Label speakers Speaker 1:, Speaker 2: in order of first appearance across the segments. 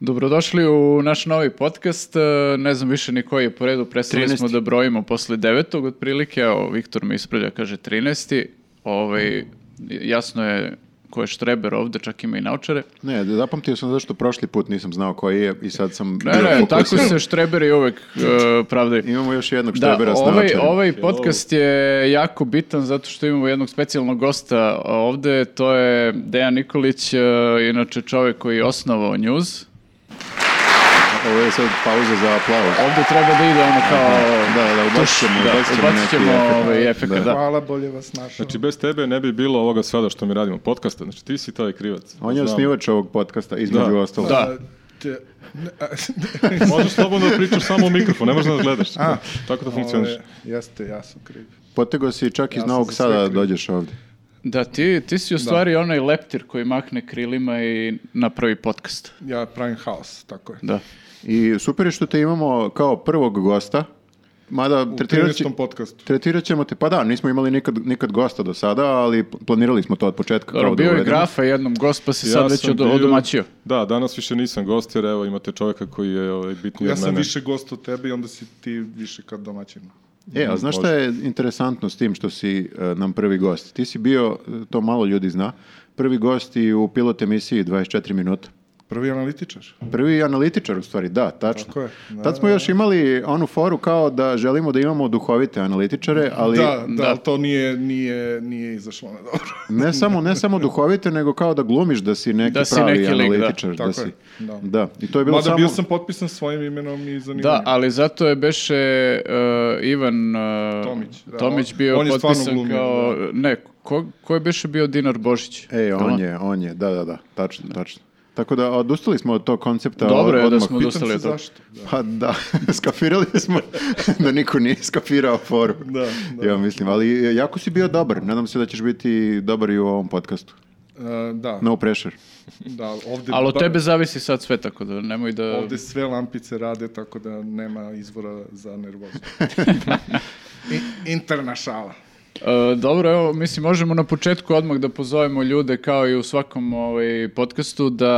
Speaker 1: dobrodošli u naš novi podcast. E, Ne znam više ni koji je po redu, prestali
Speaker 2: 13..
Speaker 1: smo da brojimo posle devetog otprilike, evo, Viktor me ispravlja, kaže 13. Ovaj, jasno je ko je štreber ovde, čak ima i E, naučare.
Speaker 3: Ne, da zapamtio sam zašto prošli put nisam znao koji je i sad Da, sam...
Speaker 1: Ne,
Speaker 3: bio
Speaker 1: ne, tako
Speaker 3: fokusiran.
Speaker 1: se štreberi uvek e, pravdaju.
Speaker 3: Imamo još
Speaker 1: Da,
Speaker 3: jednog štrebera s
Speaker 1: ovaj,
Speaker 3: naočarima.
Speaker 1: ovaj podcast je jako bitan zato što imamo jednog specijalnog gosta ovde, to je Dejan Nikolić, e, inače čovjek koji je osnovao News.
Speaker 3: Ovo je sad pauza za aplauz.
Speaker 1: Ovde treba da ide ono kao...
Speaker 3: Da, da, ubacit ćemo,
Speaker 1: da,
Speaker 3: ubacit ćemo
Speaker 1: ubacit
Speaker 3: neki
Speaker 1: ćemo
Speaker 3: efekt.
Speaker 1: ovaj efekt, da.
Speaker 4: Hvala, bolje vas našao.
Speaker 5: Znači, bez tebe ne bi bilo ovoga sada što mi radimo, podcasta. Znači, ti si taj krivac.
Speaker 3: On je
Speaker 5: Znam.
Speaker 3: osnivač ovog podcasta, između
Speaker 5: Da.
Speaker 3: ostalog.
Speaker 1: Da.
Speaker 4: A, te- ne, a,
Speaker 5: Možeš slobodno da pričaš samo u mikrofon, ne možeš da nas gledaš.
Speaker 4: A.
Speaker 5: Tako to funkcioniš.
Speaker 4: Ove, Jeste, ja sam kriv.
Speaker 3: Potego si čak iz
Speaker 4: Ja sam
Speaker 3: Novog
Speaker 4: za
Speaker 3: Sada
Speaker 4: sve
Speaker 3: da
Speaker 4: kriv.
Speaker 3: dođeš ovdje.
Speaker 1: Da, ti, ti si u stvari onaj leptir koji mahne krilima i napravi podcast.
Speaker 4: Ja pravim haos, tako je.
Speaker 1: Da.
Speaker 3: I super je što te imamo kao prvog gosta, mada
Speaker 4: U
Speaker 3: tretirat, će-
Speaker 4: 13. podcastu.
Speaker 3: tretirat ćemo te, pa da, nismo imali nikad, nikad gosta do sada, ali pl- planirali smo to od početka.
Speaker 1: Dobro,
Speaker 3: kao da
Speaker 1: bio je
Speaker 3: uvedemo.
Speaker 1: grafa jednom gost, pa se sad već
Speaker 5: sam
Speaker 1: od,
Speaker 5: bio-
Speaker 1: odomaćio.
Speaker 5: Da, danas više nisam gost, jer evo imate čovjeka koji je ovaj, bitniji
Speaker 4: Ja
Speaker 5: od
Speaker 4: sam
Speaker 5: mene.
Speaker 4: više gost od tebe i onda si ti više kad domaćin.
Speaker 3: E, a znaš šta je interesantno s tim što si e, nam prvi gost? Ti si bio, e, to malo ljudi zna, prvi gost i u pilot emisiji 24 minuta.
Speaker 4: Prvi analitičar.
Speaker 3: Prvi analitičar u stvari, da, tačno.
Speaker 4: Tako je, da,
Speaker 3: Tad smo
Speaker 4: da,
Speaker 3: još imali onu foru kao da želimo da imamo duhovite analitičare, ali
Speaker 4: da, da,
Speaker 1: da.
Speaker 4: ali to nije, nije, nije izašlo na dobro.
Speaker 3: ne samo ne samo duhovite, nego kao da glumiš da si neki
Speaker 1: Da si
Speaker 3: pravi
Speaker 1: neki lik, da.
Speaker 3: analitičar, da,
Speaker 4: Tako
Speaker 3: si.
Speaker 4: je,
Speaker 3: Da.
Speaker 4: da.
Speaker 3: I to je bilo
Speaker 4: Mada
Speaker 3: samo
Speaker 4: bio sam potpisan svojim imenom i zanimanjem.
Speaker 1: Da, ali zato je beše e, Ivan e,
Speaker 4: Tomić, da,
Speaker 1: Tomić
Speaker 4: on-
Speaker 1: bio
Speaker 4: on je stvarno
Speaker 1: potpisan
Speaker 4: glumio, da.
Speaker 1: kao... Ne, ko, ko je beše bio Dinar Božić?
Speaker 3: E,
Speaker 1: Jel
Speaker 3: on je, on je, da, da, da, tačno, tačno. Tako da odustali smo od tog koncepta
Speaker 1: Dobro je da
Speaker 3: odmah.
Speaker 1: smo-
Speaker 4: Pitam
Speaker 1: odustali
Speaker 4: se
Speaker 1: od toga.
Speaker 4: zašto. Da.
Speaker 3: Pa da, skafirali smo da niko nije skafirao foru.
Speaker 4: Da, da.
Speaker 3: Ja mislim, ali jako si bio dobar. Nadam se da ćeš biti dobar i u ovom podcastu.
Speaker 4: E, da,
Speaker 3: No pressure.
Speaker 4: da, ovde...
Speaker 1: Ali od
Speaker 4: ba-
Speaker 1: tebe zavisi sad sve, tako da nemoj da...
Speaker 4: Ovde sve lampice rade, tako da nema izvora za nervozu. I, interna šala.
Speaker 1: E, dobro, evo, mislim, možemo na početku odmah da pozovemo ljude, kao i u svakom ovaj, podcastu, da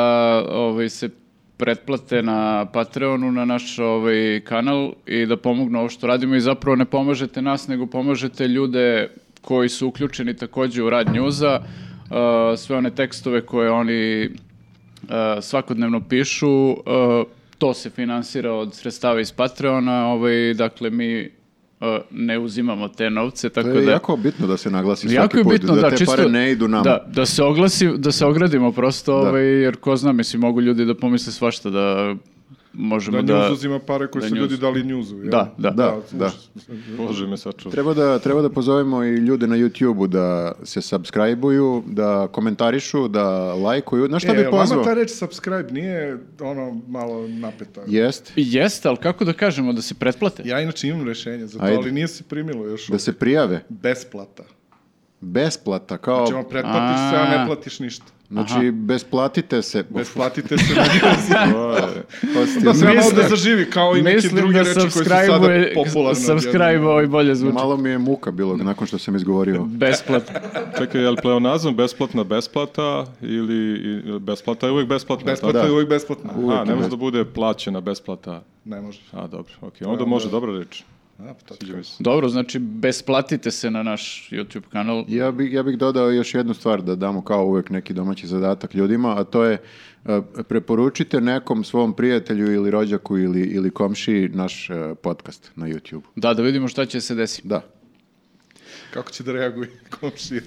Speaker 1: ovaj, se pretplate na Patreonu, na naš ovaj, kanal i da pomognu ovo što radimo i zapravo ne pomažete nas, nego pomažete ljude koji su uključeni takođe u rad njuza, e, sve one tekstove koje oni e, svakodnevno pišu. e, to se finansira od sredstava iz Patreona, ovaj, dakle mi e, ne uzimamo te novce, tako
Speaker 3: To je
Speaker 1: da...
Speaker 3: jako bitno da se naglasi svaki
Speaker 1: Jako je
Speaker 3: put,
Speaker 1: bitno, da,
Speaker 3: te
Speaker 1: čisto,
Speaker 3: pare ne idu nama. Da.
Speaker 1: Da, da se oglasi, da se ogradimo prosto, ovaj, jer ko zna, mislim, mogu ljudi da pomisle svašta da možemo
Speaker 4: Da,
Speaker 1: da...
Speaker 4: News uzima pare koje
Speaker 1: da
Speaker 4: su ljudi
Speaker 1: News.
Speaker 4: dali Newsu. jel?
Speaker 1: Da, da.
Speaker 3: Da, da.
Speaker 5: Bože me sačuva.
Speaker 3: Treba da, treba da pozovemo i ljude na YouTube-u da se subscribe-uju, da komentarišu, da lajkuju. Znaš šta
Speaker 4: E,
Speaker 3: bi pozvao?
Speaker 4: Vama ta reč subscribe nije ono malo napeta.
Speaker 3: Jest,
Speaker 1: Jeste, ali kako da kažemo da se pretplate?
Speaker 4: Ja inače imam rješenje za to,
Speaker 3: Ajde.
Speaker 4: ali nije se primilo još.
Speaker 3: da se prijave.
Speaker 4: Besplata.
Speaker 3: Besplata, kao...
Speaker 4: Znači, ono, pretplatiš se, a
Speaker 1: A.
Speaker 4: ne platiš ništa.
Speaker 3: Znači, besplatite se.
Speaker 4: Besplatite se na njozu.
Speaker 3: Osti-
Speaker 4: da se malo
Speaker 1: Mislim-
Speaker 4: da zaživi, kao i neke
Speaker 1: Mislim
Speaker 4: druge
Speaker 1: da
Speaker 4: reči koje su sada
Speaker 1: subscribe-uje-
Speaker 4: popularne.
Speaker 1: subscribe ovaj bolje zvuči.
Speaker 3: Malo mi je muka bilo nakon što sam izgovorio.
Speaker 1: Besplatno.
Speaker 5: Čekaj, je li pleonazam besplatna besplata ili ili besplata je uvijek besplatna?
Speaker 4: Besplata
Speaker 3: Da.
Speaker 4: je uvijek besplatna.
Speaker 3: uvijek
Speaker 5: A,
Speaker 3: je
Speaker 5: ne može
Speaker 3: besplatna.
Speaker 5: da bude plaćena besplata.
Speaker 4: Ne može.
Speaker 5: A, dobro, okej. Onda može, dobra reč.
Speaker 4: A, pa to ti
Speaker 5: Sviđa mi se.
Speaker 1: Dobro, znači, besplatite se na naš YouTube kanal.
Speaker 3: Ja, bi, ja bih dodao još jednu stvar da damo kao uvek neki domaći zadatak ljudima, a to je e, preporučite nekom svom prijatelju ili rođaku ili, ili komšiji naš e, podcast na YouTube.
Speaker 1: Da, da vidimo šta će se desiti.
Speaker 3: Da.
Speaker 4: Kako će da reaguje komšije?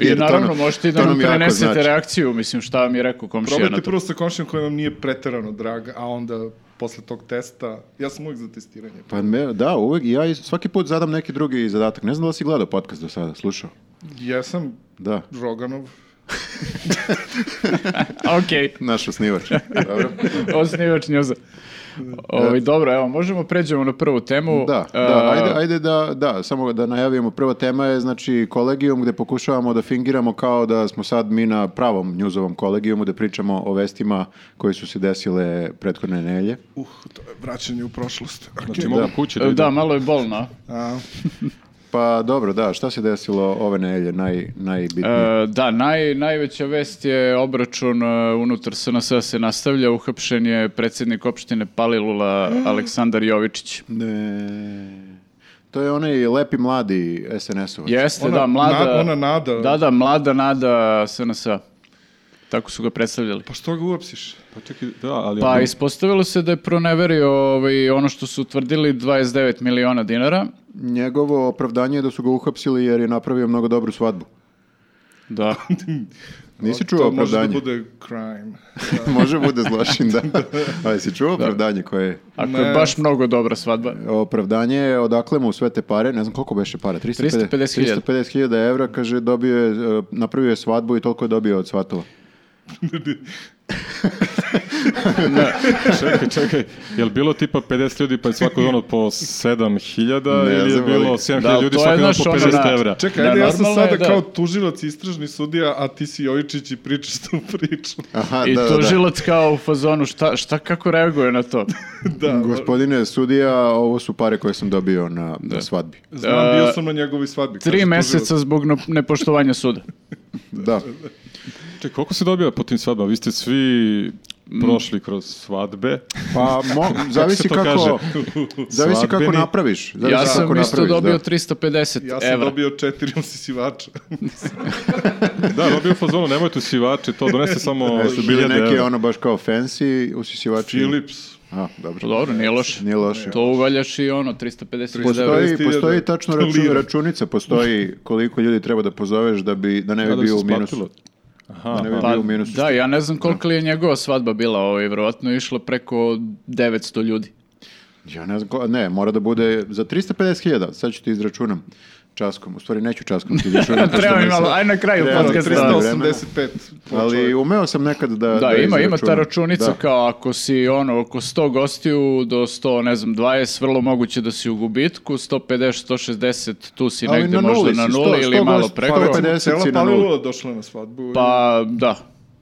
Speaker 1: I
Speaker 3: Jer to
Speaker 1: naravno,
Speaker 3: nam-
Speaker 1: možete i
Speaker 3: to
Speaker 1: da nam
Speaker 3: nam jako
Speaker 1: prenesete
Speaker 3: znači.
Speaker 1: reakciju, mislim, šta vam je rekao komšija na
Speaker 4: Probajte
Speaker 1: to.
Speaker 4: prvo sa komšijom koji vam nije preterano drag, a onda posle tog testa, ja sam uvijek za testiranje.
Speaker 3: Pa me, da, uvek ja i svaki put zadam neki drugi zadatak. Ne znam da li si gledao podcast do sada, slušao.
Speaker 4: Jesam
Speaker 3: Da,
Speaker 4: Roganov,
Speaker 1: Okej.
Speaker 3: naš osnivač. Dobro.
Speaker 1: Osnivač njuza. Ovaj, dobro, evo, možemo pređemo na prvu temu. E,
Speaker 3: Da, da,
Speaker 1: A,
Speaker 3: ajde, ajde da, da, samo da najavimo. Prva tema je, znači, kolegijum gde pokušavamo da fingiramo kao da smo sad mi na pravom njuzovom kolegijumu, da pričamo o vestima koje su se desile prethodne nelje.
Speaker 4: uh, to je vraćanje u prošlost.
Speaker 5: Znači, mogu kući da
Speaker 1: Da,
Speaker 5: idem.
Speaker 1: malo je bolno. a?
Speaker 4: A,
Speaker 3: Pa dobro, da, šta se desilo ove nelje naj, najbitnije?
Speaker 1: E, da, naj, najveća vest je obračun e, unutar SNS se nastavlja. Uhapšen je predsjednik opštine Palilula Aleksandar Jovičić.
Speaker 3: Ne. To je onaj lepi mladi SNS-ovac.
Speaker 1: Jeste,
Speaker 4: Ona
Speaker 1: da, mlada...
Speaker 4: na- ona Nada.
Speaker 1: Da, da, mlada nada SNS-a. Tako su ga predstavljali.
Speaker 4: Pa što ga uhapsiš?
Speaker 5: Pa čekaj, da, ali...
Speaker 1: Pa ispostavilo se da je proneverio ovaj, ono što su utvrdili 29 miliona dinara.
Speaker 3: Njegovo opravdanje je da su ga uhapsili jer je napravio mnogo dobru svadbu.
Speaker 1: Da.
Speaker 3: Nisi
Speaker 4: to
Speaker 3: čuo opravdanje? Da,
Speaker 4: može da bude crime.
Speaker 3: može bude zločin, da. Ali si čuo opravdanje koje je?
Speaker 1: Ako
Speaker 4: Ne.
Speaker 1: je baš mnogo dobra svadba.
Speaker 3: Opravdanje je odakle mu sve te pare, ne znam koliko beše para, 350
Speaker 1: 350.000.
Speaker 3: 350.000 evra, kaže, dobio je, e, napravio je svadbu i toliko je dobio od svatova.
Speaker 5: čekaj, čekaj, je li bilo tipa 50 ljudi pa je svako ono po 7000
Speaker 3: Ne
Speaker 5: ili je
Speaker 3: znam, ali-
Speaker 5: bilo 7000
Speaker 1: Da,
Speaker 5: ljudi
Speaker 1: to je,
Speaker 5: svaki dan
Speaker 1: znaš,
Speaker 5: po
Speaker 1: ono,
Speaker 5: 50
Speaker 1: da.
Speaker 5: evra?
Speaker 4: Čekaj,
Speaker 1: Da,
Speaker 4: ajde, ja sam
Speaker 1: normalno je,
Speaker 4: sada
Speaker 1: da.
Speaker 4: kao tužilac, istražni sudija, a ti si Jovičić i pričaš tu priču.
Speaker 3: Aha,
Speaker 1: I
Speaker 3: da, da, da.
Speaker 1: tužilac kao u fazonu, šta, šta kako reaguje na to?
Speaker 4: da,
Speaker 3: Gospodine sudija, ovo su pare koje sam dobio na, na svadbi.
Speaker 4: znam, bio
Speaker 1: E,
Speaker 4: sam na njegovoj svadbi.
Speaker 1: Tri
Speaker 4: kaže
Speaker 1: meseca zbog no- nepoštovanja suda.
Speaker 3: Da.
Speaker 5: Čekaj, koliko se dobija po tim svadbama? Vi ste svi prošli kroz svadbe.
Speaker 3: Pa, mo- zavisi
Speaker 5: se to
Speaker 3: kako,
Speaker 5: kaže?
Speaker 3: zavisi kako
Speaker 5: Svadbeni.
Speaker 3: napraviš. Zavisi
Speaker 1: ja sam
Speaker 3: da, kako
Speaker 1: isto
Speaker 3: napraviš,
Speaker 1: dobio
Speaker 3: da.
Speaker 1: 350
Speaker 4: tužilac. Ja sam
Speaker 1: evra.
Speaker 4: dobio četiri usisivača.
Speaker 5: Da, on je bio u fazonu, nemojte usivače, to donese samo
Speaker 3: E, su bili
Speaker 5: 1000
Speaker 3: neki
Speaker 5: evra.
Speaker 3: ono baš kao fancy usisivači.
Speaker 4: Philips.
Speaker 3: A,
Speaker 1: Pa
Speaker 3: dobro.
Speaker 1: Dobro, nije loše.
Speaker 3: Nije loše.
Speaker 1: To uvaljaš i ono, 350 evra.
Speaker 3: Postoji,
Speaker 4: 90.000
Speaker 3: postoji tačno račun-
Speaker 4: lira.
Speaker 3: računica, postoji koliko ljudi treba da pozoveš da bi da ne bi
Speaker 5: Kada
Speaker 3: bio
Speaker 5: se
Speaker 3: u minusu.
Speaker 5: isplatilo? Aha,
Speaker 3: Da ne bi
Speaker 5: aha.
Speaker 1: Pa,
Speaker 3: bio u minusu.
Speaker 1: da, ja ne znam koliko li je njegova svadba bila, ovaj, vjerovatno je išlo preko 900 ljudi.
Speaker 3: Ja ne znam, ko- ne, mora da bude za 350.000, sad ću ti izračunam časkom, u stvari neću časkom ti izračunam. pošto
Speaker 1: Treba mi
Speaker 3: nisam-
Speaker 1: malo, aj na kraju
Speaker 3: Treba,
Speaker 1: podcasta.
Speaker 3: treba.
Speaker 4: 385. po
Speaker 3: Ali
Speaker 4: čoveku.
Speaker 3: umeo sam nekad da
Speaker 1: Da, ima, ima ta
Speaker 3: izračunam.
Speaker 1: računica
Speaker 3: Da.
Speaker 1: kao ako si ono oko 100 gostiju do 100, ne znam, 20, vrlo moguće da si u gubitku, 150, 160, tu si
Speaker 3: Ali
Speaker 1: negde
Speaker 3: na
Speaker 1: možda
Speaker 3: nuli
Speaker 1: na
Speaker 3: si,
Speaker 1: nuli
Speaker 3: 100,
Speaker 1: ili
Speaker 3: 100
Speaker 1: malo
Speaker 3: gost-
Speaker 1: preko.
Speaker 3: pa 50
Speaker 4: Cela
Speaker 3: si na nulu.
Speaker 4: Palilula došla na svadbu.
Speaker 1: Pa da,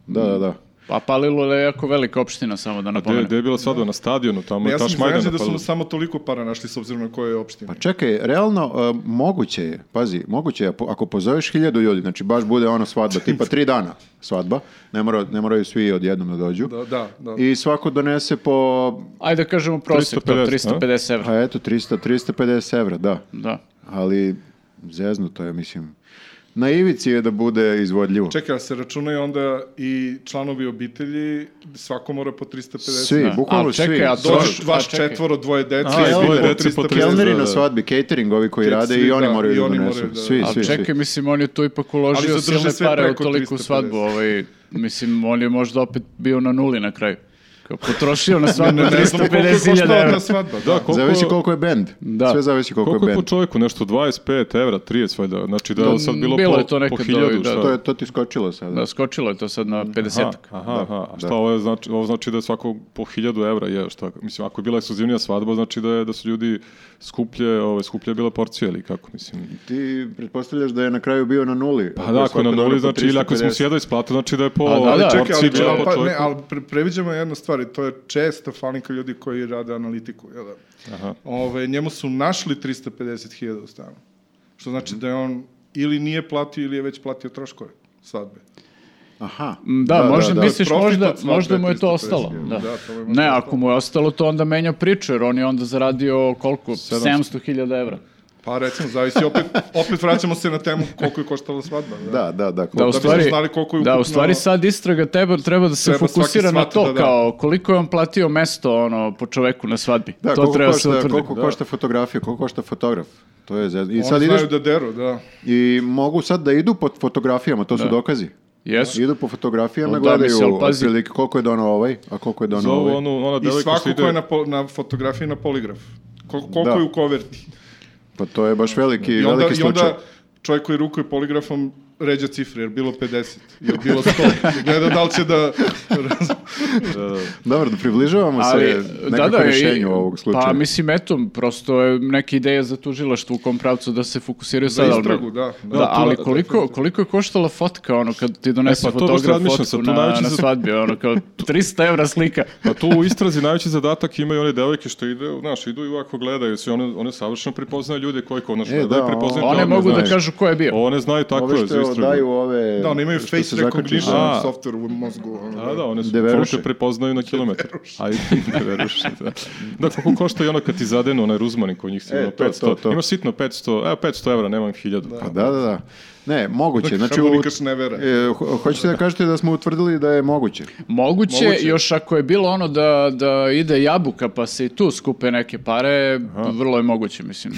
Speaker 3: Da, da, da.
Speaker 1: pa Palilula je jako velika opština samo da
Speaker 5: Gde, gde
Speaker 1: napomenem.
Speaker 5: je bila svadba? Na stadionu, tamo
Speaker 4: Ja
Speaker 5: je ta
Speaker 4: sam
Speaker 5: šmajda
Speaker 4: iznenađen da su
Speaker 5: napalila.
Speaker 4: mu samo toliko para našli s obzirom na koje je opštine.
Speaker 3: Pa čekaj, realno e, moguće je, pazi, moguće je ako- ako pozoveš hiljadu ljudi, znači baš bude ono svadba, tipa tri dana svadba, ne, mora, ne moraju svi odjednom da dođu.
Speaker 4: Da, da, da.
Speaker 3: I svako donese po,
Speaker 1: Ajde da kažemo prosjek, to
Speaker 5: 350, a?
Speaker 1: 350 evra.
Speaker 3: pa eto, 300, 350 evra, da.
Speaker 1: Da.
Speaker 3: Ali zeznuto je, mislim. Na ivici je da bude izvodljivo.
Speaker 4: Čekaj, a se računaju onda i članovi obitelji, svako mora po 350.
Speaker 3: Svi, bukvalno
Speaker 1: A, Da. čekaj,
Speaker 3: svi.
Speaker 1: a
Speaker 3: Svi.
Speaker 1: dođe-
Speaker 4: Dođeš vaš
Speaker 1: A, čekaj.
Speaker 4: četvoro, dvoje dece,
Speaker 5: A, i
Speaker 4: svi
Speaker 5: dvoje
Speaker 4: po
Speaker 5: dece po
Speaker 4: 350.
Speaker 3: Kelneri
Speaker 5: da,
Speaker 3: na
Speaker 5: da.
Speaker 3: svadbi, catering, ovi koji
Speaker 4: Ket-
Speaker 3: rade
Speaker 4: svi,
Speaker 3: i oni
Speaker 4: da,
Speaker 3: moraju
Speaker 4: i
Speaker 3: da
Speaker 4: oni
Speaker 3: donesu.
Speaker 4: moraju da-
Speaker 3: Svi,
Speaker 1: A
Speaker 3: svi, svi.
Speaker 1: čekaj, mislim, on je tu ipak uložio
Speaker 4: Ali zadrži
Speaker 1: silne
Speaker 4: sve
Speaker 1: pare u
Speaker 4: preko pa
Speaker 1: toliku
Speaker 4: 350.
Speaker 1: svadbu. Ovaj, mislim, on je možda opet bio na nuli na kraju. Kao potrošio na svadbu
Speaker 4: Ne znam koliko je
Speaker 1: 350.000
Speaker 4: koštala
Speaker 1: evra.
Speaker 4: ta svadba.
Speaker 5: Da,
Speaker 4: Da,
Speaker 5: koliko,
Speaker 3: Zavisi koliko je bend.
Speaker 1: Da.
Speaker 3: Sve zavisi koliko,
Speaker 5: koliko
Speaker 3: je
Speaker 5: je po
Speaker 3: bend.
Speaker 5: čovjeku? Nešto 25 evra, 30 valjda. Znači da je ovo sad bilo,
Speaker 1: Bilo
Speaker 5: po,
Speaker 1: je to
Speaker 5: po
Speaker 1: nekad,
Speaker 5: hiljadu,
Speaker 1: ovaj, da.
Speaker 5: šta?
Speaker 3: To, je, to ti skočilo sada.
Speaker 1: Da, skočilo je to sad na 50
Speaker 4: Da,
Speaker 5: Aha, aha, aha. A šta ovo, je znači, ovo znači da je svako po hiljadu evra je, šta, mislim, ako je bila ekskluzivnija svadba, znači da, je, da su ljudi skuplje, ove, skuplje je bila porcija ili kako, mislim.
Speaker 3: Ti pretpostavljaš da je na kraju bio na nuli.
Speaker 5: Pa da, ako je na nuli, znači, ili ako smo si
Speaker 3: 7
Speaker 5: jedno isplatili, znači da je po
Speaker 1: A, da,
Speaker 5: ovoj
Speaker 1: da.
Speaker 5: porciji
Speaker 4: Čekaj, ali,
Speaker 5: bila po
Speaker 4: pa, ne,
Speaker 5: čovjeku.
Speaker 4: ali pre, previđamo jednu stvar i to je često falinka ljudi koji rade analitiku. Jel da?
Speaker 5: Aha.
Speaker 4: Ove, njemu su našli 350.000 u stanu. Što znači da je on ili nije platio ili je već platio troškove svadbe.
Speaker 3: Aha.
Speaker 1: Da, možda misliš,
Speaker 4: Profit
Speaker 1: možda,
Speaker 4: od svadbe
Speaker 1: možda mu je to
Speaker 4: 350
Speaker 1: ostalo. Da.
Speaker 4: evra. Da, to mu je možda
Speaker 1: ne, ako
Speaker 4: ostalo.
Speaker 1: mu je ostalo, to onda menja priču, jer on je onda zaradio koliko?
Speaker 5: 700.
Speaker 1: 700.000 evra.
Speaker 4: Pa recimo, zavisi, opet, opet vraćamo se na temu koliko je koštala svadba.
Speaker 3: Da, da, da.
Speaker 1: Da, u
Speaker 4: bismo
Speaker 1: stvari,
Speaker 4: znali koliko je
Speaker 1: da, u
Speaker 4: ukupno-
Speaker 1: stvari sad istraga treba, treba da se
Speaker 4: Treba svaki
Speaker 1: fokusira na
Speaker 4: shvatiti
Speaker 1: to,
Speaker 4: da da.
Speaker 1: kao koliko je on platio mesto ono, po čoveku na svadbi.
Speaker 3: Da,
Speaker 1: to
Speaker 3: koliko
Speaker 1: treba se
Speaker 3: košta,
Speaker 1: utvrdi. da.
Speaker 3: koliko košta fotografija, koliko košta fotograf. To je zez... I
Speaker 4: Oni
Speaker 3: sad ideš
Speaker 4: znaju da deru, da.
Speaker 3: i mogu sad da idu po fotografijama, to su dokazi.
Speaker 1: Jesu.
Speaker 3: Idu po fotografijama,
Speaker 1: Da,
Speaker 3: gledaju
Speaker 1: mislim, ali pazi-
Speaker 3: otprilike koliko je dono ovaj, a koliko je dono
Speaker 5: Zovu
Speaker 3: ovaj.
Speaker 5: onu, ona
Speaker 4: I
Speaker 5: devojka što
Speaker 4: svako
Speaker 5: ide-
Speaker 4: ko je na, po- na fotografiji na poligraf. Kol, koliko
Speaker 3: Da.
Speaker 4: je u koverti.
Speaker 3: Pa to je baš veliki,
Speaker 4: I onda,
Speaker 3: veliki
Speaker 4: i
Speaker 3: slučaj.
Speaker 4: onda čovjek koji rukuje poligrafom ređa cifre, jer bilo 50, jer bilo 100. Gleda da li će da...
Speaker 5: Da, da.
Speaker 3: Dobro, da približavamo se nekako
Speaker 1: da, i-
Speaker 3: rješenju ovog slučaja.
Speaker 1: Pa mislim, eto, prosto je neka ideja za tužilaštvo u kom pravcu da se fokusiraju
Speaker 4: Za
Speaker 1: sad. ali-
Speaker 4: istragu, da.
Speaker 1: Da, ali koliko, koliko je koštala fotka, ono, kad ti donese
Speaker 5: E, pa to baš
Speaker 1: fotograf
Speaker 5: razmišljam
Speaker 1: fotku
Speaker 5: sad, tu
Speaker 1: na,
Speaker 5: najveći
Speaker 1: na
Speaker 5: za-
Speaker 1: svadbi, ono, kao 300 evra slika.
Speaker 5: Pa tu u istrazi najveći zadatak imaju one devojke što ide, znaš, idu i ovako gledaju se, one, one savršeno prepoznaju ljude koji kod nas
Speaker 3: E,
Speaker 5: gledaju,
Speaker 3: da,
Speaker 5: prepoznaju
Speaker 1: One
Speaker 5: te
Speaker 1: mogu da
Speaker 5: znaju.
Speaker 1: kažu ko je bio.
Speaker 5: One znaju tako
Speaker 3: Ove
Speaker 5: je za
Speaker 3: što
Speaker 5: istragu.
Speaker 3: daju ove...
Speaker 4: Da, oni imaju
Speaker 3: što se
Speaker 4: face
Speaker 3: zakači
Speaker 4: recognition
Speaker 3: za-
Speaker 5: A.
Speaker 4: software u mozgu. ono,
Speaker 5: Da, da, one su
Speaker 3: Deveruše.
Speaker 5: fotke prepoznaju na kilometar. Aj, deveruše, da. Da, koliko košta i ono kad ti zadenu onaj ruzmanin koji njih sigurno
Speaker 3: E, to,
Speaker 5: 500.
Speaker 3: to, to.
Speaker 5: Ima sitno 500, evo 500 evra, nemam 1000. Pa,
Speaker 3: Da, da, da. Ne, moguće. Znači, u-
Speaker 4: harmonikaš ne vera.
Speaker 3: E, ho- hoćete da kažete da smo utvrdili da je moguće?
Speaker 1: Moguće,
Speaker 4: Moguće.
Speaker 1: još ako je bilo ono da, da ide jabuka pa se i tu skupe neke pare, vrlo je moguće, mislim.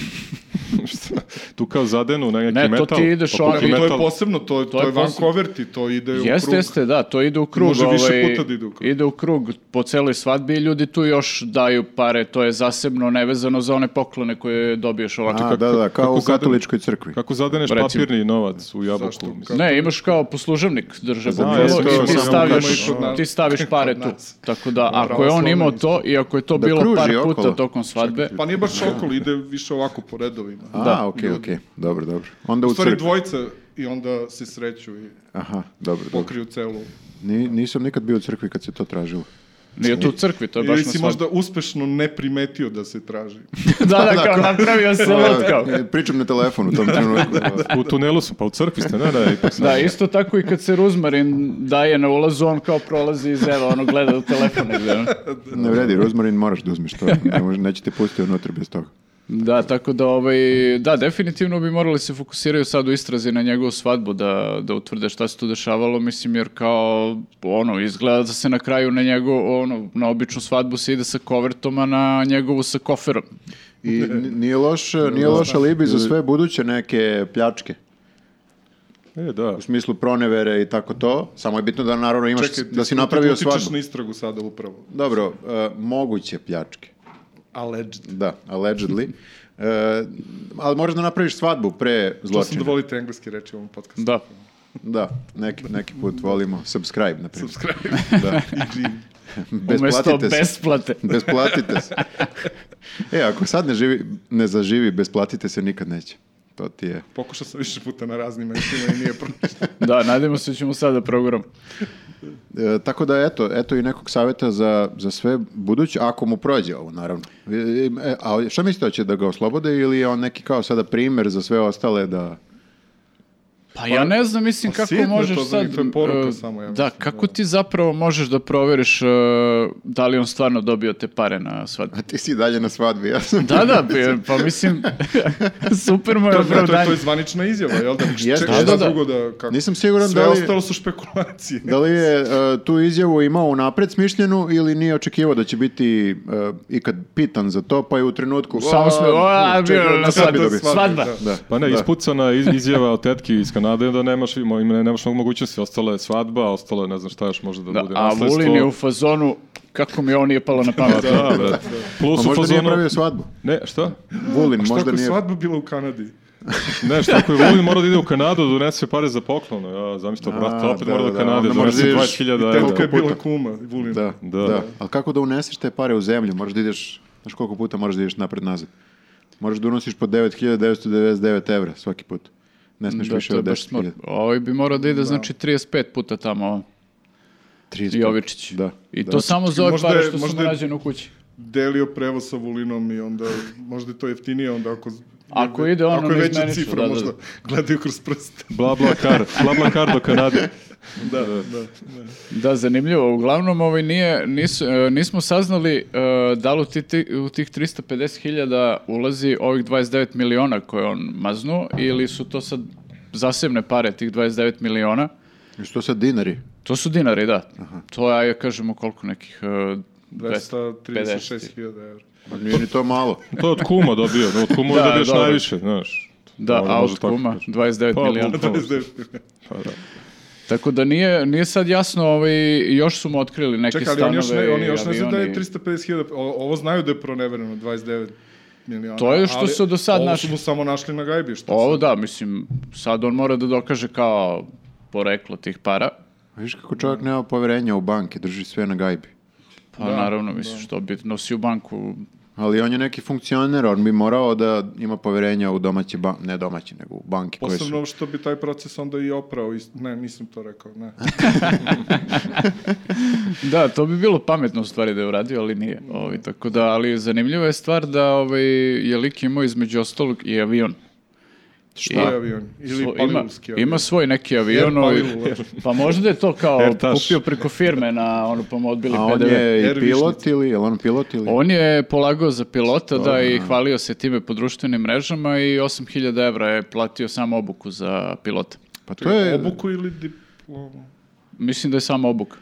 Speaker 5: šta? tu kao zadenu na neki
Speaker 1: Ne, to
Speaker 5: metal.
Speaker 1: ti ideš
Speaker 5: pa
Speaker 1: ono-
Speaker 5: kupi
Speaker 1: I
Speaker 4: to je
Speaker 5: metal.
Speaker 4: posebno, to, to, je
Speaker 1: je posebno.
Speaker 4: Vancouver ti, to ide u krug.
Speaker 1: Jeste, jeste, da, to ide u krug. ovaj,
Speaker 4: Može više puta da ide u krug.
Speaker 1: Ide u krug po celoj svadbi i ljudi tu još daju pare, to je zasebno nevezano za one poklone koje dobiješ ovako.
Speaker 3: A, da, da, kao
Speaker 5: kako
Speaker 3: u
Speaker 5: zadem-
Speaker 3: katoličkoj crkvi.
Speaker 5: Kako zadeneš
Speaker 1: Recimo.
Speaker 5: papirni novac u jabuku.
Speaker 4: Zašto?
Speaker 5: mislim.
Speaker 1: Ne, imaš kao posluževnik države
Speaker 5: Znam,
Speaker 1: bukvalno
Speaker 5: jesu,
Speaker 1: i ti
Speaker 5: samo
Speaker 1: staviš,
Speaker 4: kod nas.
Speaker 1: ti staviš pare
Speaker 4: Kod
Speaker 1: tu.
Speaker 4: nas.
Speaker 1: Tako da, ako je on
Speaker 4: pravoslavna
Speaker 1: imao to i ako je to
Speaker 3: Da
Speaker 1: bilo
Speaker 3: kruži
Speaker 1: par puta
Speaker 3: okolo.
Speaker 1: tokom svadbe,
Speaker 4: Pa nije baš okolo, ide više ovako po redovima.
Speaker 3: A, okej, okej. Dobro, dobro. Onda
Speaker 4: U
Speaker 3: u
Speaker 4: stvari
Speaker 3: crkvi.
Speaker 4: dvojca i onda se sreću i
Speaker 3: Aha, dobro, dobro.
Speaker 4: pokriju celu.
Speaker 3: Ni- nisam nikad bio u crkvi kad se to tražilo.
Speaker 1: nije tu u crkvi, to je baš
Speaker 4: Ili
Speaker 1: na
Speaker 4: si
Speaker 1: svadbi.
Speaker 4: možda uspešno ne primetio da se traži.
Speaker 1: da, da, kao napravio se lud, kao.
Speaker 3: E, Pričam na telefonu u tom trenutku.
Speaker 5: U tunelu su, pa u crkvi ste, ne, da, ipak sam.
Speaker 1: Da, isto tako i kad se Ruzmarin daje na ulazu, on kao prolazi iz eva, ono gleda u telefon. negde, ono.
Speaker 3: Ne vredi, rozmarin moraš da uzmeš to. Ne može, neće te pustiti unutra bez toga.
Speaker 1: Da, tako da, ovaj, da, definitivno bi morali se fokusiraju sad u istrazi na njegovu svadbu, da, da utvrde šta se tu dešavalo, mislim, jer kao, ono, izgleda da se na kraju na njegovu, ono, na običnu svadbu se ide sa kovertom, a na njegovu sa koferom.
Speaker 3: I n- nije loš, nije loš alibi za sve buduće neke pljačke.
Speaker 5: E, da.
Speaker 3: U smislu pronevere i tako to. Samo je bitno da naravno imaš,
Speaker 4: Čekaj, ti
Speaker 3: da si
Speaker 4: tu
Speaker 3: napravio
Speaker 4: utičeš
Speaker 3: svadbu.
Speaker 4: na istragu sada upravo.
Speaker 3: Dobro, e, moguće pljačke.
Speaker 4: Alleged.
Speaker 3: Da, allegedly. E, ali moraš da napraviš svadbu pre
Speaker 4: To sam
Speaker 3: zločina.
Speaker 4: da volite engleski reči u ovom podcastu.
Speaker 1: Da.
Speaker 3: Da, neki, neki put volimo subscribe, na primjer.
Speaker 4: Subscribe.
Speaker 3: Da.
Speaker 4: I živi.
Speaker 1: Umesto
Speaker 3: Besplatite se. Da.
Speaker 1: besplate.
Speaker 3: Besplatite se. E, ako sad ne, živi, ne zaživi, besplatite se nikad neće. To ti je...
Speaker 4: Pokušao sam više puta na raznim mestima i nije prošlo.
Speaker 1: Da, nadajmo se da ćemo sada da program.
Speaker 3: E, tako da, eto, eto i nekog savjeta za, za sve buduće, ako mu prođe ovo, naravno. E, e, a šta mislite, hoće da ga oslobode ili je on neki kao sada primjer za sve ostale da...
Speaker 1: Pa ja ne znam, mislim,
Speaker 4: pa
Speaker 1: kako
Speaker 4: sitno je to
Speaker 1: možeš
Speaker 4: za njih,
Speaker 1: sad...
Speaker 4: to je poruka
Speaker 1: e,
Speaker 4: samo, ja
Speaker 1: da,
Speaker 4: mislim,
Speaker 1: kako ti zapravo možeš da proveriš e, da li on stvarno dobio te pare na svadbi?
Speaker 3: A ti si dalje na svadbi, ja sam...
Speaker 1: Da, da, bi- pa mislim, super mu je
Speaker 4: To, je- to, je- to
Speaker 1: opravdanje.
Speaker 4: je zvanična izjava, jel da?
Speaker 3: Jeste,
Speaker 4: Čekaj,
Speaker 3: da,
Speaker 4: šta
Speaker 1: da.
Speaker 4: drugo da... Kako?
Speaker 3: Nisam siguran
Speaker 4: Sve
Speaker 3: da li-
Speaker 4: ostalo su špekulacije.
Speaker 3: Da li je e, tu izjavu imao unapred smišljenu ili nije očekivao da će biti e, ikad pitan za to, pa je u trenutku...
Speaker 1: Samo smo, a, bio
Speaker 3: čekaj,
Speaker 1: je na
Speaker 3: kad bi
Speaker 1: svadbi.
Speaker 3: dobio?
Speaker 1: Svadba.
Speaker 4: Da.
Speaker 3: Da.
Speaker 5: Pa ne,
Speaker 3: da.
Speaker 5: ispucana je iz- izjava od tetki iz Kanade da nemaš, ima, ima- nemaš mnogo mogućnosti, ostala je svadba, ostala je ne znam šta još može da,
Speaker 1: Da,
Speaker 5: bude
Speaker 1: a
Speaker 5: nasledstvo.
Speaker 1: Vulin je u fazonu, kako mi ovo nije palo na
Speaker 5: Pa
Speaker 1: pamet.
Speaker 5: da, brate.
Speaker 3: Pa
Speaker 5: Plus u
Speaker 3: možda nije
Speaker 5: fazonu...
Speaker 3: pravio svadbu.
Speaker 5: Ne, šta?
Speaker 1: Pa
Speaker 3: Vulin,
Speaker 4: Šta
Speaker 3: možda
Speaker 4: ako je
Speaker 3: nije... Da,
Speaker 4: svadba bila u Kanadi?
Speaker 5: Ne, šta ako je Vulin mora da ide u Kanadu, da donese pare za poklon. Ja, zamislite, brate,
Speaker 3: A,
Speaker 5: opet
Speaker 3: da,
Speaker 5: mora do
Speaker 3: da,
Speaker 5: Kanade,
Speaker 3: onda moraš da ideš
Speaker 5: donese 20.000
Speaker 3: i
Speaker 4: Koliko
Speaker 5: evra.
Speaker 4: je bila kuma, Vulin?
Speaker 3: Da, da.
Speaker 5: Da.
Speaker 3: Ali kako da uneseš te pare u zemlju? Moraš da ideš, znaš koliko puta moraš da ideš napred-nazad. Moraš da unosiš po 9999 evra svaki put. Ne smeš
Speaker 1: Da,
Speaker 3: više
Speaker 1: to je
Speaker 3: od
Speaker 1: baš
Speaker 3: 10.000.
Speaker 1: smrt. Ovaj bi morao da ide, znači, 35 puta tamo,
Speaker 3: 30.
Speaker 1: Jovičić.
Speaker 3: Da.
Speaker 1: I
Speaker 3: da.
Speaker 1: to samo za ove
Speaker 4: Možda
Speaker 1: pare
Speaker 4: je-
Speaker 1: što su
Speaker 4: možda
Speaker 1: mu
Speaker 4: je-
Speaker 1: nađene u kući.
Speaker 4: delio prevoz sa Vulinom i onda možda je to jeftinije onda ako
Speaker 1: Ako ide ono
Speaker 4: ako je veća
Speaker 1: neizmenično,
Speaker 4: cifra
Speaker 1: da, da.
Speaker 4: možda gledaju kroz prste.
Speaker 5: Bla, bla, kar. Bla, bla, kar do Kanade.
Speaker 4: Da, da.
Speaker 1: Da, zanimljivo. Uglavnom, ovaj nije, nisu, e, nismo saznali e, da li u, ti, ti- u tih 350.000 ulazi ovih 29 miliona koje on maznuo ili su to sad zasebne pare, tih 29 miliona.
Speaker 3: I Što sad dinari?
Speaker 1: To su dinari, da. To je, ja kažemo, koliko nekih... e,
Speaker 4: Da,
Speaker 1: 250.
Speaker 4: 236.000 evra.
Speaker 3: Pa nije ni to malo.
Speaker 5: To je od kuma dobio. Od kuma
Speaker 1: Da,
Speaker 5: da, dobiješ
Speaker 1: dobro.
Speaker 5: najviše, znaš.
Speaker 1: Da,
Speaker 5: Možda
Speaker 1: a
Speaker 5: može
Speaker 1: od
Speaker 5: tako
Speaker 1: kuma
Speaker 5: kažeš.
Speaker 1: 29
Speaker 5: Pa,
Speaker 1: miliona.
Speaker 5: bukvalno.
Speaker 4: 29 miliona.
Speaker 5: Pa, da.
Speaker 1: Tako da nije, nije sad jasno, ovaj, još su mu otkrili neke
Speaker 4: Čekaj, ali
Speaker 1: stanove.
Speaker 4: oni još ne, oni
Speaker 1: i
Speaker 4: još ne znaju da je
Speaker 1: avioni.
Speaker 4: 350.000, o- ovo znaju da je pronevereno 29 miliona.
Speaker 1: To je što
Speaker 4: ali
Speaker 1: su do sad
Speaker 4: ovo
Speaker 1: našli.
Speaker 4: su mu samo našli na gajbi, što
Speaker 1: Ovo da, mislim, sad on mora da dokaže kao poreklo tih para,
Speaker 3: Viš kako čovjek nema poverenja u banke, drži sve na gajbi.
Speaker 1: Pa
Speaker 4: Da,
Speaker 1: naravno, mislim, što bi nosi u banku,
Speaker 3: Ali on je neki funkcioner, on bi morao da ima poverenja u domaće, ban- ne domaće, nego u banke
Speaker 1: da-
Speaker 3: koje su...
Speaker 4: Posebno što bi taj proces onda i oprao. ist- Ne, nisam to rekao, ne.
Speaker 1: Znači, Da, to bi bilo pametno u stvari da je uradio, ali nije. Ovaj, tako da, ali zanimljiva je stvar da ovaj, je lik imao između ostalog i avion.
Speaker 4: Šta je avion? Ili
Speaker 1: Svo- ima,
Speaker 4: palilulski avion?
Speaker 1: ima svoj neki avion.
Speaker 4: Air
Speaker 1: ovaj,
Speaker 4: Palilula.
Speaker 3: da.
Speaker 1: pa možda je to kao
Speaker 5: Ertaš.
Speaker 1: kupio preko firme na ono pa mu odbili
Speaker 3: A on
Speaker 1: PDV.
Speaker 3: je i
Speaker 4: Ervišnici.
Speaker 3: pilot ili, je on pilot ili...
Speaker 1: On je polagao za pilota, da, i hvalio se time po društvenim mrežama i 8000 evra je platio samo obuku za pilota.
Speaker 3: Pa to je...
Speaker 4: Obuku ili diplomu?
Speaker 1: Mislim da je samo obuka.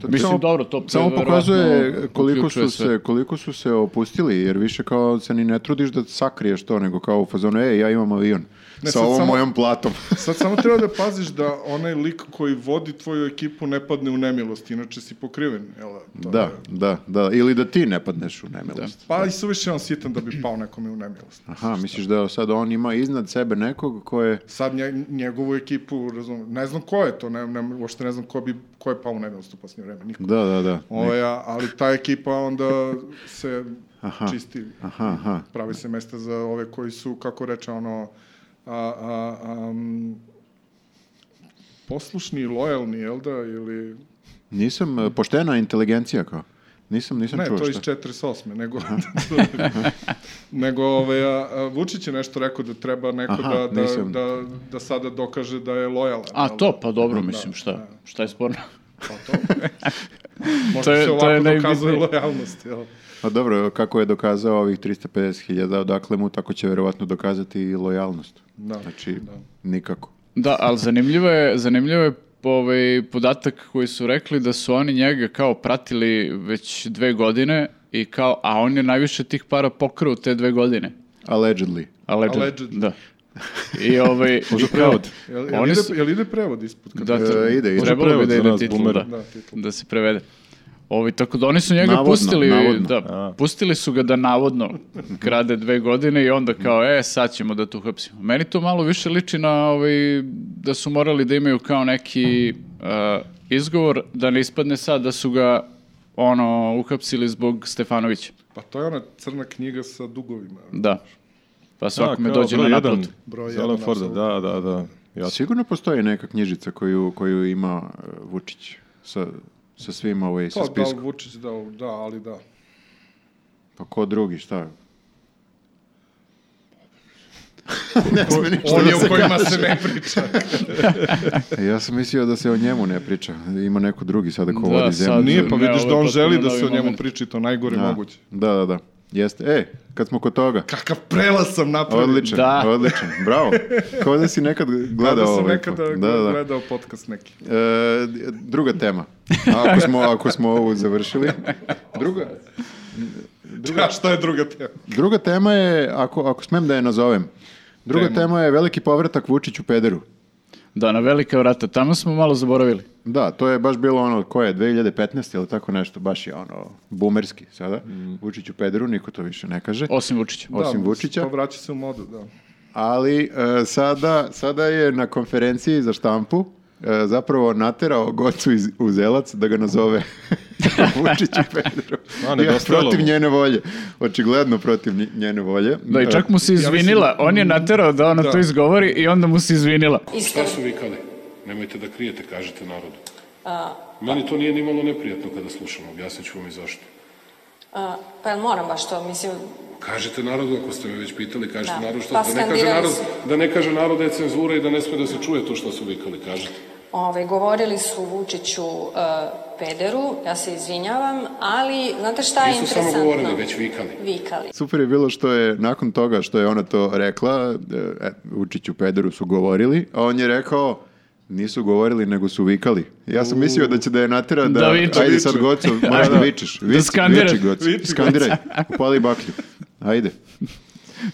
Speaker 3: to-
Speaker 1: Mislim,
Speaker 3: samo-
Speaker 1: dobro, to
Speaker 3: Samo
Speaker 1: verovatno
Speaker 3: pokazuje koliko
Speaker 1: uključuje
Speaker 3: su,
Speaker 1: sve.
Speaker 3: se, koliko su se opustili, jer više kao se ni ne trudiš da sakriješ to, nego kao u fazonu, e, ja imam avion
Speaker 4: Ne,
Speaker 3: sa
Speaker 4: sad
Speaker 3: ovom
Speaker 4: samo-
Speaker 3: mojom platom.
Speaker 4: Sad samo treba da paziš da onaj lik koji vodi tvoju ekipu ne padne u nemilost, inače si pokriven, jel da? To
Speaker 3: da,
Speaker 4: je-
Speaker 3: da, da. Ili da ti ne padneš u nemilost.
Speaker 4: Pa i suviše je on sitan da bi pao nekome u nemilost.
Speaker 1: Ah.
Speaker 3: Aha, misliš da sad on ima iznad sebe nekog ko je...
Speaker 4: Sad nje- njegovu ekipu, razum, ne znam ko je to, ne, ne, uopšte ne znam ko, bi, ko je pao u nemilost u posljednje vreme, niko.
Speaker 3: Da, da, da.
Speaker 4: Ovaj, a- ali ta ekipa onda se
Speaker 3: Aha.
Speaker 4: čisti,
Speaker 3: Aha, aha.
Speaker 4: pravi se mesta za ove koji su, kako reče, ono, a, a, am, poslušni i lojalni, jel da, ili...
Speaker 3: Nisam, e, poštena inteligencija kao. Nisam, nisam
Speaker 4: Ne,
Speaker 3: Da čuo
Speaker 4: to je iz
Speaker 3: šta.
Speaker 4: 48. Nego, nego ovaj, a, a, Vučić je nešto rekao da treba neko
Speaker 3: Aha,
Speaker 4: da, da,
Speaker 3: nisam.
Speaker 4: da, da sada dokaže da je lojalan.
Speaker 1: A
Speaker 4: jel
Speaker 1: to,
Speaker 4: da?
Speaker 1: pa dobro,
Speaker 4: Da,
Speaker 1: mislim, šta,
Speaker 4: da,
Speaker 1: šta je sporno?
Speaker 4: pa to. Možda
Speaker 1: To je-
Speaker 4: se
Speaker 1: to je
Speaker 4: ovako dokazuje
Speaker 1: najbitnije.
Speaker 4: lojalnost. Jel?
Speaker 3: A dobro, kako je dokazao ovih 350.000, odakle mu, tako će verovatno dokazati i lojalnost.
Speaker 4: Da.
Speaker 3: Znači,
Speaker 4: Da.
Speaker 3: nikako.
Speaker 1: Da, ali zanimljivo je, zanimljivo je ovaj podatak koji su rekli da su oni njega kao pratili već dve godine i kao, a on je najviše tih para pokrao u te dve godine.
Speaker 3: Allegedly.
Speaker 1: Alleged.
Speaker 4: Allegedly.
Speaker 1: Da. I ovaj... i kao-
Speaker 5: prevod.
Speaker 4: Jel, jel,
Speaker 1: Oni
Speaker 4: ide,
Speaker 1: su-
Speaker 4: jel ide prevod ispod? kad-
Speaker 1: Da, tre-
Speaker 3: E, ide, ide.
Speaker 1: Trebalo bi
Speaker 5: Prevod
Speaker 1: da
Speaker 5: za
Speaker 1: ide
Speaker 5: nas,
Speaker 1: titlu,
Speaker 5: boomere.
Speaker 1: da,
Speaker 4: Da, titlu.
Speaker 1: da se prevede. Ovi, tako da oni su njega
Speaker 3: Navodno,
Speaker 1: pustili,
Speaker 3: navodno.
Speaker 1: da, pustili su ga da navodno krade dve godine i onda kao, e, sad ćemo da tu hapsimo. Meni to malo više liči na ovaj, da su morali da imaju kao neki eh, izgovor da ne ispadne sad da su ga ono, uhapsili zbog Stefanovića.
Speaker 4: Pa to je ona crna knjiga sa dugovima.
Speaker 1: Da. Pa
Speaker 5: Da,
Speaker 1: svakome
Speaker 5: kao
Speaker 1: dođe na
Speaker 5: broj jedan,
Speaker 1: naplatu.
Speaker 4: Broj
Speaker 5: za
Speaker 4: jedan,
Speaker 5: Alan Forda, da, da, da. Ja,
Speaker 3: Sigurno postoji neka knjižica koju, koju ima e, Vučić sa, sa svim ovaj, sa
Speaker 4: Pa da,
Speaker 3: spiskom.
Speaker 4: Vučić, da, da, ali da.
Speaker 3: Pa ko drugi, šta? ne sme ništa
Speaker 4: Oni
Speaker 3: da
Speaker 4: o
Speaker 3: se
Speaker 4: kojima se ne priča.
Speaker 3: kaže. Ja sam mislio da se o njemu ne priča. Ima neko drugi sada ko
Speaker 1: Da, sad-
Speaker 3: vodi zemlju.
Speaker 4: Nije, pa
Speaker 1: Ne,
Speaker 4: vidiš
Speaker 1: ovo je
Speaker 4: da on
Speaker 1: potpuno
Speaker 4: želi da
Speaker 1: novi
Speaker 4: se o njemu
Speaker 1: moment.
Speaker 4: priča, to najgore
Speaker 3: Da.
Speaker 4: moguće.
Speaker 3: Da, da, da. Jeste. E, kad smo kod toga.
Speaker 4: Kakav prelaz sam napravio.
Speaker 3: Odličan,
Speaker 1: Da.
Speaker 3: odličan. Bravo. Kao da si nekad
Speaker 4: Kao
Speaker 3: gledao
Speaker 4: da sam
Speaker 3: ovaj
Speaker 4: nekada
Speaker 3: pod- da, da.
Speaker 4: gledao podcast neki.
Speaker 3: E, druga tema. A Ako smo, ako smo ovu završili. Druga,
Speaker 4: Druga, šta je druga tema?
Speaker 3: druga tema je, ako, ako smem da je nazovem, druga
Speaker 4: Tema.
Speaker 3: tema, je veliki povratak Vučiću Pederu.
Speaker 1: Da, na velika vrata. Tamo smo malo zaboravili.
Speaker 3: Da, to je baš bilo ono, koje, 2015. ili tako nešto, baš je ono, bumerski sada.
Speaker 1: Mm.
Speaker 3: Vučiću Pederu, niko to više ne kaže.
Speaker 1: Osim Vučića.
Speaker 3: Osim Vučića.
Speaker 4: Pa vraća se u modu, da.
Speaker 3: Ali e, sada, sada je na konferenciji za štampu e, zapravo naterao Gocu iz Uzelac da ga nazove Vučiću Pedro.
Speaker 1: da
Speaker 5: A, nedostajalo
Speaker 3: protiv
Speaker 5: mu.
Speaker 3: njene volje. Očigledno protiv nj- njene volje.
Speaker 1: Da, i čak mu se izvinila. On je naterao da ona
Speaker 4: Da.
Speaker 1: to izgovori i onda mu se izvinila.
Speaker 2: Šta su vikali? Nemojte da krijete, kažete narodu. Meni to nije ni malo neprijatno kada slušam, objasnit ću vam i zašto.
Speaker 6: A, pa jel moram baš to, mislim,
Speaker 2: Kažete narodu, ako ste me već pitali, kažete
Speaker 6: Da.
Speaker 2: narodu što
Speaker 6: Pa
Speaker 2: da ne, kaže
Speaker 6: skandirali
Speaker 2: narod,
Speaker 6: su.
Speaker 2: da ne kaže narod da je cenzura i da ne sme da se čuje to što su vikali, kažete.
Speaker 6: ovaj, govorili su Vučiću e, pederu, ja se izvinjavam, ali znate šta je
Speaker 2: Nisu
Speaker 6: Pa interesantno?
Speaker 2: samo govorili, već vikali.
Speaker 6: Vikali.
Speaker 3: Super je bilo što je nakon toga što je ona to rekla, e, e, Vučiću Pederu su govorili, a on je rekao nisu govorili nego su vikali. Ja sam mislio da će da je natera da,
Speaker 1: Da viče.
Speaker 3: ajde
Speaker 1: Da
Speaker 3: sad
Speaker 1: viče.
Speaker 3: Goco, možeš da vičeš. Vici,
Speaker 1: skandira.
Speaker 3: viči, Goco.
Speaker 4: Viči, Goco.
Speaker 3: Skandiraj, upali baklju. Ajde.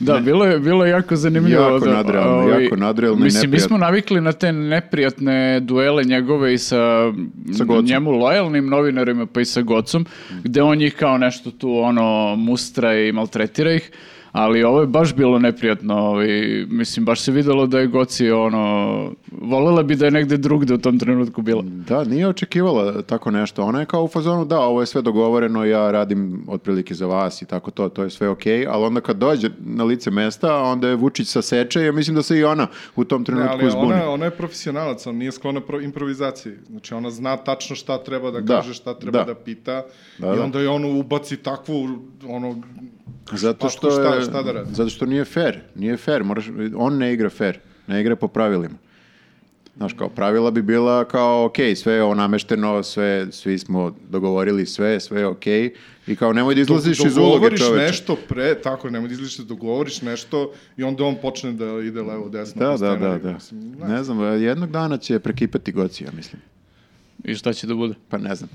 Speaker 1: Da, bilo je, bilo je jako zanimljivo.
Speaker 3: Jako
Speaker 1: da,
Speaker 3: nadrealno, jako nadrealno i
Speaker 1: Mislim, mi
Speaker 3: neprijatno.
Speaker 1: smo navikli na te neprijatne duele njegove i sa,
Speaker 3: Sa Gocom.
Speaker 1: njemu lojalnim novinarima, pa i sa Gocom, gde on njih kao nešto tu ono mustra i maltretira ih. Ali ovo je baš bilo neprijatno, ovaj, mislim, baš se videlo da je Goci, ono, volela bi da je negde drugde u tom trenutku bila.
Speaker 3: Da, nije očekivala tako nešto. Ona je kao u fazonu, da, ovo je sve dogovoreno, ja radim otprilike za vas i tako to, to je sve okej, ali onda kad dođe na lice mesta, onda je Vučić saseče, ja mislim da se i ona u tom
Speaker 4: Ne,
Speaker 3: trenutku
Speaker 4: ali
Speaker 3: zbuni.
Speaker 4: ona, ona je profesionalac, ona nije sklona pro, improvizaciji. Znači, ona zna tačno šta treba da,
Speaker 3: Da,
Speaker 4: kaže, šta treba da,
Speaker 3: da.
Speaker 4: pita
Speaker 3: Da,
Speaker 4: i
Speaker 3: da.
Speaker 4: onda je ono ubaci takvu, ono,
Speaker 3: Zato
Speaker 4: špaku,
Speaker 3: što, je,
Speaker 4: šta, šta da radi.
Speaker 3: zato što nije fair, nije fair, moraš, on ne igra fair, ne igra po pravilima. Znaš, kao pravila bi bila kao, ok, sve je ovo namešteno, sve, svi smo dogovorili sve, sve je ok, i kao nemoj da izlaziš iz uloge
Speaker 4: dogovoriš
Speaker 3: čoveče.
Speaker 4: nešto pre, tako, nemoj da izliš, dogovoriš nešto i onda on počne da ide levo, desno.
Speaker 3: Da,
Speaker 4: po
Speaker 3: da, da,
Speaker 4: scenariju.
Speaker 3: da.
Speaker 4: Mislim, ne,
Speaker 3: Ne znam, jednog dana će prekipati Gocija, mislim.
Speaker 1: I šta će da bude?
Speaker 3: Pa ne znam.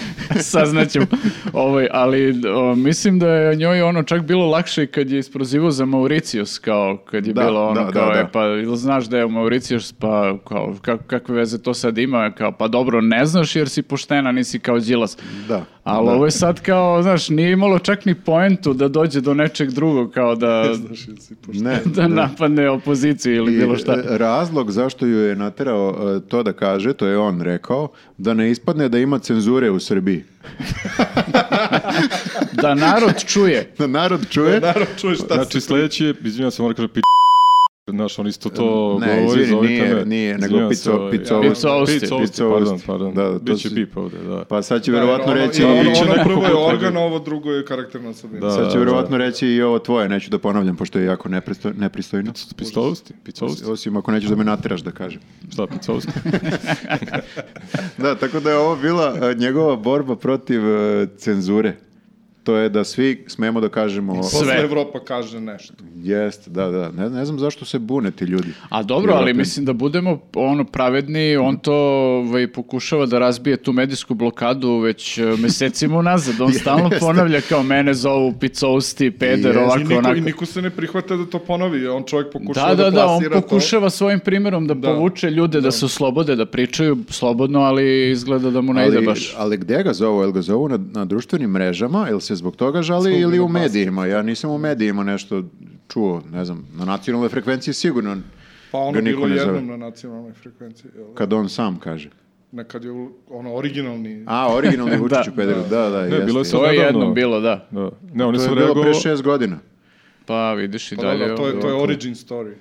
Speaker 1: Saznaćemo. Ovaj, ali o, mislim da je njoj ono čak bilo lakše i kad je isprozivao za Mauricius, kao kad je
Speaker 3: Da,
Speaker 1: bilo ono
Speaker 3: da,
Speaker 1: kao,
Speaker 3: da, da.
Speaker 1: e, pa ili znaš da je u Mauricius, pa kao, kak, kakve veze to sad ima, kao, pa dobro, ne znaš jer si poštena, nisi kao Đilas.
Speaker 3: Da,
Speaker 1: Ali
Speaker 3: da.
Speaker 1: ovo je sad kao, znaš, nije imalo čak ni poentu da dođe do nečeg drugog, kao da,
Speaker 4: znaš, jesi pošto-
Speaker 3: Ne.
Speaker 1: da napadne opoziciju ili
Speaker 3: I,
Speaker 1: bilo šta.
Speaker 3: e, Razlog zašto ju je naterao e, to da kaže, to je on rekao, da ne ispadne da ima cenzure u Srbiji.
Speaker 1: Da narod čuje.
Speaker 3: Da narod čuje.
Speaker 4: Naravno, čuješ šta
Speaker 5: Znači, sledeći je, izvinjam se, moram kažem, pi... Znaš, on isto to
Speaker 3: Ne,
Speaker 5: govori,
Speaker 3: izvini,
Speaker 5: zovite
Speaker 3: nije-
Speaker 5: me.
Speaker 3: nije, nego
Speaker 5: Izvinjam se,
Speaker 3: pico-
Speaker 5: ovaj,
Speaker 3: pico-
Speaker 1: Picousti.
Speaker 5: Picousti, pardon,
Speaker 3: Picousti.
Speaker 5: pardon.
Speaker 3: Da, da, to
Speaker 5: Biće
Speaker 3: si-
Speaker 5: pip ovde, da.
Speaker 3: Pa sad će
Speaker 4: Da, jer
Speaker 3: verovatno
Speaker 4: ono-
Speaker 3: reći...
Speaker 4: ono-
Speaker 5: i-
Speaker 4: ono
Speaker 5: nekako
Speaker 4: prvo je
Speaker 5: potraga.
Speaker 4: organ, a ovo drugo je karakterna osobina.
Speaker 5: Da.
Speaker 3: Sad će verovatno reći i ovo tvoje, neću da ponavljam, pošto je jako nepristo, nepristojno.
Speaker 5: Picousti, picousti,
Speaker 3: Osim ako nećeš da me nateraš da kažem.
Speaker 5: šta picousti?
Speaker 3: Da, tako da je ovo bila e, njegova borba protiv e, cenzure. To je da svi smemo da kažemo...
Speaker 4: Posle
Speaker 1: Sve.
Speaker 4: Evropa kaže nešto.
Speaker 3: Jest, da, da. Ne, ne znam zašto se bune ti ljudi.
Speaker 1: A dobro, ali
Speaker 3: Evropljani.
Speaker 1: mislim da budemo ono pravedni, on to ovaj, pokušava da razbije tu medijsku blokadu već eh, mesecima unazad. On stalno ponavlja kao mene zovu picousti, peder,
Speaker 3: Jeste.
Speaker 1: ovako,
Speaker 4: I niko,
Speaker 1: onako.
Speaker 4: I niko se ne prihvata da to ponovi. On čovjek pokušava
Speaker 1: Da, da,
Speaker 4: da,
Speaker 1: da, on
Speaker 4: plasira to.
Speaker 1: pokušava svojim primjerom da,
Speaker 4: Da.
Speaker 1: povuče ljude da. se oslobode, da pričaju slobodno, ali izgleda da mu ne ide
Speaker 3: Ali,
Speaker 1: baš.
Speaker 3: ali gde ga zovu? Jel ga zovu na, na društvenim mrežama? Jel se zbog toga žali
Speaker 4: Zbog
Speaker 3: ili u
Speaker 4: glasa.
Speaker 3: medijima? Ja nisam u medijima nešto čuo, ne znam. Na nacionalnoj frekvenciji sigurno
Speaker 4: Pa ono
Speaker 3: ga niko
Speaker 4: bilo
Speaker 3: ne zove.
Speaker 4: jednom na nacionalnoj frekvenciji. jel?
Speaker 3: kad on sam kaže.
Speaker 4: Nekad je ono originalni...
Speaker 3: A, originalni Vučić u pederu. Da, da, jeste.
Speaker 5: bilo je
Speaker 3: jeste.
Speaker 5: sad-
Speaker 1: To je
Speaker 5: nedavno-
Speaker 1: jednom bilo, da.
Speaker 5: Da. Ne, on je
Speaker 3: To je
Speaker 5: sam
Speaker 3: bilo
Speaker 5: reagovao...
Speaker 3: pre šest godina.
Speaker 1: Pa vidiš i
Speaker 4: Pa
Speaker 1: dalje.
Speaker 4: dobro, to je, to je
Speaker 1: ovako.
Speaker 4: origin story.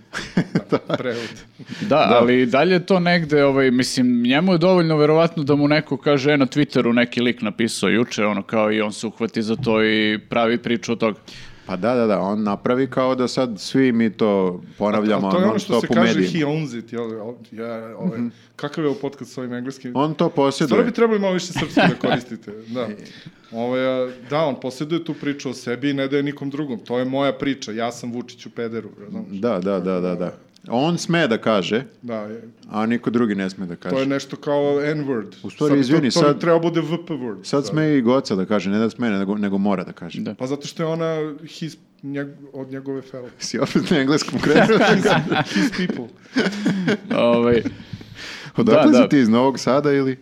Speaker 4: Da, prevod.
Speaker 1: Da, ali i dalje je to negde, ovaj, mislim, njemu je dovoljno verovatno da mu neko kaže, e, na Twitteru neki lik napisao juče, ono kao i on se uhvati za to i pravi priču od toga.
Speaker 3: Pa da, da, da. On napravi kao da sad svi mi to ponavljamo
Speaker 4: A to je ono
Speaker 3: non
Speaker 4: što
Speaker 3: stop
Speaker 4: se
Speaker 3: u
Speaker 4: kaže
Speaker 3: medijima. Mhm.
Speaker 4: he owns it. Jel, O- ja, ovaj, Kakav je ovo podcast s ovim engleskim?
Speaker 3: On to
Speaker 4: Stvarno
Speaker 3: posjeduje.
Speaker 4: bi trebali malo više srpski da koristite. Da. Ove, a, da, on posjeduje tu priču o sebi i ne daje nikom drugom. To je moja priča. Ja sam Vučić u pederu. razumeš?
Speaker 3: Da, da, da, da, da. On sme da kaže,
Speaker 4: Da, je,
Speaker 3: a niko drugi ne sme da kaže.
Speaker 4: to je nešto kao N-word. U
Speaker 3: stvari, izvini,
Speaker 4: to, to
Speaker 3: sad-
Speaker 4: bi trebao da bude VP word.
Speaker 3: Sad sme i Goca da kaže, ne da sme, nego, nego mora da kaže.
Speaker 1: Da.
Speaker 4: Pa zato što je ona his, njeg, od njegove fellow.
Speaker 3: Si opet na engleskom krenuo.
Speaker 4: Da. His people.
Speaker 1: Ovaj,
Speaker 3: Odakle
Speaker 1: Da, da.
Speaker 3: si ti iz Novog Sada ili?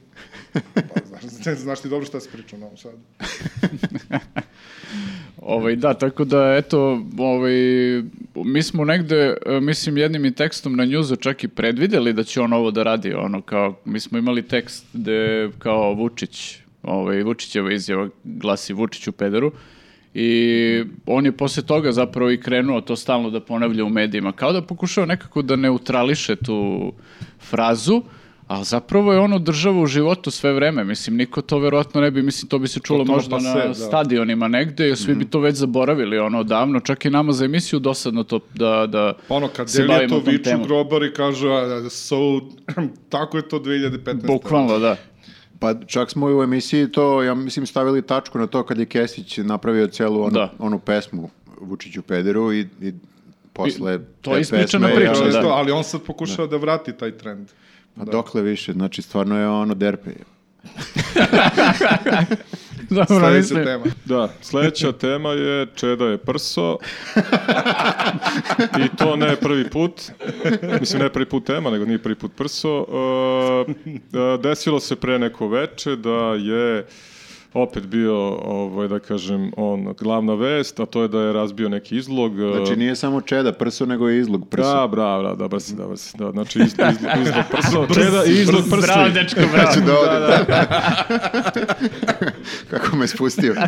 Speaker 4: Pa, znaš, ne, znaš ti dobro šta se priča na ovom sad.
Speaker 1: ovaj, da, tako da, eto, ovaj, mi smo negde, e, mislim, jednim i tekstom na njuzu čak i predvideli da će on ovo da radi, ono, kao, mi smo imali tekst gde, kao, Vučić, ovaj, Vučićeva izjava glasi Vučić u pederu, I on je posle toga zapravo i krenuo to stalno da ponavlja u medijima. Kao da pokušava nekako da neutrališe tu frazu, ali zapravo je ono država u životu sve vreme. Mislim, niko to verovatno ne bi, mislim, to bi se čulo
Speaker 4: To- to
Speaker 1: možda
Speaker 4: pase,
Speaker 1: na
Speaker 4: da.
Speaker 1: stadionima negde, jer svi bi to već zaboravili ono davno, čak i nama za emisiju dosadno to da, da
Speaker 4: Pa ono, kad
Speaker 1: se
Speaker 4: Delija
Speaker 1: bavimo
Speaker 4: to
Speaker 1: tom
Speaker 4: viču
Speaker 1: temom.
Speaker 4: grobar i kažu, "A, so, tako je to 2015.
Speaker 1: Bukvalno, da.
Speaker 3: Pa čak smo i u emisiji to, ja mislim, stavili tačku na to kad je Kesić napravio celu onu,
Speaker 1: Da.
Speaker 3: onu pesmu Vučiću Pederu i, i posle
Speaker 1: to je ispričana
Speaker 3: pesme,
Speaker 4: Priča,
Speaker 1: priča,
Speaker 3: ja-
Speaker 1: da.
Speaker 4: ali on sad pokušava da. vrati taj trend.
Speaker 3: Pa dokle više, znači stvarno je ono derpe.
Speaker 1: Dobro,
Speaker 4: Sledeća
Speaker 1: mislim,
Speaker 4: tema.
Speaker 5: Da, sledeća tema je Čeda je prso. I to ne prvi put. Mislim, ne prvi put tema, nego nije prvi put prso. E, e, desilo se pre neko veče da je opet bio, ovaj, da kažem, on, glavna vest, a to je da je razbio neki izlog.
Speaker 3: Znači nije samo čeda prso, nego i izlog prso.
Speaker 5: E, Da, bra, bra, da, brsi, da, brsi, da, znači iz, izlog, izlog prso, čeda i izlog prsti.
Speaker 1: Bravo, dečko, bravo.
Speaker 4: Znači-
Speaker 3: Ću da odem, da. Kako me spustio.
Speaker 5: Da,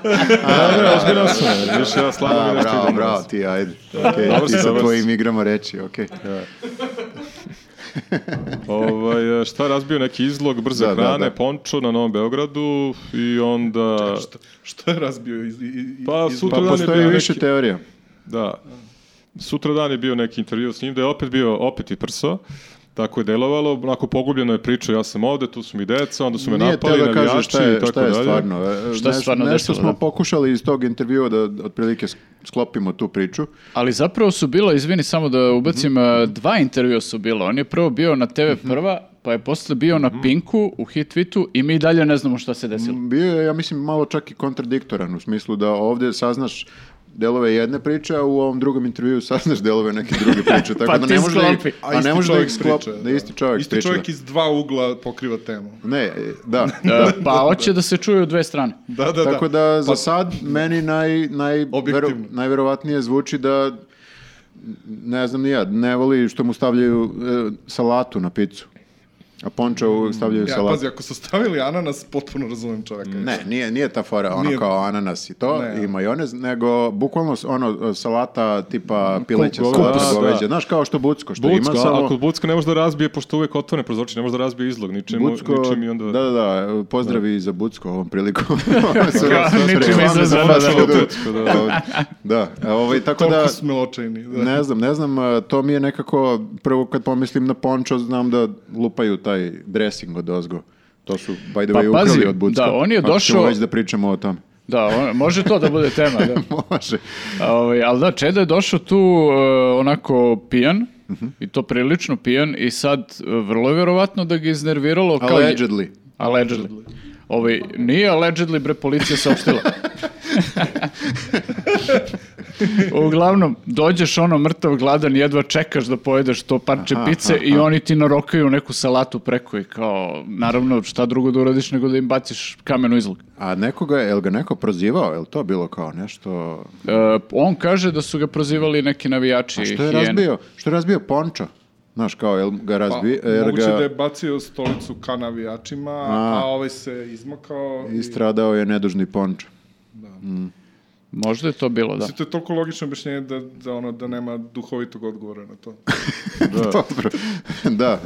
Speaker 5: ne, ozbiljno sam, više ja
Speaker 3: A,
Speaker 5: slabo mi nešto
Speaker 3: Da, bravo,
Speaker 5: idem.
Speaker 3: bravo, ti, ajde. Okay,
Speaker 5: Dobro
Speaker 3: ti
Speaker 5: si,
Speaker 3: sa
Speaker 5: dobro si.
Speaker 3: tvojim igrama reći, okej.
Speaker 5: Ovaj, e, šta razbio neki izlog, brze
Speaker 3: Da, da,
Speaker 5: hrane,
Speaker 3: da.
Speaker 5: pončo na Novom Beogradu i onda...
Speaker 4: Što, što je razbio iz, i, i,
Speaker 5: Pa,
Speaker 4: iz-
Speaker 5: sutra
Speaker 3: Pa
Speaker 5: dan je
Speaker 3: postoji
Speaker 5: bio
Speaker 3: više
Speaker 5: neki-
Speaker 3: teorija.
Speaker 5: Da. Sutra dan je bio neki intervju s njim, da je opet bio opet i prso, tako je delovalo, onako pogubljeno je priča, ja sam ovde, tu su mi deca, onda su me
Speaker 3: Nije
Speaker 5: napali,
Speaker 3: teo da kaže
Speaker 5: navijači
Speaker 3: šta je,
Speaker 5: i tako
Speaker 3: šta je
Speaker 5: dalje.
Speaker 3: stvarno. E,
Speaker 1: Šta se
Speaker 3: neš-
Speaker 1: stvarno
Speaker 3: Nešto
Speaker 1: desilo,
Speaker 3: smo
Speaker 1: da?
Speaker 3: pokušali iz tog intervjua da otprilike sklopimo tu priču.
Speaker 1: Ali zapravo su bilo, izvini samo da ubacim,
Speaker 4: Mhm.
Speaker 1: eh, dva intervjua su bilo. On je prvo bio na TV prva, pa je posle bio
Speaker 4: Mhm.
Speaker 1: na Pinku u Hitvitu i mi dalje ne znamo šta se desilo.
Speaker 3: Bio je, ja mislim, malo čak i kontradiktoran u smislu da ovdje saznaš delove jedne priče, a u ovom drugom intervju saznaš delove neke druge priče. Tako
Speaker 1: Pa
Speaker 3: da
Speaker 1: ti
Speaker 3: ne možeš da ih,
Speaker 1: sklopi.
Speaker 4: a
Speaker 3: a
Speaker 4: isti
Speaker 3: ne možeš da
Speaker 4: čovjek
Speaker 3: ih sklop,
Speaker 4: priča,
Speaker 3: da isti čovjek
Speaker 4: isti
Speaker 3: priča.
Speaker 4: čovjek iz dva ugla pokriva temu.
Speaker 3: Ne, e, da.
Speaker 1: Eh, pa hoće da se čuju dve strane.
Speaker 4: Da, da,
Speaker 3: Tako
Speaker 4: da.
Speaker 3: da za sad meni naj, naj,
Speaker 4: Objektivno.
Speaker 3: vero- najverovatnije zvuči da ne znam ni ja, ne voli što mu stavljaju e, salatu na picu. A ponča u- stavljaju
Speaker 4: Ja,
Speaker 3: salatu.
Speaker 4: pazi, ako su stavili ananas, potpuno razumem čoveka.
Speaker 3: Ne, nije, nije ta fora ono
Speaker 4: Nije.
Speaker 3: kao ananas i to
Speaker 4: Ne.
Speaker 3: i majonez, nego bukvalno s- ono salata tipa pileća
Speaker 5: Kup-
Speaker 3: salata
Speaker 5: kupus,
Speaker 3: goveđa.
Speaker 5: da.
Speaker 3: Znaš kao što bucko, što
Speaker 5: Bucko,
Speaker 3: ima
Speaker 5: a-
Speaker 3: samo...
Speaker 5: ako Bucko ne može da razbije, pošto uvek otvore prozorče, ne može da razbije izlog, ničem,
Speaker 3: Bucko,
Speaker 5: ničem i onda...
Speaker 3: da, da, da, pozdravi i za Bucko ovom prilikom. Sve-
Speaker 1: Kao,
Speaker 3: sve-
Speaker 1: ničim
Speaker 3: sve-
Speaker 1: izazvano,
Speaker 3: sve-
Speaker 1: da.
Speaker 3: sve- sve-
Speaker 5: Bucko, da.
Speaker 3: Da, e, ovaj, tako
Speaker 4: Toliko
Speaker 3: da,
Speaker 4: smo očajni. Da.
Speaker 3: ne znam, ne znam, e, to mi je nekako, prvo kad pomislim na pončo, znam da lupaju taj dressing od ozgo. To su, by the
Speaker 1: Pa
Speaker 3: way,
Speaker 1: pazi,
Speaker 3: ukrali od Bucka.
Speaker 1: da, on je
Speaker 3: Ako ćemo
Speaker 1: došao-
Speaker 3: već da pričamo o tome.
Speaker 1: Da, on- može to da bude tema. Da.
Speaker 3: Može.
Speaker 1: A, Ovaj, ali da, Čeda je došao tu e, onako pijan,
Speaker 3: Mhm.
Speaker 1: i to prilično pijan, i sad e, vrlo je verovatno da ga iznerviralo. Kao
Speaker 3: Allegedly.
Speaker 1: Allegedly. Ovaj, nije allegedly, bre, policija saopštila. Uglavnom, dođeš ono mrtav gladan, jedva čekaš da pojedeš to parče pice i oni ti narokaju neku salatu preko i kao, naravno, šta drugo da uradiš nego da im baciš kamenu izlog.
Speaker 3: A nekoga, je, jel ga neko prozivao? Jel to bilo kao nešto...
Speaker 1: E, on kaže da su ga prozivali neki navijači.
Speaker 3: Što je
Speaker 1: hijene.
Speaker 3: razbio? Što je razbio pončo? Znaš, kao, jel ga
Speaker 4: Pa,
Speaker 3: razbio... jer
Speaker 4: moguće
Speaker 3: er ga
Speaker 4: da je bacio stolicu ka navijačima, a, ovaj se izmakao. i-
Speaker 3: istradao je nedužni pončo.
Speaker 1: Možda je to bilo, da.
Speaker 4: Mislim, to je toliko logično objašnjenje da, da, ono, da nema duhovitog odgovora na to.
Speaker 3: Dobro. da,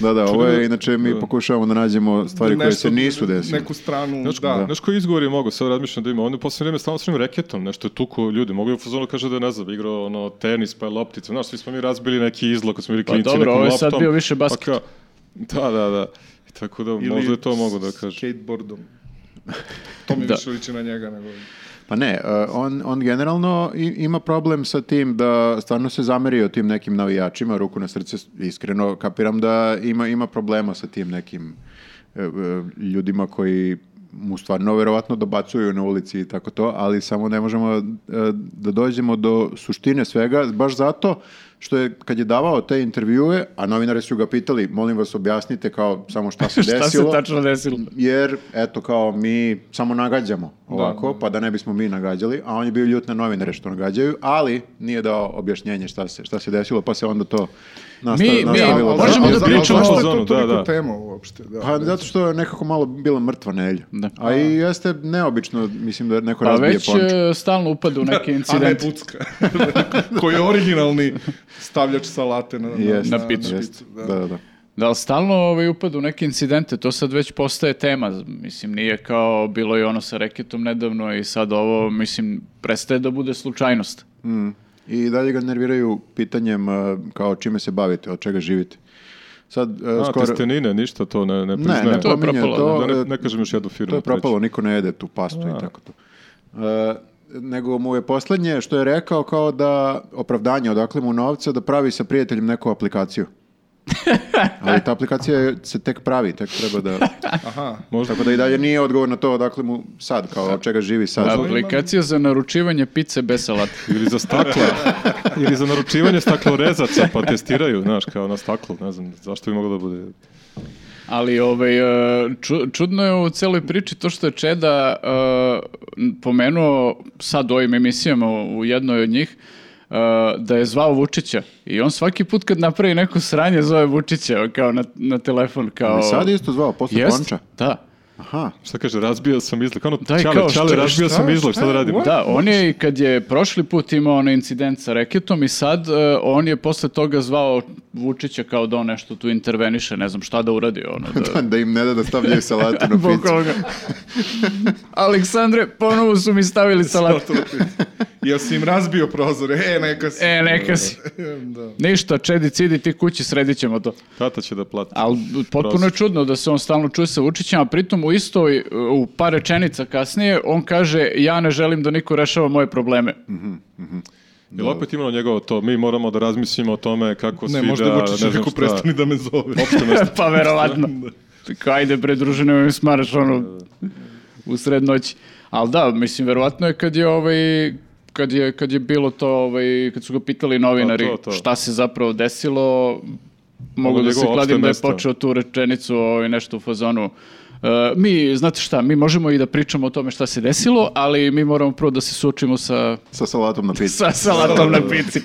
Speaker 3: da, da, ovo je, inače mi pokušavamo da nađemo stvari koje se
Speaker 4: Nešto-
Speaker 3: nisu desile.
Speaker 4: Neku stranu,
Speaker 5: Znaš,
Speaker 4: da.
Speaker 5: znaš koji izgovor je mogao, sad razmišljam da ima, on je u poslednje vreme stalno svojim reketom, nešto je tuko ljudi, mogu je u fazonu da kaže da je, ne znam, igrao ono, tenis pa je loptica, znaš, svi smo mi razbili neki izlog kad smo bili klinci
Speaker 1: Pa dobro,
Speaker 5: nekom
Speaker 1: ovo je sad
Speaker 5: loptom. pa
Speaker 1: bio više basket.
Speaker 5: kao- da, da, da. I tako da
Speaker 4: Ili
Speaker 5: možda je to mogu da kaže.
Speaker 4: Skateboardom. To mi
Speaker 1: Da.
Speaker 4: više liči na njega nego...
Speaker 3: Pa ne, uh, on, on generalno i- ima problem sa tim da stvarno se zamerio tim nekim navijačima, ruku na srce, iskreno kapiram da ima, ima problema sa tim nekim e, e, ljudima koji mu stvarno verovatno dobacuju na ulici i tako to, ali samo ne možemo e, da dođemo do suštine svega, baš zato što je kad je davao te intervjue, a novinari su ga pitali, molim vas objasnite kao samo šta se
Speaker 1: Šta se
Speaker 3: desilo
Speaker 1: tačno desilo?
Speaker 3: jer eto kao mi samo nagađamo ovako, pa da ne bismo mi nagađali, a on je bio ljut na novinare što nagađaju, ali nije dao objašnjenje šta se, šta se desilo, pa se onda to nasta,
Speaker 1: Mi- mi-
Speaker 3: nastavilo. da-
Speaker 1: možemo
Speaker 3: ali
Speaker 1: da
Speaker 3: za-
Speaker 4: Ali
Speaker 5: pričamo
Speaker 4: zašto
Speaker 5: o
Speaker 4: je to
Speaker 5: zonu, da,
Speaker 4: toliko
Speaker 5: da.
Speaker 4: tema uopšte? Da,
Speaker 3: Pa zato što je nekako malo bila mrtva Nelja.
Speaker 1: Da.
Speaker 3: A i jeste neobično, mislim da neko
Speaker 1: Pa
Speaker 3: razbije
Speaker 1: već
Speaker 3: pončo.
Speaker 1: e, stalno upada u neke
Speaker 4: A ne
Speaker 1: incidente.
Speaker 4: Bucka, koji je originalni stavljač salate na, na,
Speaker 3: Jeste,
Speaker 1: na picu.
Speaker 3: jeste,
Speaker 4: da.
Speaker 3: da, da, da.
Speaker 1: Da, ali stalno ovaj, upad u neke incidente, to sad već postaje tema. Mislim, nije kao bilo i ono sa reketom nedavno i sad ovo, mislim, prestaje da bude slučajnost.
Speaker 3: I dalje ga nerviraju pitanjem e, kao čime se bavite, od čega živite. Sad, e,
Speaker 5: A,
Speaker 3: skoro...
Speaker 5: testenine, ništa to ne, ne
Speaker 3: Ne,
Speaker 5: priznaje.
Speaker 3: ne
Speaker 1: To je
Speaker 3: pominje
Speaker 1: propalo,
Speaker 3: to,
Speaker 5: da ne,
Speaker 3: e,
Speaker 5: ne kažem još jednu firmu.
Speaker 3: To je
Speaker 5: treću.
Speaker 3: propalo, niko ne jede tu pastu
Speaker 4: Da.
Speaker 3: i tako to. E, nego mu je poslednje što je rekao kao da opravdanje odakle mu novca da pravi sa prijateljem neku aplikaciju. Ali ta aplikacija je- se tek pravi, tek treba da...
Speaker 4: Aha,
Speaker 5: Možda,
Speaker 3: Tako da i dalje nije odgovor na to odakle mu sad, kao od čega živi sad.
Speaker 4: Da.
Speaker 1: Aplikacija za naručivanje pice bez salata.
Speaker 3: da-
Speaker 5: ili za stakla, ili za naručivanje staklorezaca, pa testiraju, znaš, kao na staklu, ne znam, zašto bi moglo da bude...
Speaker 1: Ali ovaj, e, ču- čudno je u celoj priči to što je Čeda e, n- pomenuo sad u ovim emisijama u u jednoj od njih e, da je zvao Vučića i on svaki put kad napravi neko sranje zove Vučića kao na, na telefon kao...
Speaker 3: Ali sad je isto zvao, posle
Speaker 1: Jest,
Speaker 3: konča.
Speaker 1: Da.
Speaker 3: Aha.
Speaker 5: Šta kaže, razbio sam izlak. Ono,
Speaker 1: Daj,
Speaker 5: čale,
Speaker 1: kao,
Speaker 5: čale,
Speaker 1: šta-
Speaker 5: razbio
Speaker 4: šta-
Speaker 5: sam izlak,
Speaker 4: šta
Speaker 5: šta da
Speaker 4: je,
Speaker 5: radim?
Speaker 4: what?
Speaker 1: Da, on je i kad je prošli put imao onaj incident sa reketom i sad e, on je posle toga zvao Vučića kao da on nešto tu interveniše, ne znam šta da uradi ono. Da,
Speaker 3: Da im ne da da stavljaju salatu na picu.
Speaker 1: Bukvalno. Aleksandre, ponovo su mi stavili salat.
Speaker 4: Jel si im razbio prozor? E, neka si.
Speaker 1: E, neka si.
Speaker 4: da.
Speaker 1: Ništa, Čedi, cidi ti kući, sredit ćemo to.
Speaker 5: Tata će da plati.
Speaker 1: Ali potpuno je
Speaker 5: Prosto.
Speaker 1: čudno da se on stalno čuje sa Vučićem, a pritom u istoj, u par rečenica kasnije, on kaže ja ne želim da niko rešava moje probleme.
Speaker 5: Jel opet imalo njegovo to, mi moramo da razmislimo o tome kako svi
Speaker 4: Pa Ne,
Speaker 5: da...
Speaker 4: možda je Vučić
Speaker 5: ne znam
Speaker 4: rekao,
Speaker 5: šta.
Speaker 4: prestani da me zove.
Speaker 1: pa verovatno. Tako, ajde bre, druže, nemoj mi smaraš ono u sred noći. Ali da, mislim, verovatno je kad je ovaj kad je, kad je bilo to, ovaj, kad su ga pitali novinari
Speaker 5: Pa, to, to.
Speaker 1: šta se zapravo desilo, mogu
Speaker 5: Ono
Speaker 1: da se
Speaker 5: njegovo opšte
Speaker 1: kladim da je
Speaker 5: mesto.
Speaker 1: počeo tu rečenicu ovaj, nešto u fazonu. e, mi, znate šta, mi možemo i da pričamo o tome šta se desilo, ali mi moramo prvo da se suočimo sa,
Speaker 3: Sa salatom na picu.
Speaker 1: sa salatom na pici.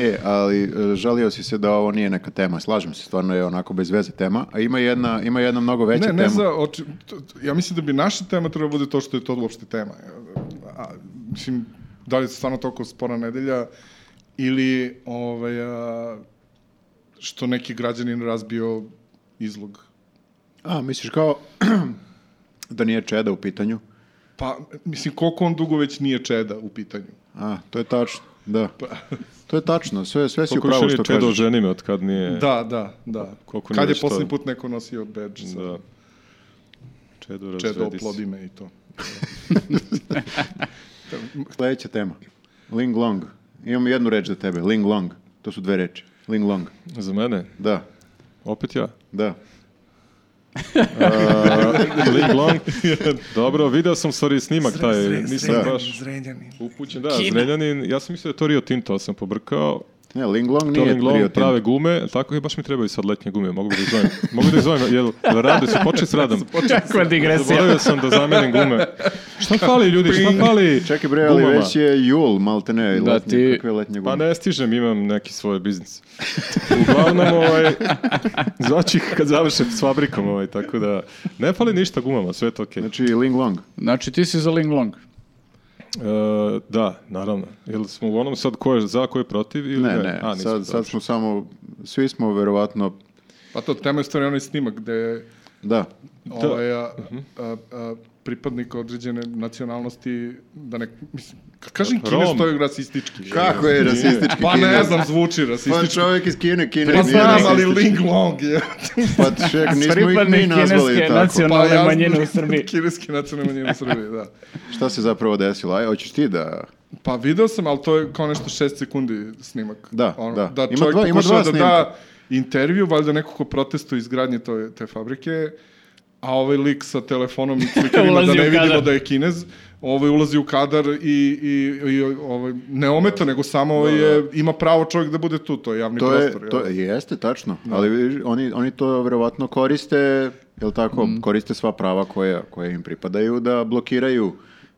Speaker 3: E, ali e, žalio si se da ovo nije neka tema. Slažem se, stvarno je onako bez veze tema. A ima jedna, ima jedna mnogo veća
Speaker 4: Ne,
Speaker 3: tema.
Speaker 4: ne za, oči, t- t- ja mislim da bi naša tema trebala bude to što je to uopšte tema. A, mislim, da li je stvarno toliko spora nedelja ili ovaj, a, što neki građanin razbio izlog.
Speaker 3: A, misliš kao da nije Čeda u pitanju?
Speaker 4: Pa, mislim, koliko on dugo već nije čeda u pitanju.
Speaker 3: A, to je tačno, da. To je tačno, sve, sve si
Speaker 5: Koliko
Speaker 3: upravo
Speaker 5: više
Speaker 3: što
Speaker 5: nije čedo
Speaker 3: kažeš.
Speaker 5: ženi me od kad nije...
Speaker 4: Da, da, da.
Speaker 5: Koliko
Speaker 4: Kad
Speaker 5: nije
Speaker 4: je
Speaker 5: šta-
Speaker 4: poslednji put neko nosio badge sa
Speaker 5: Da. Čedo
Speaker 4: čedo
Speaker 5: razvedi se.
Speaker 4: oplodi me i to.
Speaker 3: Sledeća tema. Ling Long. Imam jednu reč za tebe, Ling Long. To su dve reči. Ling Long.
Speaker 5: Za mene?
Speaker 3: Da,
Speaker 5: Opet ja.
Speaker 3: da.
Speaker 5: Ling Long. Dobro, video sam sorry snimak taj, nisam
Speaker 3: Zrenjanin,
Speaker 5: baš upućen. Da, Zrenjanin, ja sam mislio da je to Rio Tinto, ali sam pobrkao.
Speaker 3: Ne, Ling Long
Speaker 5: To
Speaker 3: nije
Speaker 5: Ling
Speaker 3: Rio
Speaker 5: Long
Speaker 3: Tinto.
Speaker 5: prave gume, tako je, baš mi trebaju sad letnje gume, mogu bi da ih zovem. Mogu da ih zovem, jel, jel rade su počeli s radom?
Speaker 1: Kakva digresija.
Speaker 5: Zaboravio sam da zamenim gume. Šta fali ljudi, šta fali
Speaker 3: Čekaj bre, ali
Speaker 5: gumama?
Speaker 3: već je jul, malte ne,
Speaker 1: Da,
Speaker 3: letnje,
Speaker 1: ti-
Speaker 3: kakve letnje gume.
Speaker 5: Pa ne stižem, imam neki svoj biznis. Uglavnom, ovaj, zvaću ih kad završe s fabrikom, ovaj, tako da ne fali ništa gumama, sve je to okej.
Speaker 3: Znači, Ling Long.
Speaker 1: Znači ti si za Ling Long.
Speaker 5: E, da, naravno. Jel smo u onom sad ko je za, ko je protiv ili
Speaker 3: Ne, ne,
Speaker 5: A, nismo,
Speaker 3: sad, sad
Speaker 5: dobro.
Speaker 3: smo samo, svi smo verovatno,
Speaker 4: Pa to, tema je stvarno onaj snimak gde je
Speaker 3: da,
Speaker 4: ovaj, a,
Speaker 1: Mhm.
Speaker 4: a, a, pripadnik određene nacionalnosti, da ne, mislim, kad kažem
Speaker 5: Rom.
Speaker 4: Kine, to je rasistički.
Speaker 3: Kako je rasistički
Speaker 4: Pa ne
Speaker 3: Kinez?
Speaker 4: znam, zvuči
Speaker 3: Pa
Speaker 4: rasistički.
Speaker 3: čovjek iz Kine, Kine
Speaker 4: Pa
Speaker 3: nije
Speaker 4: znam, ali
Speaker 3: rasistički.
Speaker 4: Ling Long je.
Speaker 3: Pa ček, nismo ih mi
Speaker 1: Pripadnik
Speaker 3: nazvali
Speaker 1: kineske
Speaker 3: tako.
Speaker 1: nacionalne
Speaker 5: Pa,
Speaker 4: ja znam-
Speaker 1: manjine u Srbiji.
Speaker 4: Kineske nacionalne manjine u Srbiji, da.
Speaker 3: Šta se zapravo desilo? Aj, hoćeš ti da...
Speaker 4: Pa video sam, ali to je kao nešto šest sekundi snimak.
Speaker 3: Da, da.
Speaker 4: Da
Speaker 3: Ima
Speaker 4: čovjek ima
Speaker 3: dva- ima dva
Speaker 4: pokušava da
Speaker 3: snimka.
Speaker 4: da intervju, valjda neko ko protestuje izgradnje to, te fabrike, a ovaj lik sa telefonom i klikerima da
Speaker 1: Ulazi u
Speaker 4: ne vidimo
Speaker 1: kadar.
Speaker 4: da je kinez, ovaj ulazi u kadar i, i, i ovaj, ne ometa, nego samo ovaj je, ima pravo čovjek da bude tu, to je javni
Speaker 3: To
Speaker 4: prostor.
Speaker 3: je, to
Speaker 4: jel? Da.
Speaker 3: jeste, tačno. Ali vidiš, oni, oni to verovatno koriste, jel tako,
Speaker 1: Mm.
Speaker 3: koriste sva prava koja, koja im pripadaju da blokiraju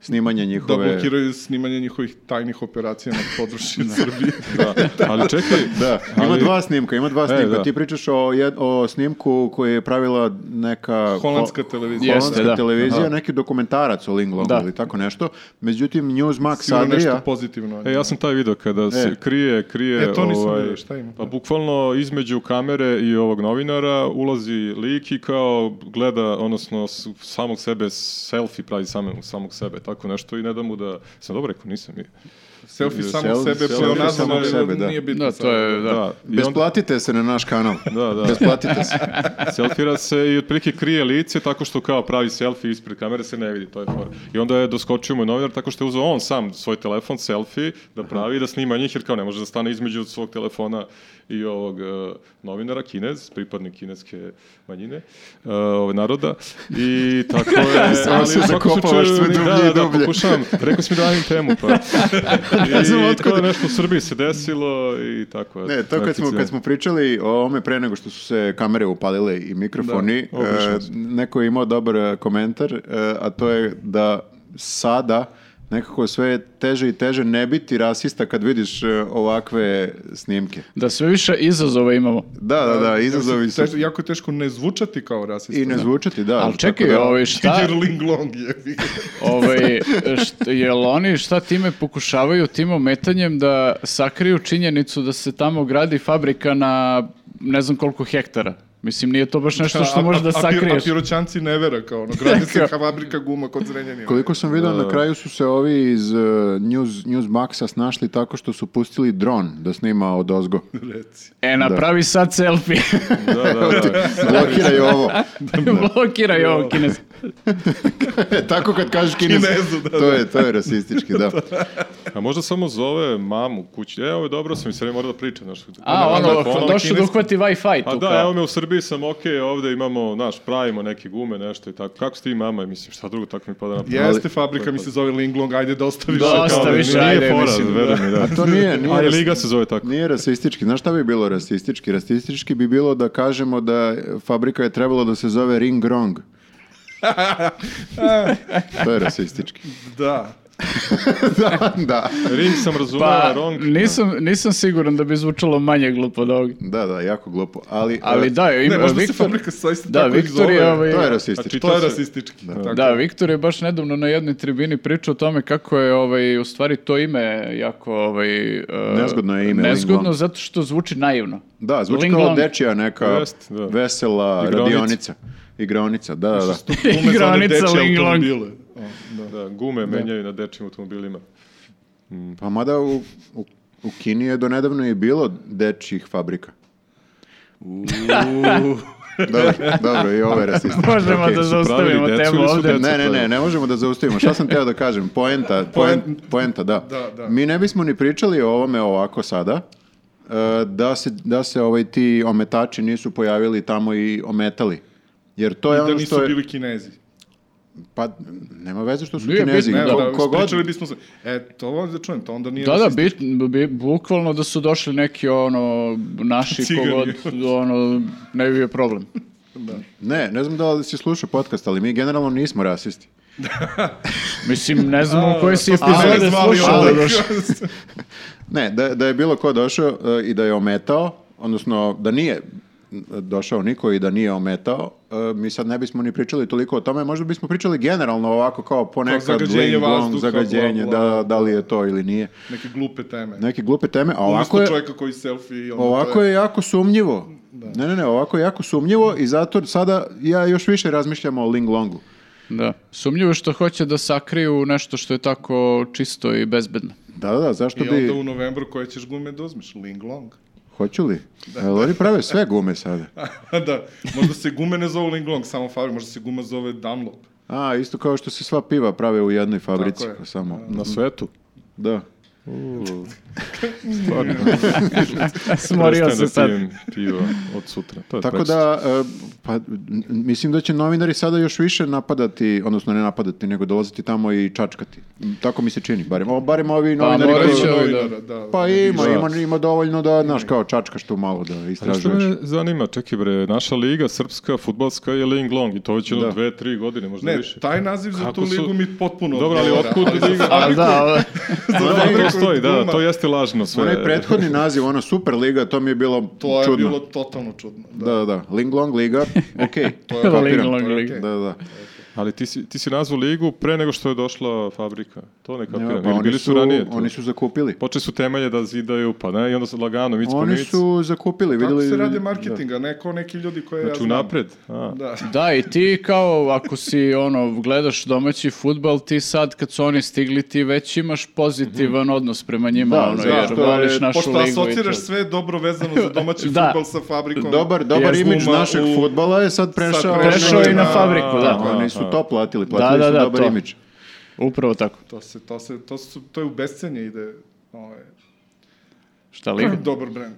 Speaker 3: snimanje
Speaker 4: da
Speaker 3: njihove...
Speaker 4: blokiraju snimanje njihovih tajnih operacija na području Srbije.
Speaker 5: Da, ali čekaj,
Speaker 3: Da, ima
Speaker 5: ali-
Speaker 3: dva snimka, ima
Speaker 4: E,
Speaker 3: dva snimka.
Speaker 5: da.
Speaker 3: Ti pričaš o, jed, o snimku koji je pravila neka...
Speaker 4: Holandska
Speaker 3: ho-
Speaker 4: televizija.
Speaker 1: Jeste,
Speaker 3: Holandska
Speaker 1: da.
Speaker 3: televizija, neki dokumentarac o Linglongu
Speaker 1: Da.
Speaker 3: ili tako nešto. Međutim, Newsmax
Speaker 4: Sigurno nešto
Speaker 3: Adria...
Speaker 4: pozitivno.
Speaker 5: E, ja sam taj video kada se
Speaker 3: E.
Speaker 5: krije, krije...
Speaker 4: E, to nisam vidio, šta ima?
Speaker 5: Pa bukvalno između kamere i ovog novinara ulazi lik i kao gleda, odnosno, s- samog sebe, selfie pravi samog, samog sebe, tako nešto i ne da mu da... Sam dobro rekao, nisam i...
Speaker 4: Selfie samog
Speaker 3: Selfie
Speaker 4: sebe,
Speaker 3: samog
Speaker 4: pleonazam, ali
Speaker 3: sebe, da.
Speaker 4: nije bitno.
Speaker 1: Da, to je, da.
Speaker 5: i onda-
Speaker 3: Besplatite se na naš kanal.
Speaker 5: Da, da.
Speaker 3: Besplatite se.
Speaker 5: Selfira se i otprilike krije lice tako što kao pravi selfie ispred kamere se ne vidi, to je fora. I onda je doskočio mu novinar tako što je uzeo on sam svoj telefon, selfie, da pravi i da snima njih jer kao ne može da stane između svog telefona i ovog e, novinara, kinez, pripadnik kineske manjine, e, ovaj naroda. I tako je...
Speaker 3: Samo se
Speaker 5: u svakom
Speaker 3: zakopavaš sve
Speaker 5: slučaju-
Speaker 3: dublje i
Speaker 5: da, da,
Speaker 3: dublje.
Speaker 5: pokušavam. Rekao si mi da radim temu, pa... I
Speaker 3: znam otkud.
Speaker 5: to je nešto u Srbiji se desilo i tako. eto,
Speaker 3: Ne, to kad smo,
Speaker 5: neoficijalno.
Speaker 3: kad smo pričali o ovome pre nego što su se kamere upalile i mikrofoni,
Speaker 5: Da, obično
Speaker 3: e, neko je imao dobar e, komentar, e, a to je da sada nekako sve je teže i teže ne biti rasista kad vidiš e, ovakve snimke.
Speaker 1: Da sve više izazova imamo.
Speaker 3: Da, da, da, izazovi su
Speaker 4: Teško, jako je teško ne zvučati kao rasista.
Speaker 3: i ne zvučati, da.
Speaker 1: Ali
Speaker 3: tako
Speaker 1: čekaj,
Speaker 3: da-
Speaker 1: ovaj, šta,
Speaker 4: Jirling Long je.
Speaker 1: ovaj, št, jel oni šta time pokušavaju tim ometanjem da sakriju činjenicu da se tamo gradi fabrika na ne znam koliko hektara? Mislim, nije to baš nešto što možeš da
Speaker 4: A- a- a pir-
Speaker 1: sakriješ.
Speaker 4: A piroćanci ne vera kao ono. Gradi se
Speaker 1: Tako.
Speaker 4: fabrika guma kod Zrenjanina.
Speaker 3: Koliko sam vidio, na kraju su se ovi iz e, News, Newsmaxa snašli tako što su pustili dron da snima od ozgo.
Speaker 4: Reci.
Speaker 1: E, napravi sad selfie.
Speaker 5: Da, da, da.
Speaker 3: Blokiraj ovo.
Speaker 4: Da.
Speaker 1: Blokiraj ovo kines.
Speaker 3: tako kad kažeš kines,
Speaker 4: Kinezu, da,
Speaker 3: to, je, to je rasistički, da.
Speaker 5: A možda samo zove mamu kući. E, ovo je dobro, sam i sad ne mora da pričam. Znaš,
Speaker 1: A,
Speaker 5: Na
Speaker 1: ono,
Speaker 5: telefonu.
Speaker 1: došao da uhvati Wi-Fi
Speaker 4: Pa
Speaker 5: A
Speaker 1: tu
Speaker 5: da, evo
Speaker 1: kao.
Speaker 5: me u Srbiji sam okej, ovde imamo, znaš, pravimo neke gume, nešto i tako. Kako si ti mama, mislim, šta drugo tako mi pada na pamet.
Speaker 4: Jeste fabrika, mi se zove Linglong, ajde da ostaviš.
Speaker 1: Da,
Speaker 4: kao-
Speaker 1: ostavi. Ostaviš,
Speaker 5: Nije
Speaker 1: ajde,
Speaker 5: fora,
Speaker 1: mislim,
Speaker 5: veruj mi, da.
Speaker 3: A to nije, nije,
Speaker 5: Ali
Speaker 3: ras-
Speaker 5: Liga se zove tako.
Speaker 3: nije rasistički. Znaš šta bi bilo rasistički? Rasistički bi bilo da kažemo da fabrika je trebalo da se zove Ring Rong. to je rasistički.
Speaker 4: Da.
Speaker 3: da, da.
Speaker 5: Ring sam razumeo, da,
Speaker 1: Pa,
Speaker 5: wrong.
Speaker 4: da.
Speaker 1: nisam, nisam siguran da bi zvučalo manje glupo od ovoga.
Speaker 3: Da, da, jako glupo. Ali,
Speaker 1: Ali
Speaker 3: e,
Speaker 1: da, ima
Speaker 4: Ne, možda se
Speaker 1: Viktor.
Speaker 4: fabrika saista
Speaker 1: Da,
Speaker 4: tako i
Speaker 1: Viktor je
Speaker 4: zove.
Speaker 1: ovaj,
Speaker 3: to je
Speaker 5: Znači,
Speaker 3: rasistički.
Speaker 5: to
Speaker 4: To je
Speaker 5: se-
Speaker 4: rasistički. tako.
Speaker 1: Da, Viktor je baš nedavno na jednoj tribini pričao o tome kako je ovaj u stvari to ime jako ovaj e,
Speaker 3: Nezgodno je ime,
Speaker 1: Nezgodno
Speaker 3: Linglong.
Speaker 1: zato što zvuči naivno.
Speaker 3: Da, zvuči
Speaker 1: Ling
Speaker 3: kao
Speaker 1: Long.
Speaker 3: dečija neka
Speaker 5: Jest, da.
Speaker 3: vesela
Speaker 5: Igraonica.
Speaker 3: radionica. Igraonica, da, da. da.
Speaker 4: Gume za one
Speaker 1: Igraonica
Speaker 4: dečje
Speaker 1: Linglong.
Speaker 4: automobile. O, da.
Speaker 5: Da, gume menjaju na dečjim automobilima.
Speaker 3: Pa mada u, u, u Kini je donedavno i bilo dečjih fabrika. dobro, dobro, i ovo je rasistički.
Speaker 1: Možemo
Speaker 3: Okej.
Speaker 1: da zaustavimo
Speaker 5: pravili decu
Speaker 1: temu
Speaker 5: ili su
Speaker 1: ovde.
Speaker 5: decu?
Speaker 3: Ne, ne, ne, ne možemo da zaustavimo. Šta sam teo da kažem? Poenta, poen, poenta, da.
Speaker 4: Da, da.
Speaker 3: Mi ne bismo ni pričali o ovome ovako sada, e, da se, da se ovaj ti ometači nisu pojavili tamo i ometali. Jer to je
Speaker 4: Da
Speaker 3: ono
Speaker 4: nisu
Speaker 3: što je...
Speaker 4: bili kinezi.
Speaker 3: Pa, nema veze što su
Speaker 1: Nije
Speaker 3: kinezi.
Speaker 1: bitno,
Speaker 4: Ne,
Speaker 1: Da,
Speaker 4: da,
Speaker 3: Ko- kogod-
Speaker 4: pričali bismo se. E, to volim da čujem, to onda nije
Speaker 1: Da, da,
Speaker 4: rasistički.
Speaker 1: bit, bi, bukvalno da su došli neki ono naši
Speaker 4: Cigani.
Speaker 1: kogod, ono, ne bi bio problem.
Speaker 3: Ne, ne znam da li si slušao podcast, ali mi generalno nismo rasisti.
Speaker 1: Mislim, ne znam u kojoj si
Speaker 4: To ste mene
Speaker 1: epizode pa
Speaker 4: zvali
Speaker 1: slušao.
Speaker 4: onda.
Speaker 3: Ne, da, da je bilo ko došao e, i da je ometao, odnosno da nije došao niko i da nije ometao, e, mi sad ne bismo ni pričali toliko o tome, možda bismo pričali generalno ovako kao ponekad
Speaker 4: zagađenje
Speaker 3: bling, blong,
Speaker 4: vazduha,
Speaker 3: zagađenje,
Speaker 4: bla, bla.
Speaker 3: da, da li je to ili nije.
Speaker 4: Neke glupe teme.
Speaker 3: Neke glupe teme, a ovako
Speaker 4: Umesto
Speaker 3: je,
Speaker 4: čovjeka koji selfie i onda
Speaker 3: ovako
Speaker 4: to je...
Speaker 3: je jako sumnjivo.
Speaker 4: Da.
Speaker 3: Ne, ne, ne, ovako je jako sumnjivo i zato sada ja još više razmišljam o Ling Longu.
Speaker 1: Da. Sumnjivo je što hoće da sakriju nešto što je tako čisto i bezbedno.
Speaker 3: Da, da, da, zašto
Speaker 4: I
Speaker 3: bi...
Speaker 4: onda u novembru koje ćeš gume da uzmeš? Ling long.
Speaker 3: Hoću li? Jel oni prave sve gume sada.
Speaker 4: da, možda se gume ne zove Ling long, samo fabrika, možda se guma zove Dunlop.
Speaker 3: A, isto kao što se sva piva prave u jednoj fabrici. pa
Speaker 4: Tako je.
Speaker 3: Samo, mhm.
Speaker 5: Na svetu.
Speaker 3: da.
Speaker 1: Smorio se sad.
Speaker 5: Prestajem da pijem pivo od sutra. To je
Speaker 3: Tako
Speaker 5: prekstra.
Speaker 3: da, e, pa, n- n- mislim da će novinari sada još više napadati, odnosno ne napadati, nego dolaziti tamo i čačkati. M, Tako mi se čini, barem, o, barem ovi novinari.
Speaker 1: morat
Speaker 3: koji-
Speaker 1: će ovi-
Speaker 4: Novinara, Znači, da.
Speaker 3: Pa ima,
Speaker 5: Da.
Speaker 3: ima, ima dovoljno da, znaš, kao čačkaš tu malo da
Speaker 5: Ali Pa Što
Speaker 3: istražuješ.
Speaker 5: me zanima, čekaj bre, naša liga, srpska, futbalska je Ling Long i to već jedno dve, tri godine, možda
Speaker 4: Ne,
Speaker 5: više.
Speaker 4: taj naziv za
Speaker 5: Kako
Speaker 4: tu
Speaker 5: su-
Speaker 4: ligu mi potpuno
Speaker 5: Dobro, ali
Speaker 4: odgovara,
Speaker 5: otkud
Speaker 4: ali za
Speaker 5: liga?
Speaker 1: A
Speaker 4: fabriku-
Speaker 1: da, ovo-
Speaker 4: za
Speaker 5: Da,
Speaker 4: fabriku
Speaker 5: da, to stoji, da,
Speaker 4: guma,
Speaker 5: to jeste lažno sve.
Speaker 3: Onaj prethodni naziv, ona Superliga, to mi je bilo
Speaker 4: To je
Speaker 3: čudno.
Speaker 4: bilo totalno čudno. Da.
Speaker 3: Da, da, da. Ling Long Liga, okej. to
Speaker 1: Ling
Speaker 3: kapiram.
Speaker 1: Long Liga.
Speaker 3: Da, da, da.
Speaker 5: Ali ti si, ti si nazvao ligu pre nego što je došla fabrika. To ne kapiram.
Speaker 3: Nema,
Speaker 5: Ili
Speaker 3: pa oni
Speaker 5: bili
Speaker 3: su,
Speaker 5: su ranije.
Speaker 3: oni su zakupili.
Speaker 5: Počeli su temelje da zidaju, pa ne, i onda su lagano, mic po
Speaker 3: Oni
Speaker 5: mic.
Speaker 3: su zakupili,
Speaker 4: Kako
Speaker 3: videli... da.
Speaker 4: se radi marketinga, ne kao neki ljudi koje ja
Speaker 5: Znači,
Speaker 4: znam.
Speaker 5: unapred. A.
Speaker 4: Da.
Speaker 1: Da, i ti kao, ako si, ono, gledaš domaći futbal, ti sad kad su oni stigli, ti već imaš pozitivan odnos prema njima,
Speaker 3: Da,
Speaker 1: ono,
Speaker 3: zato
Speaker 1: jer
Speaker 3: što
Speaker 1: voliš
Speaker 3: je-
Speaker 1: našu
Speaker 4: Pošto
Speaker 1: ligu. i to.
Speaker 4: asociraš sve dobro vezano za domaći
Speaker 1: Da.
Speaker 4: futbol sa fabrikom.
Speaker 3: Dobar, dobar
Speaker 1: Jer
Speaker 3: imidž
Speaker 4: guma
Speaker 3: našeg
Speaker 4: u-
Speaker 3: fudbala je sad prešao,
Speaker 1: Prešao je i na
Speaker 4: A,
Speaker 1: fabriku, da.
Speaker 3: Oni su to platili,
Speaker 1: Da,
Speaker 3: platili
Speaker 1: da,
Speaker 3: su
Speaker 1: da,
Speaker 3: dobar
Speaker 1: to.
Speaker 3: imidž. E,
Speaker 1: Upravo tako.
Speaker 4: To se, to se, to su, to je u bescenje ide. Ovaj.
Speaker 1: Šta li?
Speaker 4: Dobar brend.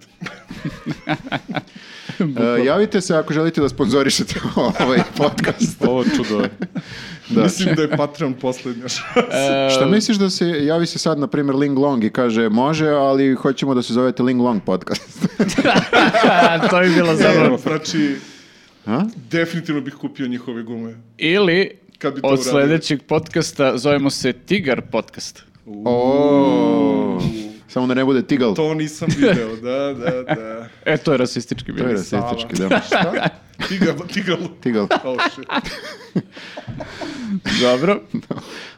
Speaker 3: E, javite se ako želite da sponzorišete ovaj podcast.
Speaker 5: Ovo čudo je.
Speaker 3: Da.
Speaker 4: Mislim da je Patreon poslednja šansa.
Speaker 1: E,
Speaker 3: Šta misliš da se javi se sad, na primjer, Ling Long i kaže može, ali hoćemo da se zovete Ling Long podcast.
Speaker 1: to bi bilo zabavno.
Speaker 4: Znači,
Speaker 3: A?
Speaker 4: definitivno bih kupio njihove gume.
Speaker 1: Ili
Speaker 4: Kad bi to
Speaker 1: od
Speaker 4: uradili.
Speaker 1: sljedećeg podcasta zovemo se Tigar podcast.
Speaker 3: O, samo da ne bude Tigal. To
Speaker 4: To nisam video, da, da, da.
Speaker 1: E, to je rasistički bilo.
Speaker 3: je rasistički, da.
Speaker 4: Šta? Tiga, tiga,
Speaker 3: Tigal.
Speaker 4: Oh, shit.
Speaker 1: Dobro.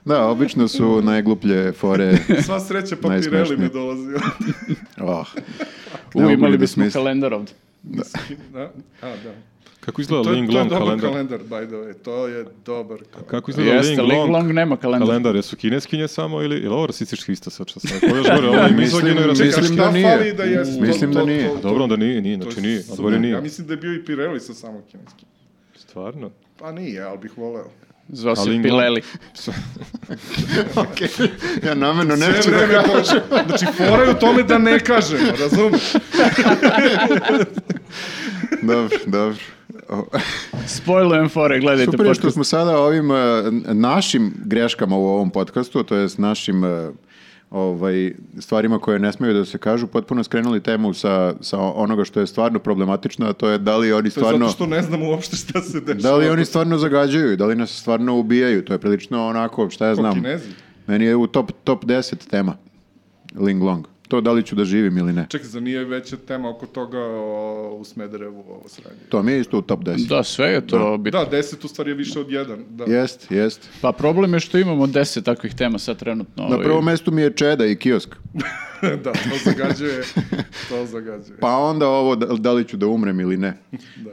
Speaker 3: Da, obično su najgluplje fore.
Speaker 4: Sva sreća, pa Pirelli
Speaker 3: Najsmešnije.
Speaker 4: mi dolazi. Da.
Speaker 3: Oh.
Speaker 1: U,
Speaker 3: Ne mogu ni
Speaker 1: imali
Speaker 3: da
Speaker 1: bismo
Speaker 3: smislim.
Speaker 1: kalendar ovdje.
Speaker 4: da? A, da.
Speaker 5: Kako izgleda
Speaker 4: To, je,
Speaker 5: Ling
Speaker 4: to je
Speaker 5: Long
Speaker 4: dobar kalendar.
Speaker 5: kalendar?
Speaker 4: by the way. To je dobar kalendar.
Speaker 5: Kako izgleda
Speaker 1: Jeste,
Speaker 5: Ling Long?
Speaker 1: nema kalendar.
Speaker 5: Kalendar, jesu kineskinje samo ili... Ili ovo rasistički isto sad što sam rekao? Ovo je još gore, ovo je mizogino i
Speaker 3: Mislim-
Speaker 5: rasistički.
Speaker 3: Mislim
Speaker 4: Šta
Speaker 3: da nije.
Speaker 4: fali da jeste?
Speaker 3: Mislim da nije.
Speaker 5: A Dobro, onda nije, nije,
Speaker 4: to je
Speaker 5: znači nije.
Speaker 4: super.
Speaker 5: Odbor je
Speaker 4: Ja
Speaker 5: nije.
Speaker 4: mislim da je bio i Pirelli sa samo kineskim.
Speaker 5: Stvarno?
Speaker 4: Pa nije, ali bih voleo.
Speaker 1: Zvao se
Speaker 5: Ali Ling
Speaker 1: Pileli.
Speaker 3: Okej. Ja namjerno neću
Speaker 4: Sve
Speaker 3: da
Speaker 4: vreme to... Znači, fora je u tome da ne kažemo, razumiješ?
Speaker 3: Dobro, dobro. O,
Speaker 1: Spoilujem fore, gledajte
Speaker 3: Super je što
Speaker 1: podcast.
Speaker 3: smo sada ovim e, našim greškama u ovom podcastu, to jest našim e, ovaj, stvarima koje ne smeju da se kažu, potpuno skrenuli temu sa, sa onoga što je stvarno problematično, a to je da li oni
Speaker 4: To je
Speaker 3: stvarno...
Speaker 4: zato što ne znamo uopšte šta se dešava.
Speaker 3: Da li oni stvarno zagađaju i da li nas stvarno ubijaju? To je prilično onako, šta ja
Speaker 4: Ko
Speaker 3: znam.
Speaker 4: Kinezi?
Speaker 3: Meni je u top, top 10 tema. Ling Long. To da li ću da živim ili ne.
Speaker 4: Čekaj, za nije veća tema oko toga o, u Smederevu ovo sranje.
Speaker 3: To mi je isto u top 10.
Speaker 1: Da, sve je to bitno.
Speaker 4: Da, deset u stvari je više od jedan. Da.
Speaker 3: Jest, jest.
Speaker 1: Pa problem je što imamo deset takvih tema sad trenutno.
Speaker 3: Na
Speaker 1: ovaj.
Speaker 3: prvom mestu mi je Čeda i kiosk.
Speaker 4: da, to zagađuje. To zagađuje.
Speaker 3: Pa onda ovo da, da li ću da umrem ili ne.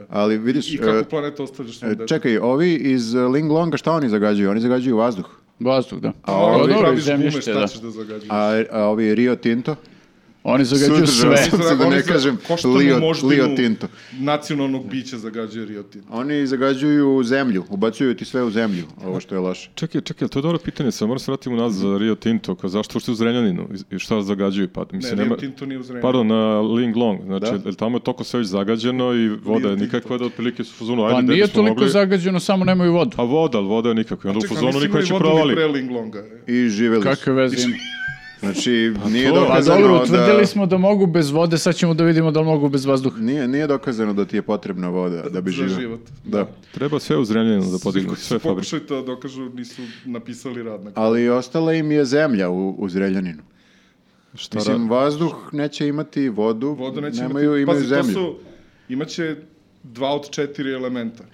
Speaker 3: Ali vidiš,
Speaker 4: Da. I
Speaker 3: e,
Speaker 4: kako planetu ostavljaš na
Speaker 3: e,
Speaker 4: detetu?
Speaker 3: čekaj, ovi iz e, Ling Longa šta oni zagađuju? Oni zagađuju vazduh.
Speaker 1: Vazduh, da.
Speaker 4: A
Speaker 1: Pa
Speaker 4: ovo
Speaker 1: dobro, i
Speaker 4: praviš gume,
Speaker 1: zemljište,
Speaker 4: šta
Speaker 1: da.
Speaker 4: ćeš da zagađuješ?
Speaker 3: A, a ovi Rio Tinto?
Speaker 1: Oni zagađuju
Speaker 3: Sudržao
Speaker 1: sve.
Speaker 3: sam se da
Speaker 4: Oni
Speaker 3: ne
Speaker 4: za-
Speaker 3: kažem
Speaker 4: koštanu
Speaker 3: Lio,
Speaker 4: moždinu
Speaker 3: Lio Tinto.
Speaker 4: Nacionalnog bića zagađuje Rio Tinto.
Speaker 3: Oni zagađuju zemlju, ubacuju ti sve u zemlju, ovo što je loše.
Speaker 5: Čekaj, čekaj, to je dobro pitanje, sad moram se vratiti u nas za Rio Tinto, kao zašto ušte u Zrenjaninu i- i šta zagađuju? Pa,
Speaker 4: Ne,
Speaker 5: mislim,
Speaker 4: Rio
Speaker 5: nema,
Speaker 4: Tinto nije u Zrenjaninu.
Speaker 5: Pardon, na Ling Long, znači
Speaker 3: Da.
Speaker 5: jel tamo je toko sve već zagađeno i voda je
Speaker 4: Tinto.
Speaker 5: nikakva da otprilike su u fazonu, ajde,
Speaker 1: Pa
Speaker 5: dete
Speaker 1: nije
Speaker 5: smo
Speaker 1: toliko
Speaker 5: mogli-
Speaker 1: zagađeno, samo nemaju vodu.
Speaker 5: A voda, ali voda je nikakva, i onda u
Speaker 4: Čekaj,
Speaker 5: fazonu
Speaker 4: mislim
Speaker 5: niko
Speaker 4: da je
Speaker 5: neće
Speaker 4: vodu ni
Speaker 5: provali.
Speaker 4: pre Linglonga.
Speaker 3: I živeli su.
Speaker 1: Kakve veze ima?
Speaker 3: Znači, nije
Speaker 5: to-
Speaker 1: Pa
Speaker 3: dokazano
Speaker 1: dobro, utvrdili
Speaker 3: da...
Speaker 1: smo da mogu bez vode, sad ćemo da vidimo da li mogu bez vazduha.
Speaker 3: Nije, nije dokazano da ti je potrebna voda da bi
Speaker 4: Za
Speaker 3: živio.
Speaker 4: život.
Speaker 3: Da.
Speaker 5: Treba sve u Zrenjaninu da podignu, sve fabrike.
Speaker 4: Pokušaj to dokažu, nisu napisali rad na
Speaker 3: Ali ostala im je zemlja u, u Zrenjaninu.
Speaker 5: Šta
Speaker 3: Mislim, vazduh neće imati vodu,
Speaker 4: Vodu neće
Speaker 3: nemaju, imaju
Speaker 4: Pazi,
Speaker 3: zemlju.
Speaker 4: To su, imaće dva od četiri elementa.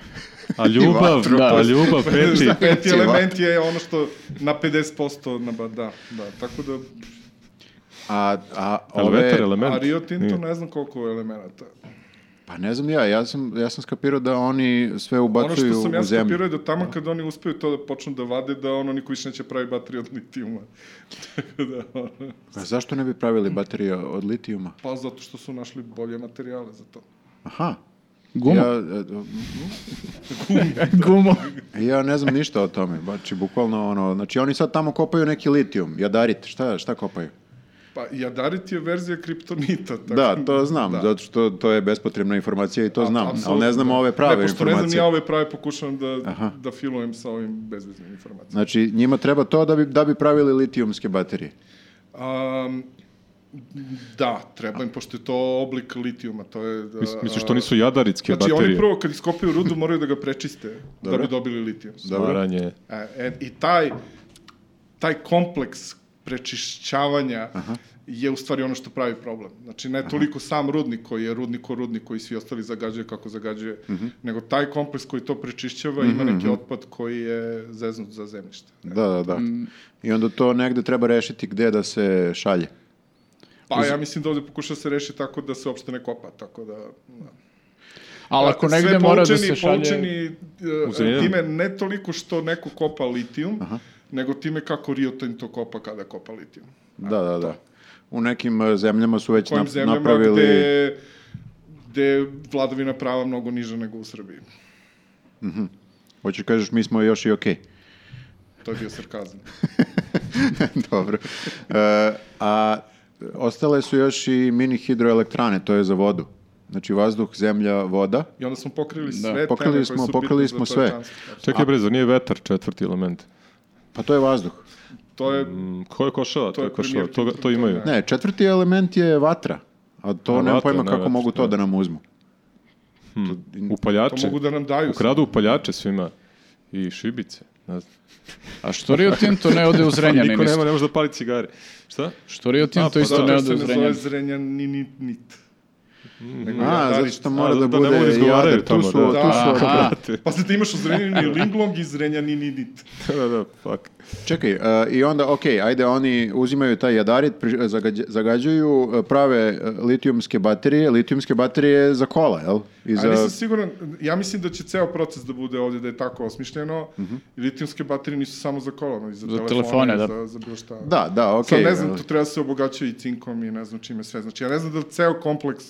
Speaker 5: A ljubav,
Speaker 3: vatru,
Speaker 5: da,
Speaker 1: pa-
Speaker 5: a ljubav peti.
Speaker 4: Peti
Speaker 3: Cijela.
Speaker 4: element je ono što na 50% na ba, da, da. Tako da,
Speaker 3: A, a
Speaker 5: Jel
Speaker 3: ove,
Speaker 5: vetar element?
Speaker 4: a Rio Tinto
Speaker 5: Nije.
Speaker 4: ne znam koliko elemenata.
Speaker 3: pa ne znam ja, ja sam, ja sam skapirao da oni sve
Speaker 4: Ono
Speaker 3: ubacuju
Speaker 4: što sam ja
Speaker 3: u zemlju.
Speaker 4: skapirao je da tamo kad oni uspeju to da počnu da vade, da ono niko više neće pravi baterije od litijuma. Tako da, ono,
Speaker 3: A Pa zašto ne bi pravili baterije od litijuma?
Speaker 4: pa zato što su našli bolje materijale za to.
Speaker 3: Aha.
Speaker 1: Guma.
Speaker 3: Ja, e,
Speaker 1: Gumo.
Speaker 3: ja ne znam ništa o tome, znači bukvalno ono, znači oni sad tamo kopaju neki litijum, jadarit, šta, šta kopaju?
Speaker 4: Pa jadarit je verzija kriptonita. Tako,
Speaker 3: Da, to znam,
Speaker 4: da.
Speaker 3: zato što to je bespotrebna informacija i to znam, ali
Speaker 4: Apsolutno. da.
Speaker 3: ne znam ove prave
Speaker 4: ne, pošto
Speaker 3: informacije.
Speaker 4: Ne znam ja ove prave, pokušavam da, da filujem sa ovim bezveznim informacijama.
Speaker 3: Znači, njima treba to da bi, da bi pravili litijumske baterije.
Speaker 4: Um, da, treba im, pošto je to oblik litijuma, to je... Da,
Speaker 5: Mis- Misliš to nisu jadaritske
Speaker 4: Znači, oni
Speaker 5: baterije?
Speaker 4: prvo kad iskopaju rudu moraju da ga prečiste da
Speaker 3: Dobro.
Speaker 4: bi dobili litijum.
Speaker 3: Dobro.
Speaker 5: Varanje.
Speaker 4: E, e, I taj, taj kompleks prečišćavanja je u stvari ono što pravi problem. Znači, ne toliko sam rudnik koji je rudnik ko rudnik koji svi ostali zagađuje kako zagađuje, nego taj kompleks koji to prečišćava ima neki otpad koji je zeznut za zemljište.
Speaker 3: Da, da, da.
Speaker 4: Mm.
Speaker 3: I onda to negde treba rešiti gde da se šalje.
Speaker 4: Pa ja mislim da ovde pokuša se reši tako da se uopšte ne kopa, tako da... da. Dakle,
Speaker 1: Ali ako
Speaker 4: Sve
Speaker 1: negde mora da se
Speaker 4: poučeni-
Speaker 1: šalje...
Speaker 4: poučeni,
Speaker 5: U
Speaker 4: e,
Speaker 5: Zrenjaninu.
Speaker 4: time ne toliko što neko kopa litijum, nego time kako Rio Tinto kopa kada kopa litijum.
Speaker 3: Da, da, da. U nekim e, zemljama su već
Speaker 4: kojim
Speaker 3: nap-
Speaker 4: zemljama
Speaker 3: napravili...
Speaker 4: gde, gde je vladavina prava mnogo niža nego u Srbiji.
Speaker 3: Hoćeš da kažeš, mi smo još i okej.
Speaker 4: To je bio sarkazam.
Speaker 3: Dobro. E, a ostale su još i mini hidroelektrane, to je za vodu. Znači vazduh, zemlja, voda.
Speaker 4: I onda smo pokrili sve
Speaker 3: pokrili
Speaker 4: teme koje
Speaker 3: smo-
Speaker 4: su
Speaker 3: pokrili
Speaker 4: bitne
Speaker 3: smo
Speaker 4: za
Speaker 3: sve.
Speaker 4: čovečanstvo.
Speaker 5: Čekaj bre, zar nije vetar četvrti element?
Speaker 3: Pa to je vazduh.
Speaker 4: To je
Speaker 5: Mm, Ko je košava? To je
Speaker 4: je
Speaker 5: košava,
Speaker 4: premijer
Speaker 5: to, ga- to
Speaker 4: Tito,
Speaker 5: imaju.
Speaker 4: to
Speaker 3: Ne, četvrti element je vatra. A to
Speaker 5: A,
Speaker 3: nemam
Speaker 5: vatra,
Speaker 3: pojma
Speaker 5: ne,
Speaker 3: kako
Speaker 5: vatra,
Speaker 3: mogu to
Speaker 5: da.
Speaker 3: da nam uzmu.
Speaker 5: Upaljače.
Speaker 4: to mogu da nam daju.
Speaker 5: Ukradu upaljače svima i šibice. Ne znam.
Speaker 1: A što Rio Tinto ne ode u Zrenjanin?
Speaker 5: Niko nema,
Speaker 1: isto?
Speaker 5: ne može da pali cigare. Šta?
Speaker 1: Što Rio Tinto
Speaker 5: A, pa
Speaker 1: isto
Speaker 5: da,
Speaker 1: ne
Speaker 4: Zato
Speaker 1: ode
Speaker 4: se
Speaker 1: u
Speaker 4: ne zove
Speaker 1: Zrenjanin?
Speaker 4: Zrenjaninit. Nego
Speaker 3: A, zato
Speaker 4: Jadarić.
Speaker 3: što mora da
Speaker 5: zato da ne
Speaker 3: bude
Speaker 5: mogu da izgovaraju
Speaker 3: jadar, tu
Speaker 5: tamo,
Speaker 3: su,
Speaker 5: da.
Speaker 3: tu su
Speaker 4: Da.
Speaker 3: obrati.
Speaker 1: Aha.
Speaker 4: Pa sad imaš u Zrenjanini linglong i Zrenjaninidit.
Speaker 5: da, da, fuck.
Speaker 3: Čekaj, e, i onda, ok, ajde, oni uzimaju taj jadarit, pri- zagađa- zagađuju, e, prave e, litijumske baterije, litijumske baterije za kola, jel? I
Speaker 4: A nisam
Speaker 3: za...
Speaker 4: siguran, ja mislim da će ceo proces da bude ovdje, da je tako osmišljeno. Litijumske baterije nisu samo za kola, ono, i za,
Speaker 1: Za telefone,
Speaker 4: telefone,
Speaker 1: da.
Speaker 4: za, za bilo šta.
Speaker 3: Da, da, ok.
Speaker 4: Sad ne znam, to treba se obogaćuje i cinkom i ne znam čime sve. Znači, ja ne znam da ceo kompleks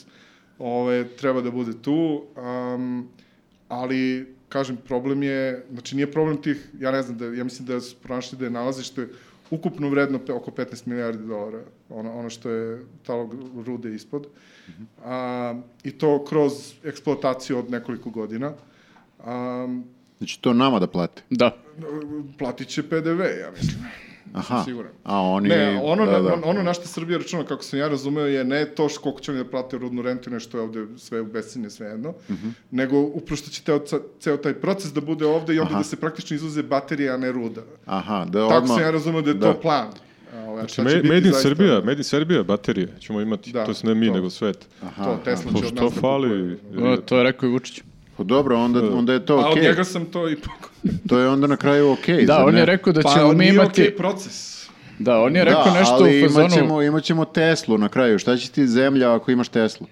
Speaker 4: ove, treba da bude tu, am, ali, kažem, problem je, znači nije problem tih, ja ne znam, da, ja mislim da su pronašli da je nalazište ukupno vredno pe- oko 15 milijardi dolara, ono, ono što je talog rude ispod, a, i to kroz eksploataciju od nekoliko godina. Am,
Speaker 3: Znači to nama da plate.
Speaker 1: Da.
Speaker 4: platit će PDV, ja mislim.
Speaker 3: Aha,
Speaker 4: siguran.
Speaker 3: a oni...
Speaker 4: Ne, ono,
Speaker 3: da,
Speaker 4: na,
Speaker 3: da.
Speaker 4: on- ono na što Srbija računa, kako sam ja razumeo, je ne to š- koliko će oni da plate rodnu rentu i nešto je ovde sve u bescenje, sve jedno,
Speaker 3: Mhm.
Speaker 4: nego upravo što će teo, ca- ceo taj proces da bude ovde i onda da se praktično izuze baterije, a ne ruda.
Speaker 3: Aha, da
Speaker 4: Tako
Speaker 3: odmah-
Speaker 4: sam ja razumeo da je
Speaker 3: da.
Speaker 4: to plan. A, ovaj, šta će
Speaker 5: Me,
Speaker 4: biti
Speaker 5: Znači, made in
Speaker 4: zaista,
Speaker 5: Serbia, made in Serbia baterije ćemo imati.
Speaker 4: Da,
Speaker 5: to se ne mi,
Speaker 4: to. Znači,
Speaker 5: nego svet.
Speaker 4: To Tesla će
Speaker 5: To
Speaker 4: od nas
Speaker 5: što
Speaker 4: da
Speaker 5: fali?
Speaker 4: kupuje.
Speaker 1: O, to je rekao i Vučić.
Speaker 3: Pa dobro, onda, onda je to
Speaker 4: Da. A Pa od
Speaker 3: okej.
Speaker 4: njega sam to i pokupio.
Speaker 3: To je onda na kraju okej.
Speaker 1: Da,
Speaker 3: zar
Speaker 1: on
Speaker 3: ne?
Speaker 1: je rekao da
Speaker 4: Pa
Speaker 1: ćemo mi
Speaker 4: nije
Speaker 1: imati...
Speaker 4: okej proces.
Speaker 1: Da, on je
Speaker 3: Da,
Speaker 1: rekao nešto
Speaker 3: ali
Speaker 1: u fazonu...
Speaker 3: imat ćemo, imat ćemo Teslu na kraju. Šta će ti zemlja ako imaš Teslu?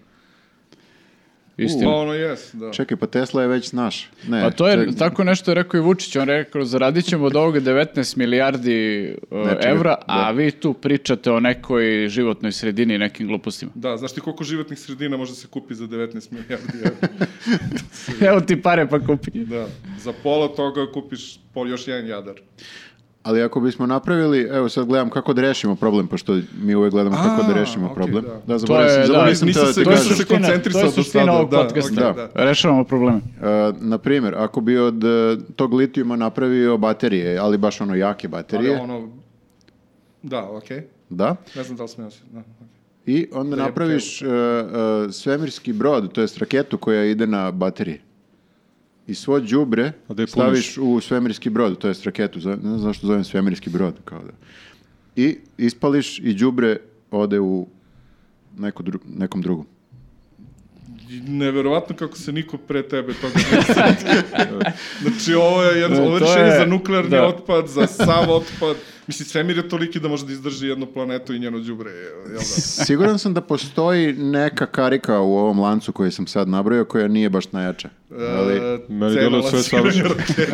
Speaker 4: Pa
Speaker 1: Istina.
Speaker 4: ono jes, da.
Speaker 3: Čekaj, pa Tesla je već naš. Ne,
Speaker 1: Pa to je,
Speaker 3: ček-
Speaker 1: tako nešto je rekao i Vučić, on je rekao, zaradit ćemo od ovoga 19 milijardi uh,
Speaker 3: Nečega,
Speaker 1: evra,
Speaker 3: da.
Speaker 1: a vi tu pričate o nekoj životnoj sredini i nekim glupostima.
Speaker 4: Da, znaš ti koliko životnih sredina može se kupi za 19 milijardi evra?
Speaker 1: Evo ti pare pa kupi.
Speaker 4: Da, za pola toga kupiš po još jedan jadar.
Speaker 3: Ali ako bismo napravili, evo sad gledam kako da rešimo problem, pošto mi uvek gledamo kako da
Speaker 4: A,
Speaker 3: rešimo
Speaker 4: okej,
Speaker 3: problem.
Speaker 4: da.
Speaker 3: Da, zaboravio
Speaker 1: To je, da,
Speaker 3: sam, zaboravio sam
Speaker 4: nisam
Speaker 3: to da
Speaker 4: se-
Speaker 3: ti
Speaker 4: to je
Speaker 3: kažem.
Speaker 4: suština.
Speaker 1: to je
Speaker 4: koncentrisao do
Speaker 1: suština
Speaker 4: sada,
Speaker 1: ovog
Speaker 4: da,
Speaker 1: podcasta.
Speaker 4: okej, da.
Speaker 1: Rešavamo probleme.
Speaker 3: E, na primjer, ako bi od e, tog litijuma napravio baterije, ali baš ono jake
Speaker 4: Ali
Speaker 3: baterije,
Speaker 4: ono, da, okej.
Speaker 3: da,
Speaker 4: Ne znam da li sam ja se... Da, okej.
Speaker 3: i onda napraviš e, e, svemirski brod, to jest raketu koja ide na baterije. I svo đubre
Speaker 5: A da je
Speaker 3: staviš u svemirski brod, to jest raketu, zove- ne znam zašto zovem svemirski brod, kao da. I ispališ i đubre ode u neku dru- nekom drugom.
Speaker 4: I Neverovatno kako se niko pre tebe toga ne sjeća. Znači, ovo je jedno,
Speaker 1: Ne,
Speaker 4: ovo je
Speaker 1: to
Speaker 4: rešenje
Speaker 1: je-
Speaker 4: za nuklearni
Speaker 1: da.
Speaker 4: otpad, za sav otpad. Mislim, svemir je toliki da može da izdrži jednu planetu i njeno đubre, je- jel da?
Speaker 3: Siguran sam da postoji neka karika u ovom lancu koji sam sad nabrojao koja nije baš najjača. Ali,
Speaker 4: E,
Speaker 5: Meni
Speaker 4: cena
Speaker 5: delo sve
Speaker 4: lansiranja
Speaker 5: savršeno.
Speaker 4: rakete.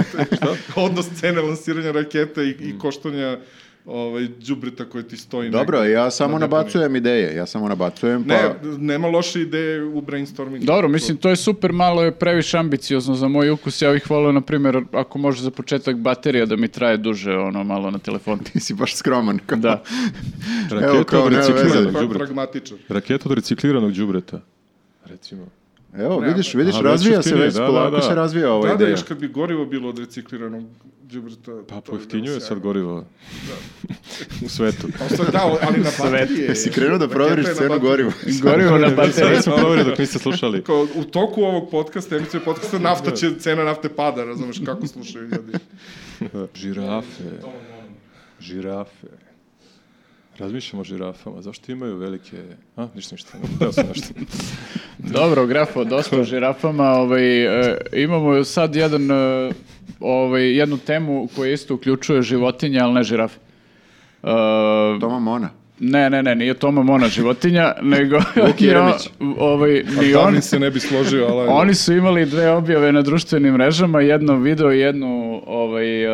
Speaker 4: Odnos cene lansiranja rakete i, i koštanja ovaj, đubreta koje ti stoji. negde.
Speaker 3: dobro, ja samo
Speaker 4: deponiji.
Speaker 3: nabacujem ideje, ja samo nabacujem,
Speaker 4: Ne,
Speaker 3: pa...
Speaker 4: nema loše ideje u brainstormingu.
Speaker 1: Dobro, mislim, to je super, malo je previše ambiciozno za moj ukus. Ja bih volio, na primjer, ako može za početak baterija da mi traje duže, ono, malo na telefonu.
Speaker 3: Ti si baš skroman. kao-
Speaker 1: Da.
Speaker 3: Evo
Speaker 5: Raketa
Speaker 3: kao
Speaker 5: od
Speaker 3: nema veze.
Speaker 5: recikliranog
Speaker 4: Pra-
Speaker 5: đubreta.
Speaker 4: pragmatičan.
Speaker 5: Raketa od recikliranog đubreta. Recimo.
Speaker 3: Evo, vidiš, vidiš,
Speaker 5: A, već
Speaker 3: razvija se
Speaker 5: jeftinije,
Speaker 3: već,
Speaker 5: da,
Speaker 3: polako
Speaker 5: da, da.
Speaker 3: se razvija ova
Speaker 4: Da, da,
Speaker 3: ideja.
Speaker 4: još kad bi gorivo bilo od recikliranog džubreta...
Speaker 5: Pa pojeftinjuje sad gorivo. u svetu.
Speaker 4: Da, ali na baterije... je.
Speaker 3: Si krenuo da
Speaker 4: Raketa je
Speaker 3: proveriš
Speaker 4: na
Speaker 3: cenu
Speaker 4: baterije.
Speaker 3: goriva.
Speaker 1: Gorivo na
Speaker 5: Sve
Speaker 1: bateriji.
Speaker 5: već smo proverili dok niste slušali.
Speaker 4: Kao, u toku ovog podcasta, emisije podcasta, nafta će, cena nafte pada, razumeš kako slušaju ljudi.
Speaker 5: Pa, Žirafe. Žirafe. Razmišljamo o žirafama. Zašto imaju velike... A, ništa, ništa. Hteo sam nešto.
Speaker 1: Dobro, grafo, dosta o žirafama. Ovaj, e, imamo sad jedan, e, ovaj, jednu temu koja isto uključuje životinje, ali ne žirafe. E,
Speaker 3: Toma Mona.
Speaker 1: ne, ne, ne, nije Toma Mona životinja, nego je on-
Speaker 3: Jeremić.
Speaker 1: ovaj, ni on,
Speaker 4: Tavin se ne bi složio, ali...
Speaker 1: Oni su imali dve objave na društvenim mrežama, jedno video i jednu ovaj,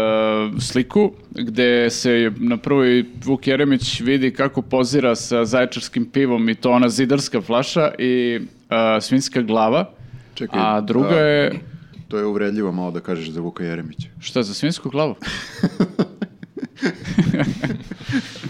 Speaker 1: e, sliku, gde se na prvoj Vuk Jeremić vidi kako pozira sa zaječarskim pivom i to ona zidarska flaša i e, svinjska glava,
Speaker 3: Čekaj,
Speaker 1: a druga
Speaker 3: a,
Speaker 1: je,
Speaker 3: To je uvredljivo malo da kažeš za Vuka Jeremića.
Speaker 1: šta za svinjsku glavu?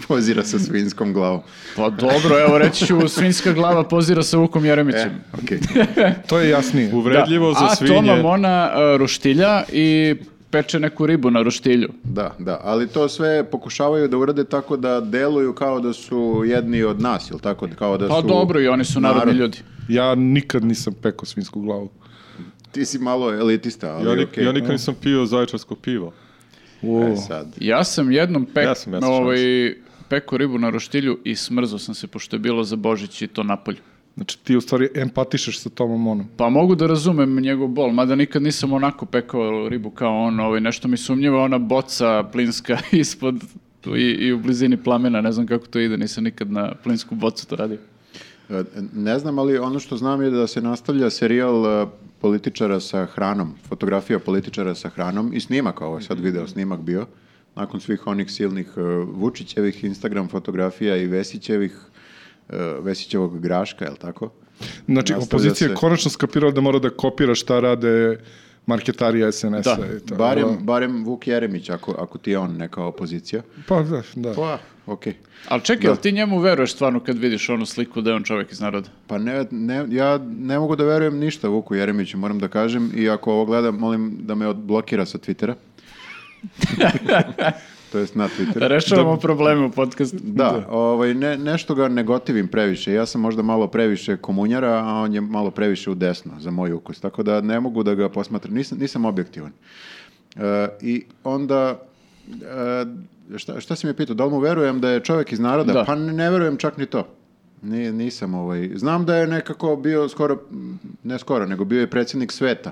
Speaker 3: Pozira sa svinskom glavom.
Speaker 1: Pa dobro, evo reći ću, svinska glava pozira sa Vukom
Speaker 3: E.
Speaker 1: Jeremićem.
Speaker 3: Okej.
Speaker 4: To je jasnije.
Speaker 5: Uvredljivo za svinje.
Speaker 1: A Toma Mona e, roštilja i peče neku ribu na roštilju.
Speaker 3: Da, da, ali to sve pokušavaju da urade tako da deluju kao da su jedni od nas, jel tako? Kao da
Speaker 1: Pa
Speaker 3: su
Speaker 1: dobro, i oni su narodni
Speaker 3: narod.
Speaker 1: ljudi.
Speaker 4: Ja nikad nisam pekao svinsku glavu.
Speaker 3: Ti si malo elitista, ali
Speaker 5: Ja, nik,
Speaker 3: okej.
Speaker 5: ja nikad nisam pio zaječarsko pivo.
Speaker 4: O,
Speaker 3: E sad.
Speaker 1: Ja sam jednom pek,
Speaker 5: Ja sam, ja sam
Speaker 1: ovaj, peku ribu na roštilju i smrzao sam se, pošto je bilo za Božić i to napolju.
Speaker 4: znači ti u stvari empatišeš sa Tomom Monom.
Speaker 1: Pa mogu da razumem njegov bol, mada nikad nisam onako pekao ribu kao on, ovaj, nešto mi sumnjiva ona boca plinska ispod i, i u blizini plamena, ne znam kako to ide, nisam nikad na plinsku bocu to radio.
Speaker 3: E, Ne znam, ali ono što znam je da se nastavlja serijal e, političara sa hranom, fotografija političara sa hranom i snimak, ovo je sad video snimak bio, nakon svih onih silnih e, Vučićevih Instagram fotografija i Vesićevih, e, Vesićevog graška, jel tako?
Speaker 4: Znači,
Speaker 3: Nastavlja
Speaker 4: opozicija
Speaker 3: se.
Speaker 4: je konačno skapirala da mora da kopira šta rade marketarija SNS-a.
Speaker 1: Da,
Speaker 4: i to.
Speaker 3: Barem, barem Vuk Jeremić, ako, ako ti je on neka opozicija.
Speaker 4: Pa, da, da.
Speaker 3: Pa, okej.
Speaker 1: Ali
Speaker 5: Da.
Speaker 1: čekaj, jel ti njemu veruješ stvarno kad vidiš onu sliku da je on čovjek iz naroda?
Speaker 3: Pa ne, ne, ja ne mogu da verujem ništa Vuku Jeremiću, moram da kažem. I ako ovo gledam, molim da me odblokira sa Twittera. to jest na Twitteru.
Speaker 1: Da Rešavamo probleme u podcastu.
Speaker 3: Da, ovaj, ne, nešto ga negotivim previše. Ja sam možda malo previše komunjara, a on je malo previše u desno za moj ukus. Tako da ne mogu da ga posmatram. Nisam, nisam objektivan. E, I onda... e, šta, šta si me pitao? Da li mu verujem da je čovjek iz naroda?
Speaker 1: Da.
Speaker 3: Pa ne, ne verujem čak ni to. Ni- nisam ovaj... Znam da je nekako bio skoro... Ne skoro, nego bio je predsjednik sveta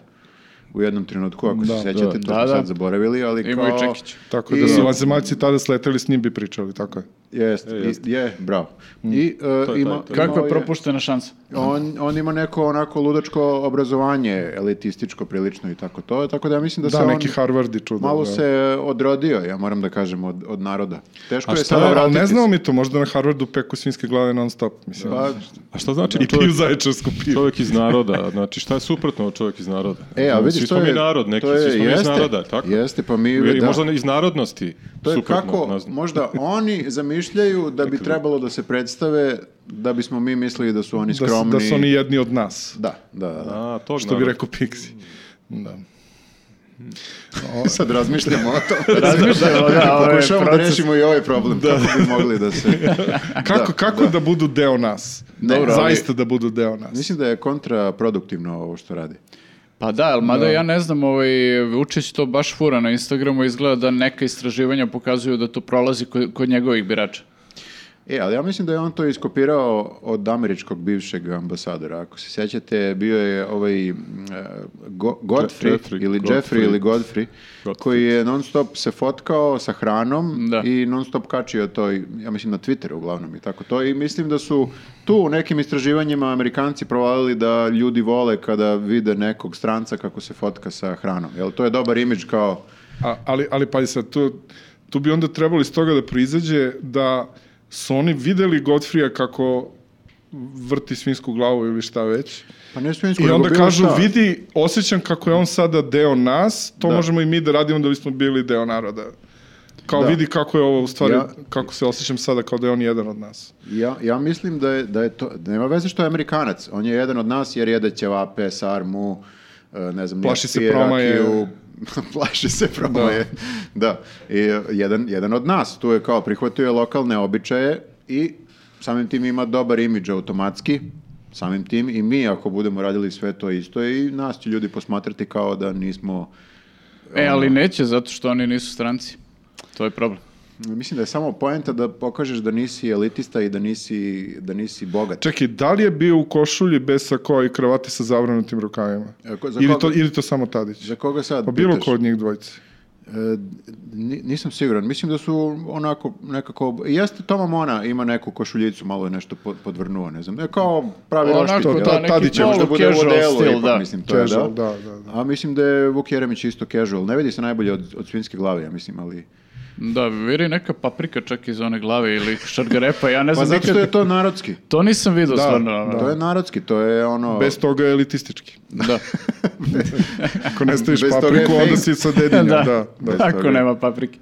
Speaker 3: u jednom trenutku, ako se sjećate, to
Speaker 1: Da,
Speaker 3: smo
Speaker 1: da.
Speaker 3: sad zaboravili, ali
Speaker 1: Imao i
Speaker 3: kao...
Speaker 1: Čekić.
Speaker 4: Tako
Speaker 3: I-
Speaker 4: da su vanzemaljci tada sleteli, s njim bi pričali, tako je.
Speaker 3: Jest, i- je, bravo. I, e,
Speaker 5: taj,
Speaker 3: ima,
Speaker 5: E, Mm. to je.
Speaker 1: Kako
Speaker 3: imao
Speaker 1: je propuštena šansa?
Speaker 3: On, on ima neko onako ludačko obrazovanje, elitističko prilično i tako to, tako da ja mislim da,
Speaker 4: Da,
Speaker 3: se
Speaker 4: neki
Speaker 3: on
Speaker 4: Harvard i čudo.
Speaker 3: malo
Speaker 4: da.
Speaker 3: se odrodio, ja moram da kažem, od, od naroda. Teško
Speaker 5: A
Speaker 3: je
Speaker 5: šta
Speaker 3: sada
Speaker 5: je,
Speaker 4: Ali
Speaker 3: Pa da vratiti
Speaker 4: ne znamo
Speaker 3: se.
Speaker 4: mi to, možda na Harvardu peku svinske glave non stop. Mislim. Da
Speaker 3: Pa,
Speaker 5: A šta znači
Speaker 4: I
Speaker 5: čovjek,
Speaker 4: piju zaječarsku pivu.
Speaker 5: čovjek iz naroda? Znači šta je suprotno od čovjek iz naroda?
Speaker 3: E, a
Speaker 5: Znači,
Speaker 3: vidiš,
Speaker 5: svi
Speaker 3: to
Speaker 5: smo
Speaker 3: je...
Speaker 5: mi narod, neki
Speaker 3: to je-
Speaker 5: svi smo mi iz
Speaker 3: jeste,
Speaker 5: naroda, tako?
Speaker 3: Jeste, pa mi...
Speaker 5: Ili
Speaker 3: da.
Speaker 5: možda iz narodnosti
Speaker 3: To je
Speaker 5: suprotno,
Speaker 3: kako,
Speaker 5: ne znam.
Speaker 3: možda oni zamišljaju da bi trebalo da se predstave da bismo mi mislili da su oni
Speaker 4: Da, su-
Speaker 3: skromni.
Speaker 4: da su oni jedni od nas.
Speaker 3: Da, da, da, da.
Speaker 5: A, tog
Speaker 4: Što bi
Speaker 5: naroda.
Speaker 4: rekao Pixi. Da.
Speaker 3: Sad razmišljamo o tome.
Speaker 1: Razmišljamo, da, ovaj
Speaker 3: Pokušavamo da
Speaker 1: proces.
Speaker 3: rešimo i ovaj problem. Kako bi mogli da se...
Speaker 4: Kako,
Speaker 3: Da,
Speaker 4: kako da. budu deo nas?
Speaker 3: Dobro, ali-
Speaker 4: Zaista da budu deo nas.
Speaker 3: Mislim da je kontraproduktivno ovo što radi.
Speaker 1: Pa da, ali mada ja ne znam, ovaj, Vučić to baš fura na Instagramu, izgleda da neka istraživanja pokazuju da to prolazi kod, kod njegovih birača.
Speaker 3: E, ali ja mislim da je on to iskopirao od američkog bivšeg ambasadora. Ako se sjećate, bio je ovaj mm, e, Go- Godfrey,
Speaker 5: Jeffrey,
Speaker 3: ili
Speaker 5: Godfrey.
Speaker 3: Jeffrey ili Godfrey,
Speaker 5: Godfrey.
Speaker 3: koji je non stop se fotkao sa hranom
Speaker 1: Da.
Speaker 3: i non stop kačio to, i- ja mislim na Twitteru uglavnom i tako to. I mislim da su tu u nekim istraživanjima Amerikanci provalili da ljudi vole kada vide nekog stranca kako se fotka sa hranom. Jel, to je dobar imidž kao
Speaker 4: A, ali, ali pazi sad, tu, tu bi onda trebalo iz toga da proizađe da su oni videli Godfrija kako vrti svinsku glavu ili šta već.
Speaker 3: Pa ne svinjsko,
Speaker 4: I
Speaker 3: nego
Speaker 4: onda
Speaker 3: bilo
Speaker 4: kažu,
Speaker 3: šta.
Speaker 4: vidi, osjećam kako je on sada deo nas, to
Speaker 3: Da.
Speaker 4: možemo i mi da radimo da bismo bili deo naroda. Kao vidi kako je ovo u stvari,
Speaker 3: Da. Ja-
Speaker 4: kako se osjećam sada kao da je on jedan od nas.
Speaker 3: Ja, ja mislim da je, da je to, da nema veze što je Amerikanac, on je jedan od nas jer jede ćevape, sarmu, e, ne znam,
Speaker 4: Plaši se
Speaker 3: pije
Speaker 4: promaje.
Speaker 3: rakiju, plaši se promaje, da, I, e, jedan, jedan od nas, tu je kao prihvatio je lokalne običaje i samim tim ima dobar imidž automatski, samim tim i mi ako budemo radili sve to isto i nas će ljudi posmatrati kao da nismo,
Speaker 1: E, ali neće, zato što oni nisu stranci. To je problem.
Speaker 3: mislim da je samo poenta da pokažeš da nisi elitista i da nisi, da nisi bogat.
Speaker 4: Čekaj, da li je bio u košulji bez sakoa i kravati sa zavranutim rukavima?
Speaker 3: E, ko- za
Speaker 4: Ili
Speaker 3: koga-
Speaker 4: to, ili to samo Tadić?
Speaker 3: Za koga sad
Speaker 4: Pa bilo
Speaker 3: pitaš?
Speaker 4: ko od njih dvojice.
Speaker 3: E, ni- nisam siguran. Mislim da su onako nekako... Jeste Toma Mona ima neku košuljicu, malo je nešto po- podvrnuo, ne znam. E, kao pravi
Speaker 1: Onako,
Speaker 3: roštilj. jel?
Speaker 1: da,
Speaker 3: Ta-
Speaker 1: neki
Speaker 3: Tadić je
Speaker 1: polu
Speaker 3: možda bude u
Speaker 1: casual
Speaker 3: odelu,
Speaker 1: stil,
Speaker 3: ipak,
Speaker 1: da.
Speaker 3: mislim, to je,
Speaker 4: Casual,
Speaker 3: da.
Speaker 4: da, da, da.
Speaker 3: A mislim da je Vuk Jeremić isto casual. Ne vidi se najbolje od, od svinjske glave, ja mislim, ali...
Speaker 1: Da, viri neka paprika čak iz one glave ili šargarepa, ja ne
Speaker 3: Pa
Speaker 1: znam
Speaker 3: zato
Speaker 1: nikad.
Speaker 3: što je to narodski.
Speaker 1: To nisam vidio stvarno. ono.
Speaker 3: To je narodski, Da. to je ono...
Speaker 4: Bez toga je elitistički.
Speaker 1: Da.
Speaker 4: Ako ne staviš
Speaker 3: Bez toga je
Speaker 4: papriku, onda
Speaker 3: fake.
Speaker 4: si sa dedinjom, da. da.
Speaker 3: Bez
Speaker 1: Ako
Speaker 3: toga.
Speaker 1: nema paprike.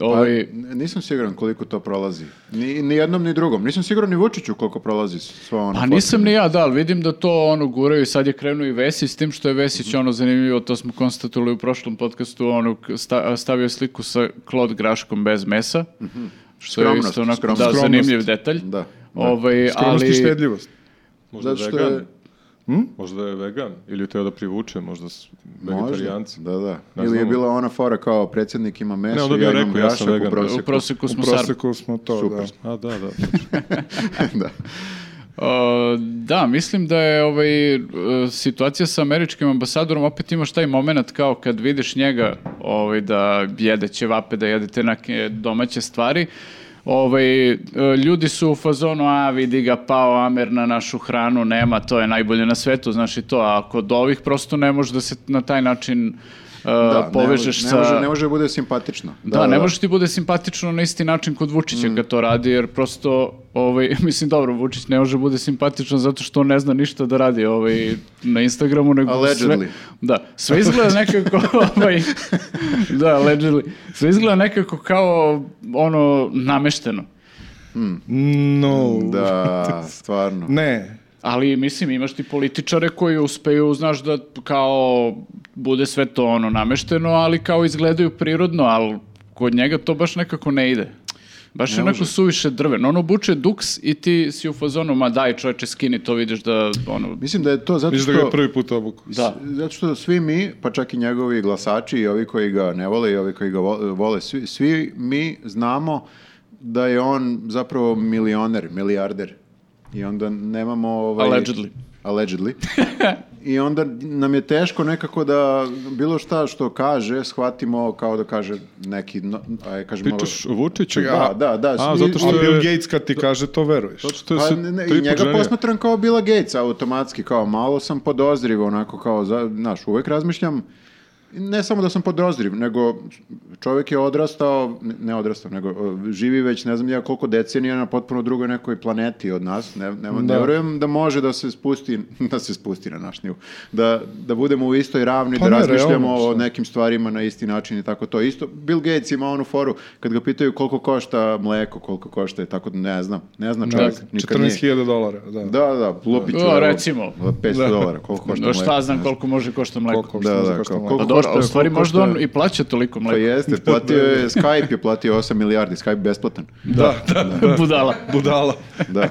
Speaker 1: Ovaj,
Speaker 3: n- Pa nisam siguran koliko to prolazi. Ni, ni jednom, ni drugom. Nisam siguran ni Vučiću koliko prolazi sva ona
Speaker 1: Pa
Speaker 3: fotka.
Speaker 1: nisam ni ja, da, ali vidim da to ono guraju i sad je krenuo i Vesić, s tim što je Vesić ono zanimljivo, to smo konstatovali u prošlom podcastu, ono k- sta- stavio sliku sa Klod Graškom bez mesa, što je
Speaker 3: Mhm. Skromnost,
Speaker 1: isto onako
Speaker 3: skromnost.
Speaker 1: da,
Speaker 4: Skromnost.
Speaker 1: zanimljiv detalj.
Speaker 3: Da.
Speaker 1: Ovaj,
Speaker 4: Skromnost i
Speaker 1: ali,
Speaker 4: štedljivost.
Speaker 5: Možda
Speaker 3: Zato što
Speaker 5: je Hm? vegan.
Speaker 3: je-
Speaker 5: Možda je vegan. Ili je teo da privuče, možda s-
Speaker 3: Možda,
Speaker 5: vegetarijanci.
Speaker 3: da, da.
Speaker 5: Ne
Speaker 3: Ili je
Speaker 5: znamo.
Speaker 3: bila ona fora kao predsjednik ima
Speaker 5: Ne,
Speaker 3: meso,
Speaker 5: onda bi
Speaker 3: ja
Speaker 5: joj
Speaker 3: imam
Speaker 5: rekao, ja sam
Speaker 3: grašak u
Speaker 5: vegan.
Speaker 1: u
Speaker 3: proseku.
Speaker 1: proseku
Speaker 4: U
Speaker 1: smo sarmi.
Speaker 4: proseku smo to, da.
Speaker 5: A, da, da.
Speaker 3: da.
Speaker 1: O, da, mislim da je ovaj, e, situacija sa američkim ambasadorom, opet imaš taj moment kao kad vidiš njega ovaj, da jede ćevape, da jedete neke domaće stvari, ovaj, e, ljudi su u fazonu, a vidi ga pao Amer na našu hranu, nema, to je najbolje na svetu, znaš i to, a kod ovih prosto ne može da se na taj način e,
Speaker 3: Da, ne
Speaker 1: povežeš
Speaker 3: može-
Speaker 1: sa...
Speaker 3: Ne može, ne može da bude simpatično.
Speaker 1: Da, Mm. ne može ti bude simpatično na isti način kod Vučića kad to radi, jer prosto, ovaj, mislim, dobro, Vučić ne može bude simpatičan zato što on ne zna ništa da radi ovaj, na Instagramu, nego
Speaker 3: Allegedly.
Speaker 1: sve... Da, sve izgleda nekako, ovaj, da, allegedly, sve izgleda nekako kao, ono, namešteno.
Speaker 4: No.
Speaker 3: Da, stvarno.
Speaker 4: Ne.
Speaker 1: Ali, mislim, imaš ti političare koji uspeju, znaš, da kao bude sve to ono namešteno, ali kao izgledaju prirodno, ali kod njega to baš nekako ne ide. Baš je onako suviše drveno. On obuče duks i ti si u fazonu, ma daj čoveče skini, to vidiš da ono...
Speaker 3: Mislim da je to zato
Speaker 4: Viš da ga je
Speaker 3: što...
Speaker 4: prvi put obuku.
Speaker 1: Da.
Speaker 3: Zato što svi mi, pa čak i njegovi glasači i ovi koji ga ne vole i ovi koji ga vo- vole, svi, svi mi znamo da je on zapravo milioner, milijarder. I onda nemamo... Ovaj,
Speaker 1: Allegedly.
Speaker 3: Allegedly. I onda nam je teško nekako da bilo šta što kaže shvatimo kao da kaže neki... No, aj, kažemo,
Speaker 5: Pričaš o Vučiću?
Speaker 3: Da, da, da.
Speaker 5: A,
Speaker 3: svi-
Speaker 5: zato
Speaker 4: A
Speaker 5: što
Speaker 4: Bill
Speaker 5: je...
Speaker 4: Gates kad ti kaže to veruješ.
Speaker 5: Zato što je
Speaker 3: Pa
Speaker 5: se
Speaker 3: ne, ne,
Speaker 5: tri
Speaker 3: i
Speaker 5: put
Speaker 3: njega
Speaker 5: ženio.
Speaker 3: posmatram kao Bila Gatesa automatski, kao malo sam podozriv, onako kao, za, znaš, uvek razmišljam, ne samo da sam podozriv, nego čovjek je odrastao, ne- ne odrastao, nego e, živi već ne znam ja koliko decenija na potpuno drugoj nekoj planeti od nas, ne, ne, ne verujem da može da se spusti, da se spusti na naš nivu, da, da budemo u istoj ravni,
Speaker 4: Pa
Speaker 3: da
Speaker 4: ne,
Speaker 3: razmišljamo
Speaker 4: realno,
Speaker 3: o
Speaker 4: šta?
Speaker 3: nekim stvarima na isti način i tako to. Isto, Bill Gates ima onu foru, kad ga pitaju koliko košta mleko, koliko košta, i tako da ne znam, ne znam
Speaker 4: Da,
Speaker 3: čovjek, nikad nije.
Speaker 4: 14.000 dolara, da.
Speaker 3: Da, da, lupit ću.
Speaker 1: O,
Speaker 3: evo,
Speaker 1: recimo.
Speaker 3: 500
Speaker 4: Da.
Speaker 3: dolara, koliko košta
Speaker 1: No,
Speaker 3: mleko.
Speaker 1: šta znam
Speaker 3: ne
Speaker 1: koliko može košta mleko.
Speaker 4: Koliko
Speaker 3: Da,
Speaker 4: košta,
Speaker 3: da,
Speaker 4: košta
Speaker 3: kao,
Speaker 1: Pa
Speaker 4: mleko?
Speaker 3: koliko
Speaker 1: dobro, a u
Speaker 3: košta-
Speaker 1: stvari
Speaker 3: koliko
Speaker 1: možda
Speaker 3: košta-
Speaker 1: on i plaća toliko
Speaker 3: Pa
Speaker 1: mleko.
Speaker 3: jeste, platio je, Skype je platio 8 milijardi, Skype besplatan.
Speaker 4: Da, da,
Speaker 1: Budala.
Speaker 4: budala.
Speaker 3: Da.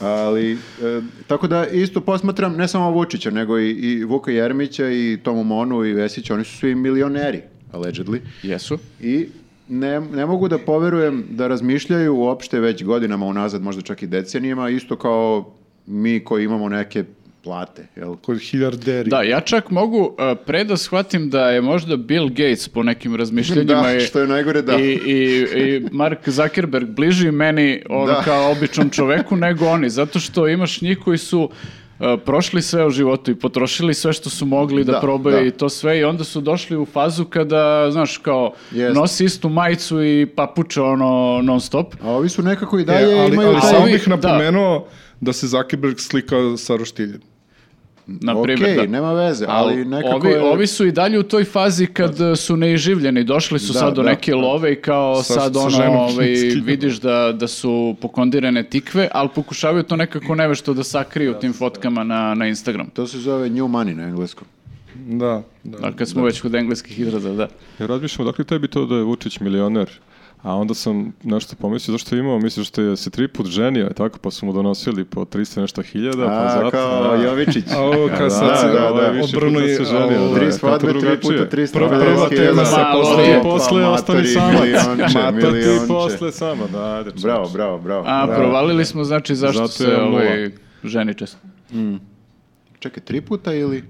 Speaker 3: Ali, e, tako da isto posmatram ne samo Vučića, nego i, i Vuka Jermića i Tomu Monu i Vesića, oni su svi milioneri, allegedly.
Speaker 1: Jesu.
Speaker 3: I ne, ne mogu da poverujem da razmišljaju uopšte već godinama unazad, možda čak i decenijama, isto kao mi koji imamo neke plate, jel?
Speaker 4: Koji hiljarderi.
Speaker 1: Da, ja čak mogu uh, pre da shvatim da je možda Bill Gates po nekim razmišljenjima
Speaker 3: Da,
Speaker 1: je-
Speaker 3: što je najgore, da.
Speaker 1: I, i, i Mark Zuckerberg bliži meni ono
Speaker 3: Da.
Speaker 1: kao običnom čoveku nego oni, zato što imaš njih koji su uh, prošli sve u životu i potrošili sve što su mogli da,
Speaker 3: Da,
Speaker 1: probaju
Speaker 3: da.
Speaker 1: i to sve i onda su došli u fazu kada, znaš, kao
Speaker 3: Jest.
Speaker 1: nosi istu majicu i papuče ono non stop.
Speaker 3: A ovi su nekako i
Speaker 4: E,
Speaker 3: dalje
Speaker 4: ali,
Speaker 3: Pa imaju
Speaker 4: ali
Speaker 1: taj-
Speaker 4: samo bih
Speaker 1: Da.
Speaker 4: napomenuo da. se Zuckerberg slika sa roštiljem.
Speaker 1: Na primjer,
Speaker 3: Okej,
Speaker 1: da.
Speaker 3: nema veze, ali
Speaker 1: Al,
Speaker 3: nekako
Speaker 1: ovi,
Speaker 3: je...
Speaker 1: ovi su i dalje u toj fazi kad e, su neiživljeni, došli su
Speaker 3: Da,
Speaker 1: sad do
Speaker 3: da,
Speaker 1: neke
Speaker 3: da.
Speaker 1: love i kao
Speaker 4: Sa-
Speaker 1: sad
Speaker 4: sa
Speaker 1: ono,
Speaker 4: ženom
Speaker 1: ovaj,
Speaker 4: skinut.
Speaker 1: vidiš da, da su pokondirane tikve, ali pokušavaju to nekako nevešto da sakriju tim fotkama na, na Instagram.
Speaker 3: To se zove new money na engleskom.
Speaker 4: Da, da.
Speaker 1: Da, kad smo već kod engleskih izraza, da.
Speaker 5: Ja razmišljam odakle tebi to da je Vučić milioner. A onda sam nešto pomislio zašto je imao, misliš što je se tri put ženio, je tako, pa su mu donosili po 300 i nešto hiljada, pa zato...
Speaker 3: A, kao
Speaker 5: da.
Speaker 3: Jovičić.
Speaker 4: A ovo kad sad
Speaker 3: da,
Speaker 4: se
Speaker 3: da, da.
Speaker 4: obrnuo
Speaker 5: Obrnuo
Speaker 4: je,
Speaker 5: se želio.
Speaker 4: a,
Speaker 5: da,
Speaker 3: Tri
Speaker 5: kako
Speaker 3: svadbe, tri
Speaker 5: drugačije.
Speaker 3: puta, tri
Speaker 4: Prva- prva tema se
Speaker 1: Malo
Speaker 5: Ti
Speaker 1: je.
Speaker 3: posle.
Speaker 5: posle ostani sama. ti posle sama, da, ajde. čoveče.
Speaker 3: Bravo, bravo, bravo.
Speaker 1: A,
Speaker 3: bravo.
Speaker 1: provalili smo, znači, zašto
Speaker 5: Zato je
Speaker 1: se
Speaker 5: nula.
Speaker 1: ovaj, ženi često.
Speaker 3: Čekaj, tri puta ili?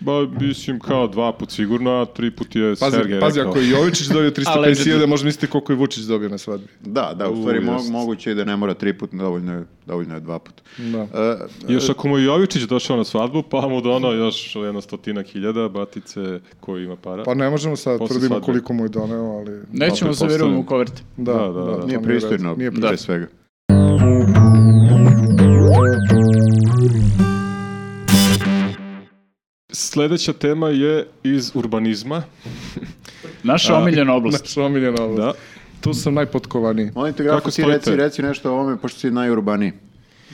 Speaker 5: Ba, mislim, kao dva put sigurno, a tri put je
Speaker 4: Pazi,
Speaker 5: Sergej
Speaker 4: pazi
Speaker 5: rekao.
Speaker 4: ako je Jovičić dobio 350.000, može misliti koliko je Vučić dobio na svadbi.
Speaker 3: Da, da, u
Speaker 5: U,
Speaker 3: stvari mo-
Speaker 5: jest.
Speaker 3: moguće je da ne mora tri puta, dovoljno je, dovoljno je dva puta.
Speaker 4: Da.
Speaker 3: E,
Speaker 5: Još ako mu je Jovičić došao na svadbu, pa mu dono još jedno stotinak hiljada batice koji ima para.
Speaker 4: Pa ne možemo sad
Speaker 5: Posle
Speaker 4: tvrdimo
Speaker 5: svadbe.
Speaker 4: koliko mu je doneo, ali...
Speaker 1: Nećemo
Speaker 5: Opet
Speaker 1: se vjerujemo u
Speaker 5: postavljam.
Speaker 1: koverte.
Speaker 4: Da,
Speaker 5: Da, da,
Speaker 4: da, da.
Speaker 5: da.
Speaker 4: to
Speaker 3: nije
Speaker 4: mi je
Speaker 3: pristojno, Da.
Speaker 4: red- Nije
Speaker 3: pre svega.
Speaker 5: Sledeća tema je iz urbanizma.
Speaker 1: Naša omiljena oblast.
Speaker 4: Naša omiljena oblast.
Speaker 5: Da.
Speaker 4: tu sam najpotkovaniji.
Speaker 3: Molim te, grafu,
Speaker 5: Kako
Speaker 3: ti
Speaker 5: stojite?
Speaker 3: reci, reci nešto o ovome, pošto si najurbaniji.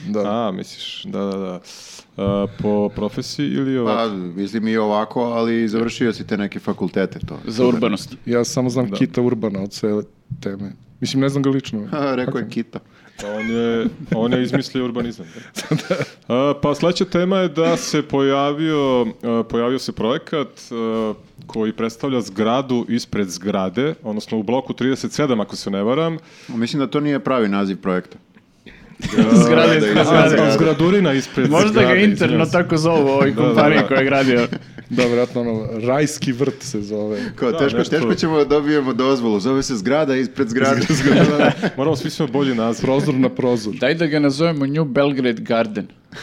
Speaker 4: Da.
Speaker 5: A, misliš, da, da, da. A, po profesiji ili
Speaker 3: Pa,
Speaker 5: ovako?
Speaker 3: mislim i ovako, ali završio si te neke fakultete, to.
Speaker 1: Za urbanost.
Speaker 4: Ja samo znam Kita Urbana od cele teme. Mislim, ne znam ga lično.
Speaker 3: Ha, rekao je Kita.
Speaker 5: Pa on je, on je izmislio urbanizam. A, pa sledeća tema je da se pojavio, a, pojavio se projekat a, koji predstavlja zgradu ispred zgrade, odnosno u bloku 37, ako se ne varam.
Speaker 3: Mislim da to nije pravi naziv projekta.
Speaker 1: Zgrade
Speaker 3: da,
Speaker 1: ispred
Speaker 3: da,
Speaker 1: zgrade.
Speaker 3: da, da.
Speaker 5: Zgradurina ispred
Speaker 1: Možda
Speaker 5: zgrade.
Speaker 1: ga interno
Speaker 5: izvinjavam se.
Speaker 1: tako zovu ovoj
Speaker 5: da,
Speaker 1: kompaniji
Speaker 5: da.
Speaker 1: koja je gradio.
Speaker 4: Da, vjerojatno ono, rajski vrt se zove.
Speaker 3: Kao,
Speaker 5: Da,
Speaker 3: teško,
Speaker 5: nešto-
Speaker 3: teško ćemo da dobijemo dozvolu. Zove se zgrada ispred zgrade. zgrada.
Speaker 5: Moramo svi smo bolji naziv.
Speaker 4: Prozor na prozor.
Speaker 1: Daj da ga nazovemo New Belgrade Garden.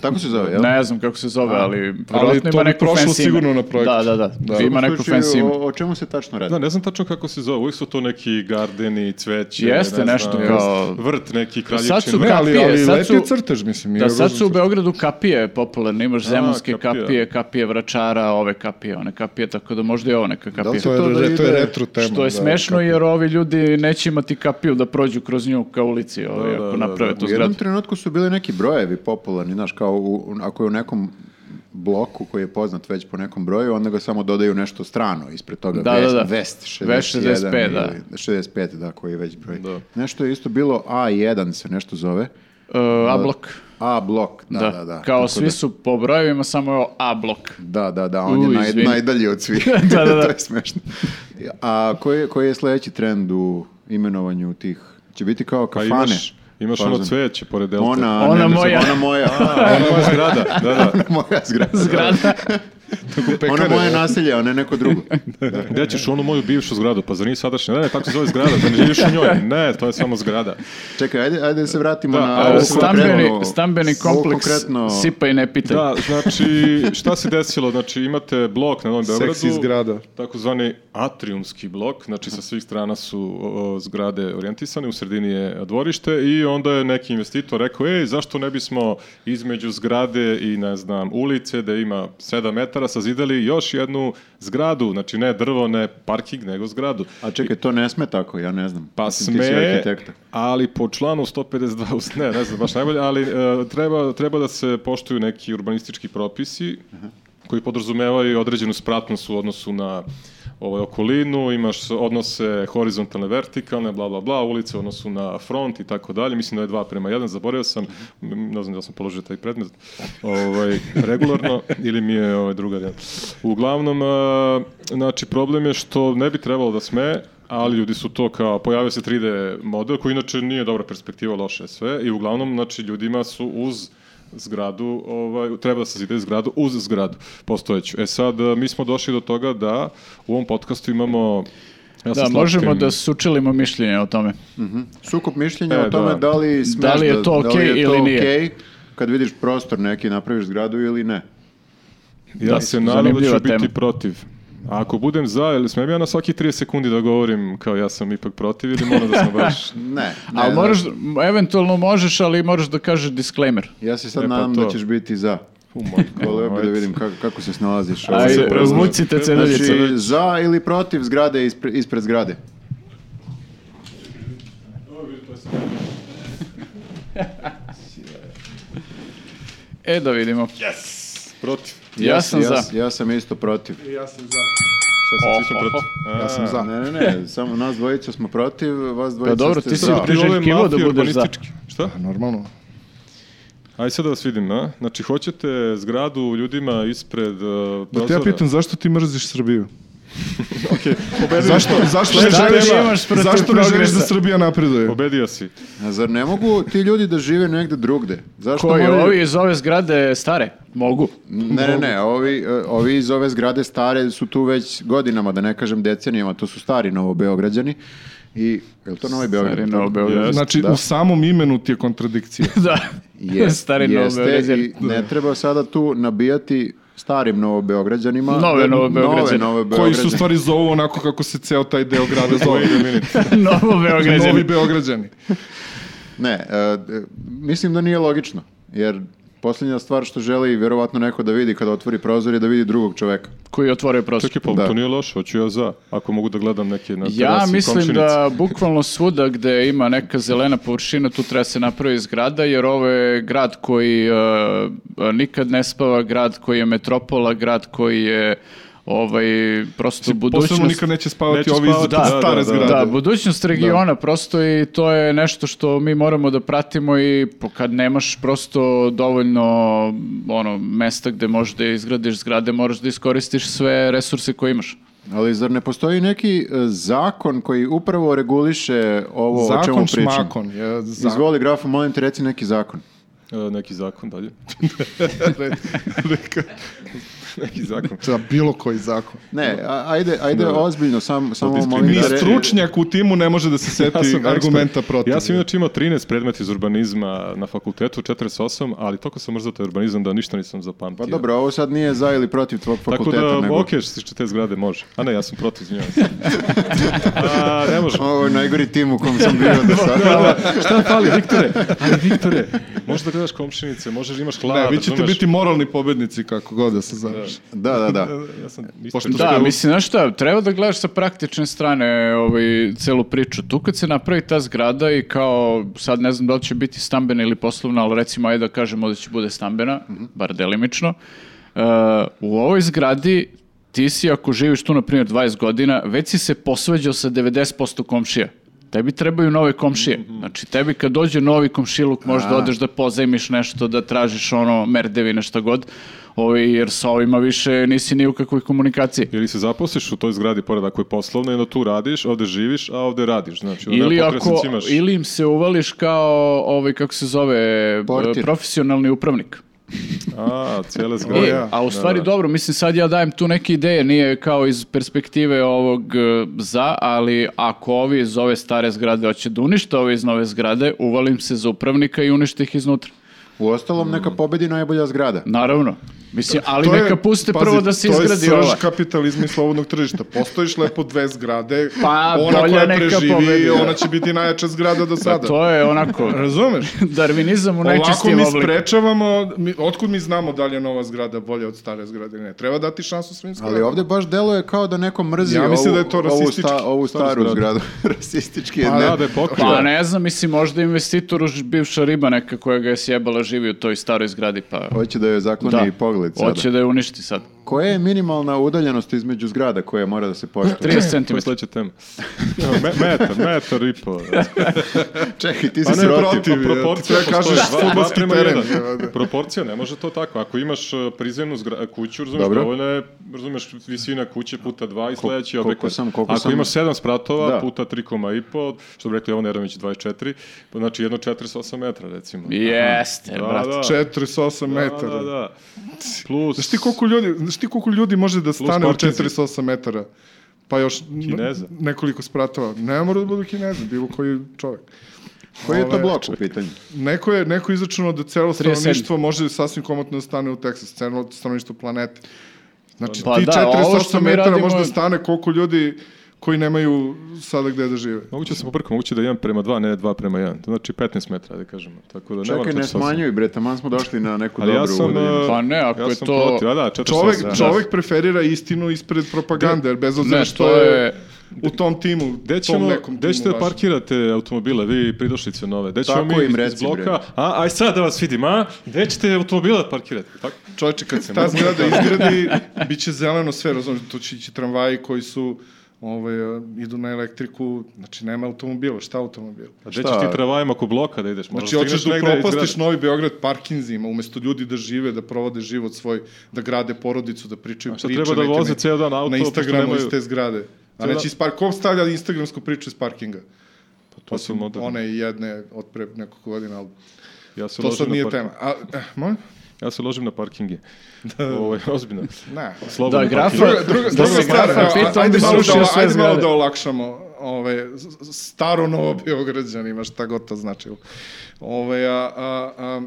Speaker 3: Tako se zove, jel?
Speaker 1: Ne znam kako se zove, ali
Speaker 4: Ali
Speaker 1: verovatno
Speaker 4: to
Speaker 1: ima
Speaker 4: bi
Speaker 1: neko
Speaker 4: prošlo
Speaker 1: fancy ime.
Speaker 4: sigurno na projektu.
Speaker 1: Da, da, da.
Speaker 4: Da.
Speaker 1: Ima neko
Speaker 3: Slušaj,
Speaker 1: fancy ime.
Speaker 3: o, o čemu se tačno radi?
Speaker 5: Da, ne znam tačno kako se zove, uvijek su to neki gardeni, cveće,
Speaker 1: Jeste,
Speaker 5: ne
Speaker 1: nešto
Speaker 5: znam,
Speaker 1: kao-
Speaker 5: vrt neki kraljevčin.
Speaker 1: Sad su
Speaker 5: vrt.
Speaker 4: Ne, ali,
Speaker 1: Kapije,
Speaker 4: ali
Speaker 1: sad
Speaker 4: lep
Speaker 1: su-
Speaker 4: je crtež, mislim. nije
Speaker 1: Da, sad su u
Speaker 4: ružan crtež.
Speaker 1: Beogradu kapije popularne, imaš zemunske
Speaker 5: kapija.
Speaker 1: kapije, kapije vračara, ove kapije, one kapije, tako da možda i ovo neka kapija.
Speaker 3: li
Speaker 4: To
Speaker 3: to
Speaker 4: je,
Speaker 3: da
Speaker 4: re- to je
Speaker 3: ide-
Speaker 4: retro tema.
Speaker 1: Što je
Speaker 4: da,
Speaker 1: smešno jer ovi ljudi neće imati kapiju da prođu kroz nju ka ulici, ovaj,
Speaker 5: Da, da,
Speaker 1: ako
Speaker 5: da,
Speaker 1: naprave
Speaker 5: da.
Speaker 1: tu
Speaker 3: U jednom
Speaker 1: zgradu.
Speaker 3: trenutku su bili neki brojevi popularni, znaš, kao u, u- ako je u nekom bloku koji je poznat već po nekom broju, onda ga samo dodaju nešto strano ispred toga.
Speaker 1: Da,
Speaker 3: Vest,
Speaker 1: da, da.
Speaker 3: Vest 61.
Speaker 1: Vest 65, da.
Speaker 3: ili 65, da, koji je već broj. Nešto je isto bilo A1 se nešto zove.
Speaker 1: E, A blok.
Speaker 3: A blok, da,
Speaker 1: Da,
Speaker 3: da, da.
Speaker 1: Kao
Speaker 3: Tako
Speaker 1: svi
Speaker 3: da-
Speaker 1: su po brojevima, samo je ovo A blok.
Speaker 3: Da, da, da, on
Speaker 1: U,
Speaker 3: je naj,
Speaker 1: izvini.
Speaker 3: najdalji od svih.
Speaker 1: Da, da, da.
Speaker 3: to je smešno. A koji, je- koji je sledeći trend u imenovanju tih? Će biti kao
Speaker 5: Pa
Speaker 3: kafane.
Speaker 5: imaš, imaš ono
Speaker 3: Fazon.
Speaker 5: cveće pored Delte.
Speaker 3: Ona,
Speaker 1: Ona
Speaker 3: ne, ne znam,
Speaker 1: moja.
Speaker 3: Ona moja.
Speaker 5: Ona zgrada, da, da.
Speaker 3: moja zgrada.
Speaker 1: Zgrada.
Speaker 3: Ono
Speaker 1: e?
Speaker 3: moje naselje, a ne neko drugo.
Speaker 5: Gde ćeš u onu moju bivšu zgradu? Pa zar nije sadašnja? Ne, ne, tako se zove zgrada, da ne živiš u njoj. Ne, to je samo zgrada.
Speaker 3: Čekaj, ajde, ajde da se vratimo
Speaker 5: Da,
Speaker 3: na
Speaker 5: a
Speaker 3: ovu
Speaker 5: ovo
Speaker 1: stambeni,
Speaker 3: konkretnu-
Speaker 1: stambeni
Speaker 3: ovu
Speaker 1: kompleks
Speaker 3: konkretno...
Speaker 1: sipa i ne pitaj.
Speaker 5: Da, znači, šta se desilo? Znači, imate blok na Novom Beogradu.
Speaker 4: Seksi zgrada.
Speaker 5: Takozvani atriumski blok, znači sa svih strana su o, o, zgrade orijentisane, u sredini je dvorište i onda je neki investitor rekao, ej, zašto ne bismo između zgrade i, ne znam, ulice da ima 7 metara sazidali još jednu zgradu, znači ne drvo, ne parking, nego zgradu.
Speaker 3: A čekaj, to ne sme tako, ja ne znam.
Speaker 5: Pa
Speaker 3: Mislim, ti si
Speaker 5: sme,
Speaker 3: arhitekta.
Speaker 5: ali po članu 152, us- ne, ne znam baš najbolje, ali e, treba, treba da se poštuju neki urbanistički propisi koji podrazumevaju i određenu spratnost u odnosu na ovaj, okolinu, imaš odnose horizontalne, vertikalne, bla, bla, bla, ulice u odnosu na front i tako dalje, mislim da je 2 prema 1, zaboravio sam, m, ne znam da li sam položio taj predmet, ovaj, regularno, ili mi je ovaj, druga jedan. Uglavnom, e, znači, problem je što ne bi trebalo da sme, ali ljudi su to kao, pojavio se 3D model koji inače nije dobra perspektiva, loše je sve i uglavnom, znači, ljudima su uz zgradu, ovaj, treba da se zide zgradu uz zgradu postojeću. E sad, e, mi smo došli do toga da u ovom podcastu imamo ja sa
Speaker 1: Da,
Speaker 5: Slavkom-
Speaker 1: možemo da sučelimo mišljenje o tome.
Speaker 3: Sukup mišljenja
Speaker 5: E,
Speaker 3: o tome
Speaker 5: da.
Speaker 3: da, li smeš
Speaker 1: Da li je to
Speaker 3: da li je
Speaker 1: okej
Speaker 3: to
Speaker 1: ili nije?
Speaker 3: okej kad vidiš prostor neki, napraviš zgradu ili ne.
Speaker 5: Ja
Speaker 1: Da,
Speaker 5: se nadam da ću
Speaker 1: zanimljiva tema.
Speaker 5: biti protiv. A ako budem za, ili smem ja na svaki 30 sekundi da govorim kao ja sam ipak protiv ili moram da sam baš...
Speaker 3: Ne. ne
Speaker 1: Ali
Speaker 3: znaš.
Speaker 1: moraš, eventualno možeš, ali moraš da kažeš disclaimer.
Speaker 3: Ja se sad
Speaker 5: E, pa
Speaker 3: nadam da
Speaker 5: to.
Speaker 3: ćeš biti za.
Speaker 5: Umoj,
Speaker 3: Voleo bi da vidim kako, kako se snalaziš. ovaj,
Speaker 1: Aj,
Speaker 5: se preuzme.
Speaker 1: zvucite Znači, ceduljice.
Speaker 3: Znači, za ili protiv zgrade ispred, ispred zgrade?
Speaker 1: E, da vidimo.
Speaker 5: Protiv.
Speaker 1: Ja sam za.
Speaker 3: s- Ja sam isto protiv.
Speaker 5: Šta sam, ti smo protiv?
Speaker 4: Ja sam za.
Speaker 3: Ne, ne, ne, samo nas dvojica smo protiv, vas dvojica
Speaker 1: Pa dobro,
Speaker 3: ste
Speaker 1: ti si
Speaker 3: za.
Speaker 1: protiv. Priželjkivao da budeš za.
Speaker 5: Šta?
Speaker 4: Normalno.
Speaker 5: Ajde sad da vas vidim, a? Znači, hoćete zgradu ljudima ispred uh,
Speaker 4: Da
Speaker 5: prozora?
Speaker 4: te ja pitam zašto ti mrziš Srbiju?
Speaker 5: Zašto?
Speaker 4: Zašto
Speaker 1: Šta
Speaker 4: ne
Speaker 1: ti
Speaker 4: želiš,
Speaker 1: imaš protiv
Speaker 4: zašto ne želiš
Speaker 1: progresa?
Speaker 4: da Srbija napreduje?
Speaker 5: Pobedio si.
Speaker 3: A zar ne mogu ti ljudi da žive negde drugde? Zašto
Speaker 1: Koji
Speaker 3: moraju-
Speaker 1: ovi iz ove zgrade stare? Mogu.
Speaker 3: Ne, ne, ne, ovi, e, ovi iz ove zgrade stare su tu već godinama, da ne kažem decenijama, to su stari novobeograđani. I, je li to Novi Beograd?
Speaker 1: Stari Novo Beograd.
Speaker 4: Znači,
Speaker 3: da.
Speaker 4: u samom imenu ti je kontradikcija.
Speaker 1: Da.
Speaker 3: Jest,
Speaker 1: Stari Novo
Speaker 3: jeste,
Speaker 1: Beograđani.
Speaker 3: i ne treba sada tu nabijati starim novobeograđanima. da
Speaker 1: Nove Novobeograđane.
Speaker 3: Nove Novobeograđane.
Speaker 4: Koji su u stvari zovu onako kako se ceo taj deo grada zove. Znači,
Speaker 1: Novo
Speaker 4: Novi
Speaker 1: Beograđani.
Speaker 4: Beograđani.
Speaker 3: Ne, e, e, mislim da nije logično, jer Posljednja stvar što želi verovatno neko da vidi kada otvori prozor je da vidi drugog čoveka.
Speaker 1: koji je otvorio prostor.
Speaker 5: Čekaj, pa
Speaker 3: Da.
Speaker 5: to nije loše, hoću ja za, ako mogu da gledam neke na terasi
Speaker 1: Ja mislim
Speaker 5: komšinice.
Speaker 1: da bukvalno svuda gde ima neka zelena površina, tu treba se napravi zgrada, jer ovo je grad koji e, nikad ne spava, grad koji je metropola, grad koji je ovaj, prosto
Speaker 4: Posebno
Speaker 1: budućnost.
Speaker 4: nikad neće spavati
Speaker 5: Neće
Speaker 4: ovi iz
Speaker 5: spavati,
Speaker 1: da,
Speaker 4: stare
Speaker 5: da, da,
Speaker 4: zgrade.
Speaker 1: Da, budućnost regiona prosto i to je nešto što mi moramo da pratimo i po- kad nemaš prosto dovoljno ono, mesta gde možeš da izgradiš zgrade, moraš da iskoristiš sve resurse koje imaš.
Speaker 3: Ali zar ne postoji neki e, zakon koji upravo reguliše ovo o čemu
Speaker 4: Zakon
Speaker 3: pričam?
Speaker 4: šmakon je zakon.
Speaker 3: Izvoli grafu, molim te reci neki zakon.
Speaker 5: E, neki zakon dalje.
Speaker 4: Neka-
Speaker 5: neki zakon.
Speaker 4: Za bilo koji zakon.
Speaker 3: Ne, a- ajde, ajde
Speaker 4: Da,
Speaker 3: ozbiljno, sam, samo molim
Speaker 4: Ni
Speaker 3: da re-
Speaker 4: stručnjak u timu ne može da se
Speaker 5: Ja sam
Speaker 4: seti
Speaker 5: ekspert.
Speaker 4: argumenta protiv.
Speaker 5: Ja sam inače imao 13 predmeta iz urbanizma na fakultetu, 48, ali toliko sam mrzao taj urbanizam da ništa nisam zapamtio.
Speaker 3: Pa dobro, ovo sad nije za ili protiv tvog
Speaker 5: Tako
Speaker 3: fakulteta.
Speaker 5: da,
Speaker 3: nego-
Speaker 5: ok, što se tiče te zgrade može. A ne, ja sam protiv, izvinjavam se. A, ne može.
Speaker 3: Ovo je najgori tim u kom sam bio do sada.
Speaker 5: Šta fali, Viktore? Ali, Viktore, možeš da gledaš komšinice, možeš, imaš hlad,
Speaker 4: Ne, vi ćete
Speaker 5: razumeš?
Speaker 4: biti moralni pobednici kako god da se završi.
Speaker 3: Da, da, da.
Speaker 5: Ja- Ja sam isto-
Speaker 4: Pošto
Speaker 5: Da,
Speaker 4: ste
Speaker 1: Da,
Speaker 4: u-
Speaker 1: mislim, znaš šta, treba da gledaš sa praktične strane ovaj, celu priču. Tu kad se napravi ta zgrada i kao, sad ne znam da li će biti stambena ili poslovna, ali recimo, ajde da kažemo da će bude stambena, bar delimično, e, u ovoj zgradi ti si, ako živiš tu, na primjer, 20 godina, već si se posveđao sa 90% komšija. Tebi trebaju nove komšije. Znači, tebi kad dođe novi komšiluk, možda odeš da pozajmiš nešto, da tražiš ono merdevine, šta god, ovaj, jer sa ovima više nisi ni u kakvoj komunikaciji.
Speaker 5: Ili se zaposliš u toj zgradi pored ako je poslovna i onda tu radiš, ovde živiš, a ovde radiš. Znači, onda
Speaker 1: Ili,
Speaker 5: nema
Speaker 1: ako,
Speaker 5: potresnici imaš.
Speaker 1: ili im se uvališ kao, ovaj, kako se zove,
Speaker 3: Portir.
Speaker 1: e, profesionalni upravnik.
Speaker 5: A, Da, cijela
Speaker 1: E,
Speaker 5: zgrada.
Speaker 4: ja.
Speaker 1: A u stvari dobro, mislim sad ja dajem tu neke ideje, nije kao iz perspektive ovog e, za, ali ako ovi iz ove stare zgrade hoće da unište ove iz nove zgrade, uvalim se za upravnika i unište ih iznutra.
Speaker 3: U ostalom, neka pobedi najbolja zgrada.
Speaker 1: Naravno. Mislim, ali
Speaker 4: To je-
Speaker 1: neka puste
Speaker 4: pazi,
Speaker 1: prvo da se
Speaker 4: To
Speaker 1: izgradi
Speaker 4: je
Speaker 1: ova.
Speaker 4: srž kapitalizma i slobodnog tržišta. Postojiš lepo dve zgrade,
Speaker 1: Pa,
Speaker 4: ona
Speaker 1: bolje
Speaker 4: koja
Speaker 1: neka
Speaker 4: preživi,
Speaker 1: pobedi. da.
Speaker 4: ona će biti najjača zgrada
Speaker 1: Pa
Speaker 4: do sada.
Speaker 1: to je onako,
Speaker 4: Razumeš?
Speaker 1: darvinizam u
Speaker 4: Ovako
Speaker 1: najčistijem
Speaker 4: mi
Speaker 1: obliku.
Speaker 4: sprečavamo, mi, otkud mi znamo da li je nova zgrada bolja od stare zgrade ili ne. Treba dati šansu svim zgradama.
Speaker 3: Ali ovdje baš deluje kao da neko mrzi
Speaker 4: Ja mislim
Speaker 3: ovu,
Speaker 4: da je to
Speaker 3: ovu
Speaker 4: rasistički.
Speaker 3: sta- ovu staru
Speaker 5: Staru
Speaker 3: zgradu. rasistički je,
Speaker 5: A,
Speaker 3: ne.
Speaker 5: da, da je pokrio.
Speaker 1: Pa ne znam, mislim, možda investitoru ž- bivša riba neka koja ga je sjebala živi u toj staroj zgradi, pa...
Speaker 3: Hoće da joj zakloni
Speaker 1: Da.
Speaker 3: i pogled sada.
Speaker 1: Hoće da je uništi sad.
Speaker 3: Koja je minimalna udaljenost između zgrada koja mora da se poštuje?
Speaker 1: 30
Speaker 5: To je
Speaker 1: cm.
Speaker 5: sledeća tema. Evo, me- metar, metar i po.
Speaker 3: Čekaj, ti si
Speaker 5: Pa ne,
Speaker 3: protiv.
Speaker 5: protiv,
Speaker 4: protiv,
Speaker 5: proporcija
Speaker 4: ja ti sve
Speaker 5: postoji,
Speaker 4: kažeš,
Speaker 5: dva-
Speaker 4: fudbalski
Speaker 5: dva prema
Speaker 4: teren.
Speaker 5: jedan. Proporcija, ne može to tako. Ako imaš e, prizemnu zgra- kuću, razumeš,
Speaker 3: Dobro.
Speaker 5: dovoljno je, razumeš, visina kuće puta dva i sledeći
Speaker 3: koliko
Speaker 5: objekat.
Speaker 3: sam- koliko
Speaker 5: Ako
Speaker 3: sam-
Speaker 5: imaš sedam spratova
Speaker 3: Da.
Speaker 5: puta 3,5, što bi rekli Jovan Jeremić 24, pa znači jedno 48 metra, recimo.
Speaker 1: Jeste,
Speaker 5: Da,
Speaker 1: brate.
Speaker 5: da.
Speaker 4: 48
Speaker 5: Da,
Speaker 4: metara.
Speaker 5: da, da. Plus...
Speaker 4: Znaš ti koliko ljudi, znaš ti koliko ljudi može da stane u
Speaker 5: parkinzi.
Speaker 4: 48 metara? Pa još n-
Speaker 5: Kineza.
Speaker 4: nekoliko spratova. Ne mora da budu kineza, bilo koji čovjek.
Speaker 3: Koji je to
Speaker 4: Ove,
Speaker 3: blok u pitanju?
Speaker 4: Neko je, neko je izračunao da celo
Speaker 1: 37.
Speaker 4: stanovništvo može sasvim komotno da stane u Teksasu, celo stanovništvo planete. Znači
Speaker 1: Pa
Speaker 4: ti
Speaker 1: da, ovo što
Speaker 4: 48
Speaker 1: mi
Speaker 4: metara
Speaker 1: radimo-
Speaker 4: može da stane koliko ljudi koji nemaju sada gde da žive.
Speaker 5: Moguće da se poprkam, moguće da je 1 prema 2, ne 2 prema 1. To znači 15 metara, da kažemo. Tako da
Speaker 3: Čekaj,
Speaker 5: moram
Speaker 3: ne
Speaker 5: 48.
Speaker 3: smanjuj, bre, taman smo došli na neku
Speaker 5: Ali
Speaker 3: dobru
Speaker 5: ja sam...
Speaker 3: udaljenost.
Speaker 5: e,
Speaker 1: Pa ne, ako
Speaker 5: ja
Speaker 1: je
Speaker 5: sam
Speaker 1: to-
Speaker 5: Protiv, a da, 48.
Speaker 4: Čovek,
Speaker 5: da.
Speaker 4: čovek preferira istinu ispred propagande, jer bez obzira
Speaker 1: Ne,
Speaker 4: što
Speaker 1: to
Speaker 4: je
Speaker 1: je-
Speaker 4: u tom timu,
Speaker 5: Gde
Speaker 4: tom
Speaker 5: ćemo,
Speaker 4: nekom
Speaker 5: gde ćete
Speaker 4: timu
Speaker 5: da
Speaker 4: vašem.
Speaker 5: parkirate automobile, vi pridošlice nove? Gde ćemo
Speaker 3: Tako
Speaker 5: mi
Speaker 3: im
Speaker 5: iz- iz
Speaker 3: reci, bre.
Speaker 5: bloka? A, aj sad da vas vidim, a? Gde ćete automobile da parkirate? Tako?
Speaker 4: Čovječe, kad se ta zgrada izgradi, bit će zeleno sve, razumiješ, tu će ići tramvaji koji su, ovaj, idu na elektriku, znači nema automobila, šta automobila?
Speaker 5: A gde
Speaker 3: Šta?
Speaker 5: ćeš ti travajem oko bloka da ideš? Možda
Speaker 4: Znači, hoćeš
Speaker 5: stigneš
Speaker 4: da
Speaker 5: negde iz
Speaker 4: upropastiš
Speaker 5: grada.
Speaker 4: Novi Beograd parkinzima, umesto ljudi da žive, da provode život svoj, da grade porodicu, da pričaju
Speaker 5: šta,
Speaker 4: priče.
Speaker 5: treba da
Speaker 4: neke
Speaker 5: voze
Speaker 4: na-
Speaker 5: ceo dan auto,
Speaker 4: Na
Speaker 5: pošto
Speaker 4: Instagramu
Speaker 5: nemaju-
Speaker 4: iz te zgrade. A
Speaker 5: Ceo
Speaker 4: neće
Speaker 5: dan-
Speaker 4: iz par... Ko stavlja instagramsku priču iz parkinga?
Speaker 5: To su moderni.
Speaker 4: One jedne od pre nekoliko godina, ali
Speaker 5: Ja se
Speaker 4: to
Speaker 5: ložim
Speaker 4: sad
Speaker 5: na
Speaker 4: nije
Speaker 5: park-
Speaker 4: tema. A, eh, molim?
Speaker 5: Ja se ložim na parkinge.
Speaker 4: Da.
Speaker 5: Ovo je ozbiljno.
Speaker 4: Ne.
Speaker 5: Slobodno
Speaker 1: Da, grafa-
Speaker 5: parkiranje.
Speaker 4: Druga,
Speaker 1: Da
Speaker 4: druga
Speaker 1: se
Speaker 4: stvar,
Speaker 1: grafa
Speaker 4: evo,
Speaker 1: pita, on
Speaker 4: ajde,
Speaker 1: bi
Speaker 4: malo da,
Speaker 1: srušio sve
Speaker 4: ajde malo
Speaker 1: zgrade.
Speaker 4: da olakšamo ove, s- s- staro novo Beograđanima, šta god to značilo. Ove, a, a, a,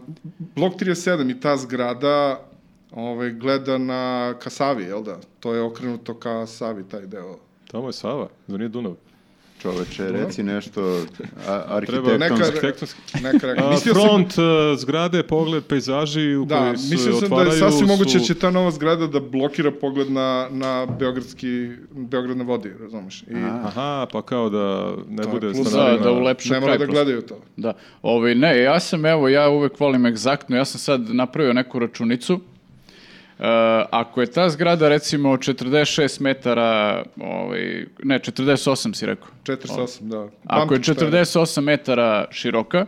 Speaker 4: blok 37 i ta zgrada ove, gleda na Kasavi, jel da? To je okrenuto ka Savi, taj deo.
Speaker 5: Tamo je Sava, zar nije Dunav?
Speaker 3: čoveče, reci nešto a,
Speaker 5: Treba
Speaker 3: arhitektonsko.
Speaker 4: Neka,
Speaker 5: Arhitektonski.
Speaker 4: neka reka.
Speaker 5: A,
Speaker 4: Mislio sam-
Speaker 5: front, e, zgrade, pogled, pejzaži u
Speaker 4: Da,
Speaker 5: koji se
Speaker 4: mislio sam da
Speaker 5: otvaraju
Speaker 4: je sasvim moguće da
Speaker 5: su-
Speaker 4: će ta nova zgrada da blokira pogled na, na Beogradski, Beograd na vodi, razumeš? I
Speaker 5: Aha, pa kao da ne bude
Speaker 4: plus-
Speaker 1: Da,
Speaker 5: stanarina.
Speaker 1: da ulepša
Speaker 4: ne mora
Speaker 1: kraj
Speaker 4: da
Speaker 1: prosto.
Speaker 4: gledaju to.
Speaker 1: Da. Ovaj, ne, ja sam, evo, ja uvek volim egzaktno, ja sam sad napravio neku računicu. E, ako je ta zgrada, recimo, 46 metara, ovaj, ne, 48 si rekao.
Speaker 4: 48, da.
Speaker 1: Ako je
Speaker 4: Pamtim šta
Speaker 1: 48 metara široka,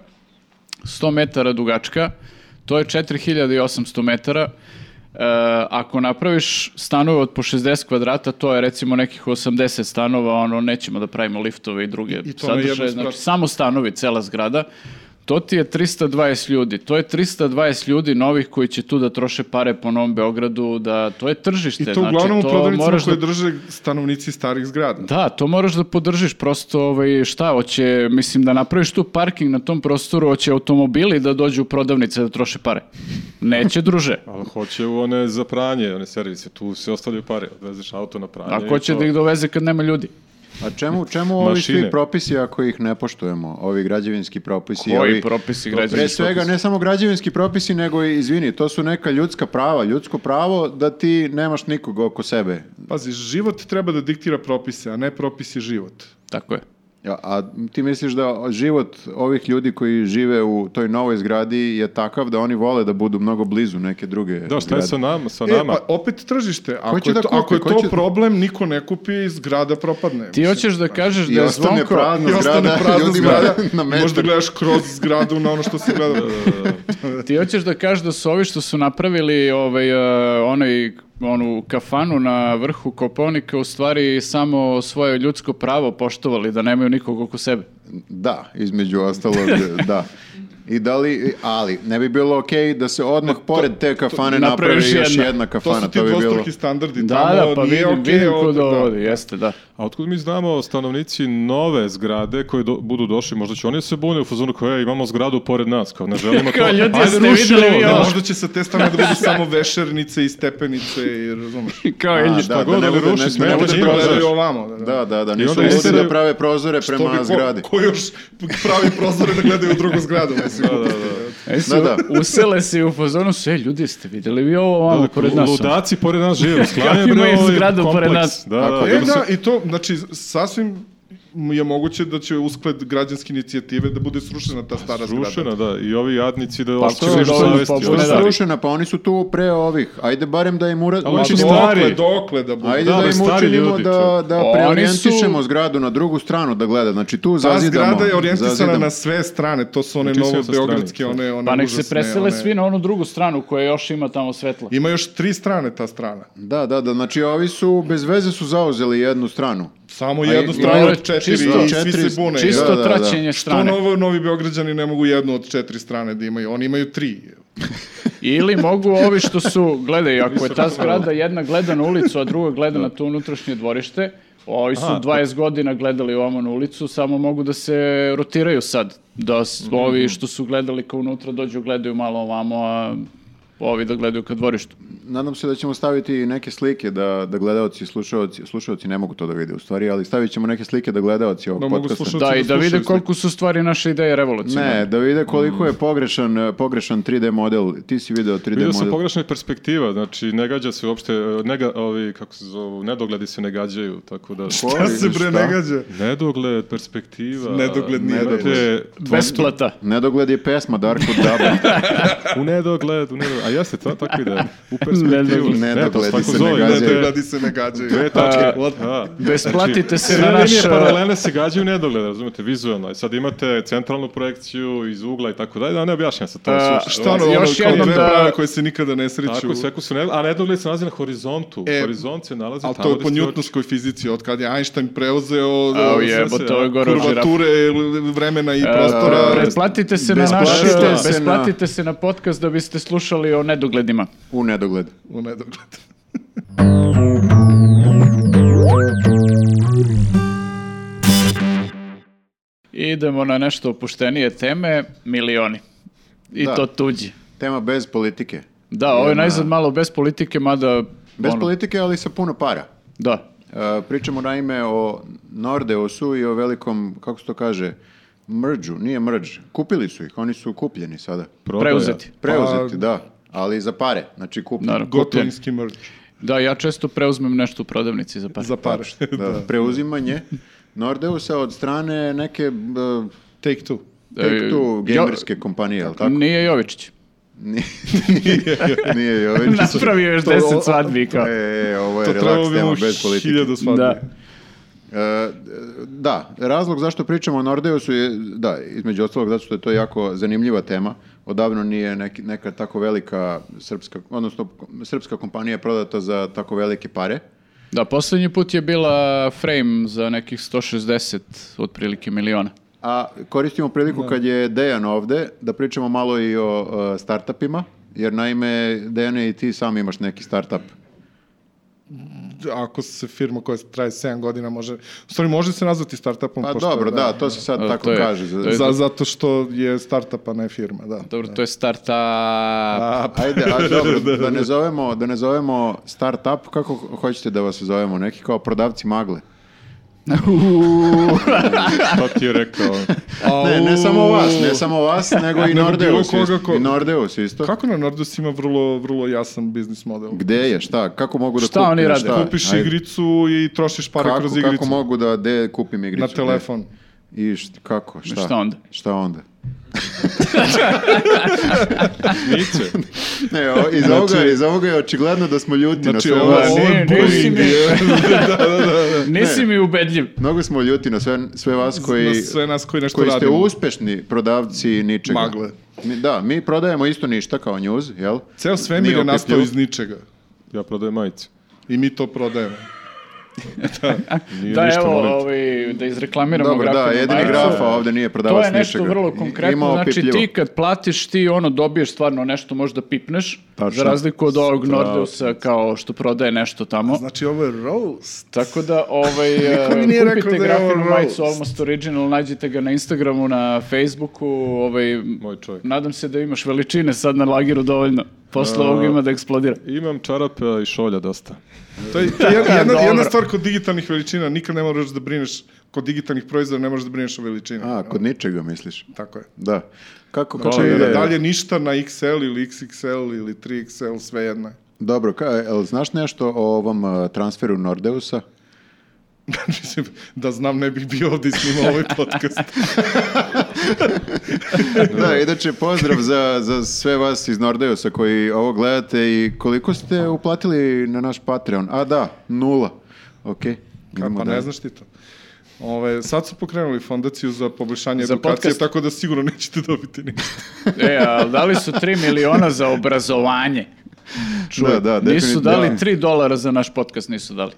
Speaker 1: 100 metara dugačka, to je 4800 metara. E, ako napraviš stanove od po 60 kvadrata, to je recimo nekih 80 stanova, ono, nećemo da pravimo liftove i druge
Speaker 4: I to na jednu
Speaker 1: sadržaje, znači
Speaker 4: zgradu.
Speaker 1: samo stanovi, cela zgrada, to ti je 320 ljudi. To je 320 ljudi novih koji će tu da troše pare po Novom Beogradu, da to je tržište.
Speaker 4: I to
Speaker 1: znači,
Speaker 4: uglavnom u prodavnicama
Speaker 1: moraš
Speaker 4: koje
Speaker 1: da
Speaker 4: drže stanovnici starih zgrada.
Speaker 1: da, to moraš da podržiš, prosto ovaj, šta hoće, mislim da napraviš tu parking na tom prostoru, hoće automobili da dođu u prodavnice da troše pare. Neće, druže.
Speaker 5: Ali hoće u one za pranje, one servise, tu se ostavljaju pare, odvezeš auto na pranje.
Speaker 1: A
Speaker 5: i
Speaker 1: ko će
Speaker 5: to.
Speaker 1: da ih doveze kad nema ljudi?
Speaker 3: A čemu, čemu ovi svi
Speaker 5: Mašine.
Speaker 3: propisi ako ih ne poštujemo? Ovi građevinski propisi.
Speaker 1: Koji
Speaker 3: ovi-
Speaker 1: propisi
Speaker 3: Pre
Speaker 1: građevinski
Speaker 3: svega, ne samo građevinski propisi, nego i, izvini, to su neka ljudska prava, ljudsko pravo da ti nemaš nikog oko sebe.
Speaker 4: Pazi, život treba da diktira propise, a ne propisi život.
Speaker 1: Tako je.
Speaker 3: A, a ti misliš da život ovih ljudi koji žive u toj novoj zgradi je takav da oni vole da budu mnogo blizu neke druge
Speaker 5: Da, šta je sa nama? Sa
Speaker 4: E,
Speaker 5: nama?
Speaker 4: pa opet tržište. Ako
Speaker 3: će
Speaker 4: je
Speaker 3: da
Speaker 4: to,
Speaker 3: kupi?
Speaker 4: ako je
Speaker 3: Ko
Speaker 4: to
Speaker 3: će-
Speaker 4: problem, niko ne kupi, zgrada propadne.
Speaker 1: Ti hoćeš da kažeš
Speaker 3: I
Speaker 1: da je
Speaker 3: ostane
Speaker 1: Zvonko...
Speaker 3: prazna
Speaker 4: I
Speaker 3: zgrada,
Speaker 4: ostane prazna
Speaker 3: ljudima
Speaker 4: zgrada,
Speaker 3: na metar.
Speaker 4: možda gledaš kroz zgradu na ono što si
Speaker 1: Da,
Speaker 4: gledao.
Speaker 1: Ti hoćeš da kažeš da su ovi što su napravili ovaj, e, onaj, onu kafanu na vrhu Koponika u stvari samo svoje ljudsko pravo poštovali, da nemaju nikog oko sebe.
Speaker 3: Da, između ostalog, da. I da li, ali, ne bi bilo okej da se odmah pored te kafane napravi
Speaker 1: napraviš
Speaker 3: još jedna,
Speaker 1: jedna.
Speaker 3: kafana, to,
Speaker 4: To su ti
Speaker 3: bi bilo...
Speaker 4: dvostruki standardi.
Speaker 1: Da,
Speaker 4: Tamo
Speaker 1: da, pa
Speaker 4: nije
Speaker 1: vidim,
Speaker 4: okej
Speaker 1: vidim ko
Speaker 4: ovde,
Speaker 1: dovodi, jeste, da.
Speaker 5: A otkud mi znamo stanovnici nove zgrade koje do- budu došli, možda će oni da se bune u fazonu kao, e, imamo zgradu pored nas, kao ne želimo to.
Speaker 1: Kao, ljudi,
Speaker 5: Ajde,
Speaker 1: jeste
Speaker 5: rušimo,
Speaker 1: videli vi
Speaker 5: da,
Speaker 4: Da,
Speaker 1: ovo?
Speaker 5: možda
Speaker 4: možda će sa te strane da budu samo vešernice i stepenice i razumeš.
Speaker 1: Kao,
Speaker 3: A,
Speaker 1: ili
Speaker 3: da, da
Speaker 5: god,
Speaker 3: ne
Speaker 5: ali
Speaker 3: bude-
Speaker 5: ruši,
Speaker 3: ne-
Speaker 5: smeta
Speaker 3: ne bude
Speaker 5: njima,
Speaker 3: prozor.
Speaker 5: znaš.
Speaker 4: Gledaju ovamo. Da, da.
Speaker 3: Da, da, da, nisu
Speaker 5: onda
Speaker 3: ludi
Speaker 5: isteraju-
Speaker 3: da prave prozore
Speaker 4: To bi
Speaker 3: prema
Speaker 4: ko-
Speaker 3: zgradi.
Speaker 4: Ko, još pravi prozore da gledaju u drugu zgradu, mislim.
Speaker 5: Da, da, da.
Speaker 1: E, su,
Speaker 3: Da, da.
Speaker 1: Usele se i u fazonu su, e, ljudi, ste vidjeli vi ovo ovamo pored nas? ono?"
Speaker 5: Ludaci pored nas žive, sklanjaju
Speaker 1: Kako
Speaker 5: bre
Speaker 1: imaju
Speaker 5: ovaj
Speaker 1: zgradu pored
Speaker 5: kompleks.
Speaker 1: nas?
Speaker 5: Da,
Speaker 3: Tako
Speaker 5: da,
Speaker 3: je.
Speaker 4: E,
Speaker 5: da,
Speaker 4: da, i to, znači, sasvim je moguće da će uskled građanske inicijative da bude srušena ta stara zgrada.
Speaker 5: Rušena, da, i ovi jadnici da
Speaker 1: što
Speaker 5: ostaju
Speaker 1: Pa je
Speaker 5: nešto
Speaker 1: dovoljno
Speaker 5: savesti.
Speaker 1: popularno?
Speaker 5: ono.
Speaker 1: Ne, da.
Speaker 3: Srušena, pa oni su tu pre ovih. Ajde barem da im ura...
Speaker 5: Ali oni su
Speaker 3: učinimo-
Speaker 5: stari.
Speaker 4: Znači, Dokle, dokle da bude.
Speaker 3: Ajde
Speaker 5: Da,
Speaker 3: da,
Speaker 5: bre,
Speaker 3: im
Speaker 5: stari
Speaker 3: učinimo
Speaker 5: ljudi,
Speaker 3: da,
Speaker 5: čovječe.
Speaker 3: da
Speaker 1: Oni
Speaker 3: preorijentišemo
Speaker 1: su-
Speaker 3: zgradu na drugu stranu da gleda. Znači tu
Speaker 4: Ta
Speaker 3: zazidamo.
Speaker 4: zgrada je orijentisana
Speaker 3: zazidamo.
Speaker 4: na sve strane, to su one
Speaker 5: Znači, sve
Speaker 4: novo
Speaker 5: sa
Speaker 4: beogradske,
Speaker 5: strane.
Speaker 4: one, one
Speaker 1: Pa nek se
Speaker 4: užasne,
Speaker 1: presele
Speaker 4: one-
Speaker 1: svi na onu drugu stranu koja još ima tamo svetla.
Speaker 4: Ima još tri strane ta strana.
Speaker 3: Da, da, da. Znači ovi su, bez veze su zauzeli jednu stranu.
Speaker 4: Samo
Speaker 3: i-
Speaker 4: jednu
Speaker 3: i
Speaker 4: stranu
Speaker 1: ovo
Speaker 4: od
Speaker 1: je
Speaker 4: četiri
Speaker 1: čisto-
Speaker 4: i svi
Speaker 3: četiri-
Speaker 4: se bune.
Speaker 1: Čisto
Speaker 3: da, da, da.
Speaker 1: traćenje
Speaker 4: Što
Speaker 1: strane.
Speaker 4: novo, novi beograđani ne mogu jednu od četiri strane da imaju, oni imaju tri.
Speaker 1: Ili mogu ovi što su, gledaj, ako je ta zgrada jedna gleda na ulicu, a druga gleda na to unutrašnje dvorište, ovi su
Speaker 5: Aha,
Speaker 1: 20 godina gledali ovamo na ulicu, samo mogu da se rotiraju sad. Da s- ovi što su gledali kao unutra dođu gledaju malo ovamo, a ovi da gledaju ka dvorištu.
Speaker 3: Nadam se da ćemo staviti i neke slike da, da gledaoci i slušaoci, slušaoci ne mogu to da vide u stvari, ali stavit ćemo neke slike da gledaoci ovog
Speaker 4: Da mogu
Speaker 3: podcasta.
Speaker 4: slušaoci-
Speaker 1: Da, i da
Speaker 4: slušaju
Speaker 1: vide
Speaker 4: slike.
Speaker 1: koliko su stvari naše ideje revolucionarne.
Speaker 3: Ne, da vide
Speaker 5: Mm.
Speaker 3: koliko je pogrešan, eh, pogrešan 3D model. Ti si video 3D
Speaker 5: Vidio sam
Speaker 3: model.
Speaker 5: pogrešna perspektiva, znači ne gađa se uopšte, nega, ovi, kako se zovu, nedogledi se ne gađaju, tako da...
Speaker 4: Ja se bre
Speaker 3: Šta?
Speaker 4: ne gađa.
Speaker 5: Nedogled, perspektiva...
Speaker 4: Nedogled nije
Speaker 5: nedogled.
Speaker 1: Besplata.
Speaker 3: Nedogled je pesma Darko Daba.
Speaker 5: U nedogled, u nedogled. A jeste, to tako ide. U perspektivu.
Speaker 1: Nedogled.
Speaker 5: Ne, to se
Speaker 3: Nedogledi
Speaker 5: tako
Speaker 3: se ne
Speaker 5: zove,
Speaker 3: gađaju.
Speaker 5: ne,
Speaker 4: Gledi se ne gađaju.
Speaker 5: Dve tačke.
Speaker 4: What?
Speaker 5: Da.
Speaker 1: Besplatite se na
Speaker 5: Sve
Speaker 1: naš...
Speaker 5: linije paralelne se gađaju u nedogled, razumete, vizuelno. I sad imate centralnu projekciju iz ugla i tako dalje, da ne objašnjam se to.
Speaker 1: A,
Speaker 5: suštinski.
Speaker 4: Šta ono,
Speaker 1: Još
Speaker 4: ono, kao
Speaker 1: jednom
Speaker 4: dve
Speaker 1: da-
Speaker 4: brave koje se nikada ne
Speaker 5: Tako,
Speaker 4: sreću.
Speaker 5: sve su ne, a nedogled se nalazi na horizontu.
Speaker 4: E,
Speaker 5: Horizont se nalazi
Speaker 4: Ali
Speaker 5: tamo.
Speaker 4: to je po
Speaker 5: gde ste-
Speaker 4: njutnovskoj fizici, od kad je Einstein preuzeo
Speaker 1: Au
Speaker 4: e,
Speaker 1: jebote, ovo je gore od žirafa.
Speaker 4: kurvature vremena i
Speaker 1: Pre-
Speaker 4: prostora.
Speaker 1: Pretplatite se na naš...
Speaker 3: Besplatite se na-
Speaker 1: Besplatite se na podcast da biste slušali o nedogledima.
Speaker 3: U nedogled.
Speaker 4: U nedogled.
Speaker 1: Idemo na nešto opuštenije teme, milioni. I
Speaker 3: Da.
Speaker 1: to tuđi.
Speaker 3: Tema bez politike.
Speaker 1: Da, ovo je najzad malo bez politike, mada...
Speaker 3: Bez
Speaker 1: ono,
Speaker 3: politike, ali sa puno para.
Speaker 1: Da.
Speaker 3: E, pričamo naime o Nordeusu i o velikom, kako se to kaže, mrđu, nije mrđ. Kupili su ih, oni su kupljeni sada.
Speaker 5: Prodaja.
Speaker 1: Preuzeti.
Speaker 4: Pa-
Speaker 3: Preuzeti, da, ali za pare, znači kupljeni.
Speaker 1: Naravno.
Speaker 4: Gotovinski mrč.
Speaker 1: Da, ja često preuzmem nešto u prodavnici za par.
Speaker 4: Za pare.
Speaker 3: Da, preuzimanje Nordeusa od strane neke uh,
Speaker 4: Take two.
Speaker 3: take two
Speaker 1: E, jo-
Speaker 3: gamerske kompanije, ali tako?
Speaker 1: Nije Jovičić.
Speaker 3: Nije Jovičić.
Speaker 1: Napravio još
Speaker 4: to-
Speaker 1: 10 svadbi kao.
Speaker 3: E, ovo je
Speaker 4: To trebalo
Speaker 3: relaks
Speaker 4: bi
Speaker 3: tema
Speaker 4: mu
Speaker 3: bez politike.
Speaker 4: hiljadu svadbi.
Speaker 1: Da.
Speaker 3: E, da, razlog zašto pričamo o Nordeusu je, da, između ostalog, zato što je to jako zanimljiva tema. Odavno nije neki- neka tako velika srpska, odnosno srpska kompanija prodata za tako velike pare.
Speaker 1: Da, poslednji put je bila frame za nekih 160 otprilike miliona.
Speaker 3: A koristimo priliku kad je Dejan ovde da pričamo malo i o e, startupima, jer naime, Dejane, i ti sam imaš neki startup.
Speaker 4: Ako se firma koja traje 7 godina može... U stvari, može se nazvati startupom.
Speaker 3: Pa
Speaker 4: pošto-
Speaker 3: dobro, da, to se sad
Speaker 1: A,
Speaker 3: tako
Speaker 1: to je-
Speaker 3: kaže. za-
Speaker 1: to je-
Speaker 4: Za, Da, zato što je startup, a ne firma, da.
Speaker 1: Dobro, to je starta...
Speaker 4: A,
Speaker 3: Ajde, a dobro, da ne zovemo, da ne zovemo startup, kako hoćete da vas zovemo, neki kao prodavci magle.
Speaker 5: Šta ti je rekao?
Speaker 4: au.
Speaker 3: Ne, ne samo vas, ne samo vas, nego i
Speaker 4: Nego
Speaker 3: Nordeus.
Speaker 4: bilo koga
Speaker 3: isto.
Speaker 4: ko-
Speaker 3: I Nordeus isto.
Speaker 4: Kako na Nordus ima vrlo, vrlo jasan biznis model?
Speaker 3: Gde je, šta, kako mogu da
Speaker 1: Šta
Speaker 3: kupim,
Speaker 1: oni rade?
Speaker 4: Kupiš
Speaker 3: Ajde.
Speaker 4: igricu i trošiš pare
Speaker 3: kako,
Speaker 4: kroz igricu.
Speaker 3: Kako mogu da de, kupim igricu?
Speaker 4: na
Speaker 3: Gde?
Speaker 4: telefon.
Speaker 3: I št- kako, šta?
Speaker 1: Šta onda?
Speaker 3: Šta onda?
Speaker 5: Nice.
Speaker 3: Ne, o, iz, ovoga, iz ovoga je očigledno da smo ljuti na
Speaker 4: Znači,
Speaker 3: sve
Speaker 4: ovo-
Speaker 3: vas.
Speaker 4: ovo je
Speaker 1: Pa, Ne, nisi
Speaker 4: bullying.
Speaker 1: mi,
Speaker 5: Da,
Speaker 1: nisi mi ubedljiv.
Speaker 3: Mnogo smo ljuti na sve, sve vas koji,
Speaker 4: Na sve nas koji nešto
Speaker 3: koji ste
Speaker 4: radimo.
Speaker 3: uspešni prodavci ničega.
Speaker 4: Magle.
Speaker 3: Mi, da, mi prodajemo isto ništa kao news, jel?
Speaker 4: Ceo svemir
Speaker 3: Nije
Speaker 4: je nastao
Speaker 3: opipljiv.
Speaker 4: iz ničega.
Speaker 5: Ja prodajem majice.
Speaker 4: I mi to prodajemo.
Speaker 5: Nije
Speaker 1: Da,
Speaker 5: ništa,
Speaker 1: evo,
Speaker 5: molim te.
Speaker 1: ovaj, da izreklamiramo
Speaker 3: Dobro, da,
Speaker 1: grafinu
Speaker 3: jedini
Speaker 1: Majicu.
Speaker 3: grafa ovde nije prodavac
Speaker 1: To je
Speaker 3: ničega.
Speaker 1: nešto vrlo
Speaker 3: I-
Speaker 1: konkretno,
Speaker 3: ima
Speaker 1: znači
Speaker 3: opipljivo.
Speaker 1: ti kad platiš ti ono dobiješ stvarno nešto možda pipneš,
Speaker 3: Tačno.
Speaker 1: za razliku od ovog Nordeusa kao što prodaje nešto tamo.
Speaker 4: Znači, ovo je roast.
Speaker 1: Tako da, ovaj,
Speaker 4: Niko mi nije
Speaker 1: e, kupite
Speaker 4: rekao da je ovo
Speaker 1: grafinu majicu
Speaker 4: roast.
Speaker 1: Almost Original, nađite ga na Instagramu, na Facebooku, ovaj,
Speaker 5: Moj čovjek.
Speaker 1: nadam se da imaš veličine sad na lagiru dovoljno. Posle ovog ima da eksplodira.
Speaker 5: Imam čarape i šolja dosta.
Speaker 4: To je, to je jedna, jedna,
Speaker 1: Dobro.
Speaker 4: jedna stvar kod digitalnih veličina. Nikad ne moraš da brineš, kod digitalnih proizvoda ne moraš da brineš o veličini.
Speaker 3: A, kod ničega misliš?
Speaker 4: Tako je.
Speaker 3: Da. Kako, kako
Speaker 4: Znači,
Speaker 3: ide?
Speaker 4: da li je ništa na XL ili XXL ili 3XL, sve jedno je.
Speaker 3: Dobro, ka, jel znaš nešto o ovom e, transferu Nordeusa?
Speaker 4: Mislim, da znam ne bih bio ovdje i snimao ovaj podcast.
Speaker 3: da, inače pozdrav za, za sve vas iz Nordeusa koji ovo gledate i koliko ste uplatili na naš Patreon? A da, nula. Ok.
Speaker 4: Ka,
Speaker 3: idemo
Speaker 4: pa
Speaker 3: dalje.
Speaker 4: ne znaš ti to. Ove, sad su pokrenuli fondaciju za poboljšanje
Speaker 1: Za
Speaker 4: edukacije,
Speaker 1: podcast.
Speaker 4: tako da sigurno nećete dobiti ništa.
Speaker 1: E, a dali su 3 miliona za obrazovanje. Čuj,
Speaker 3: Da, da,
Speaker 1: nisu
Speaker 3: definitivno.
Speaker 1: dali 3 dolara za naš podcast, nisu dali.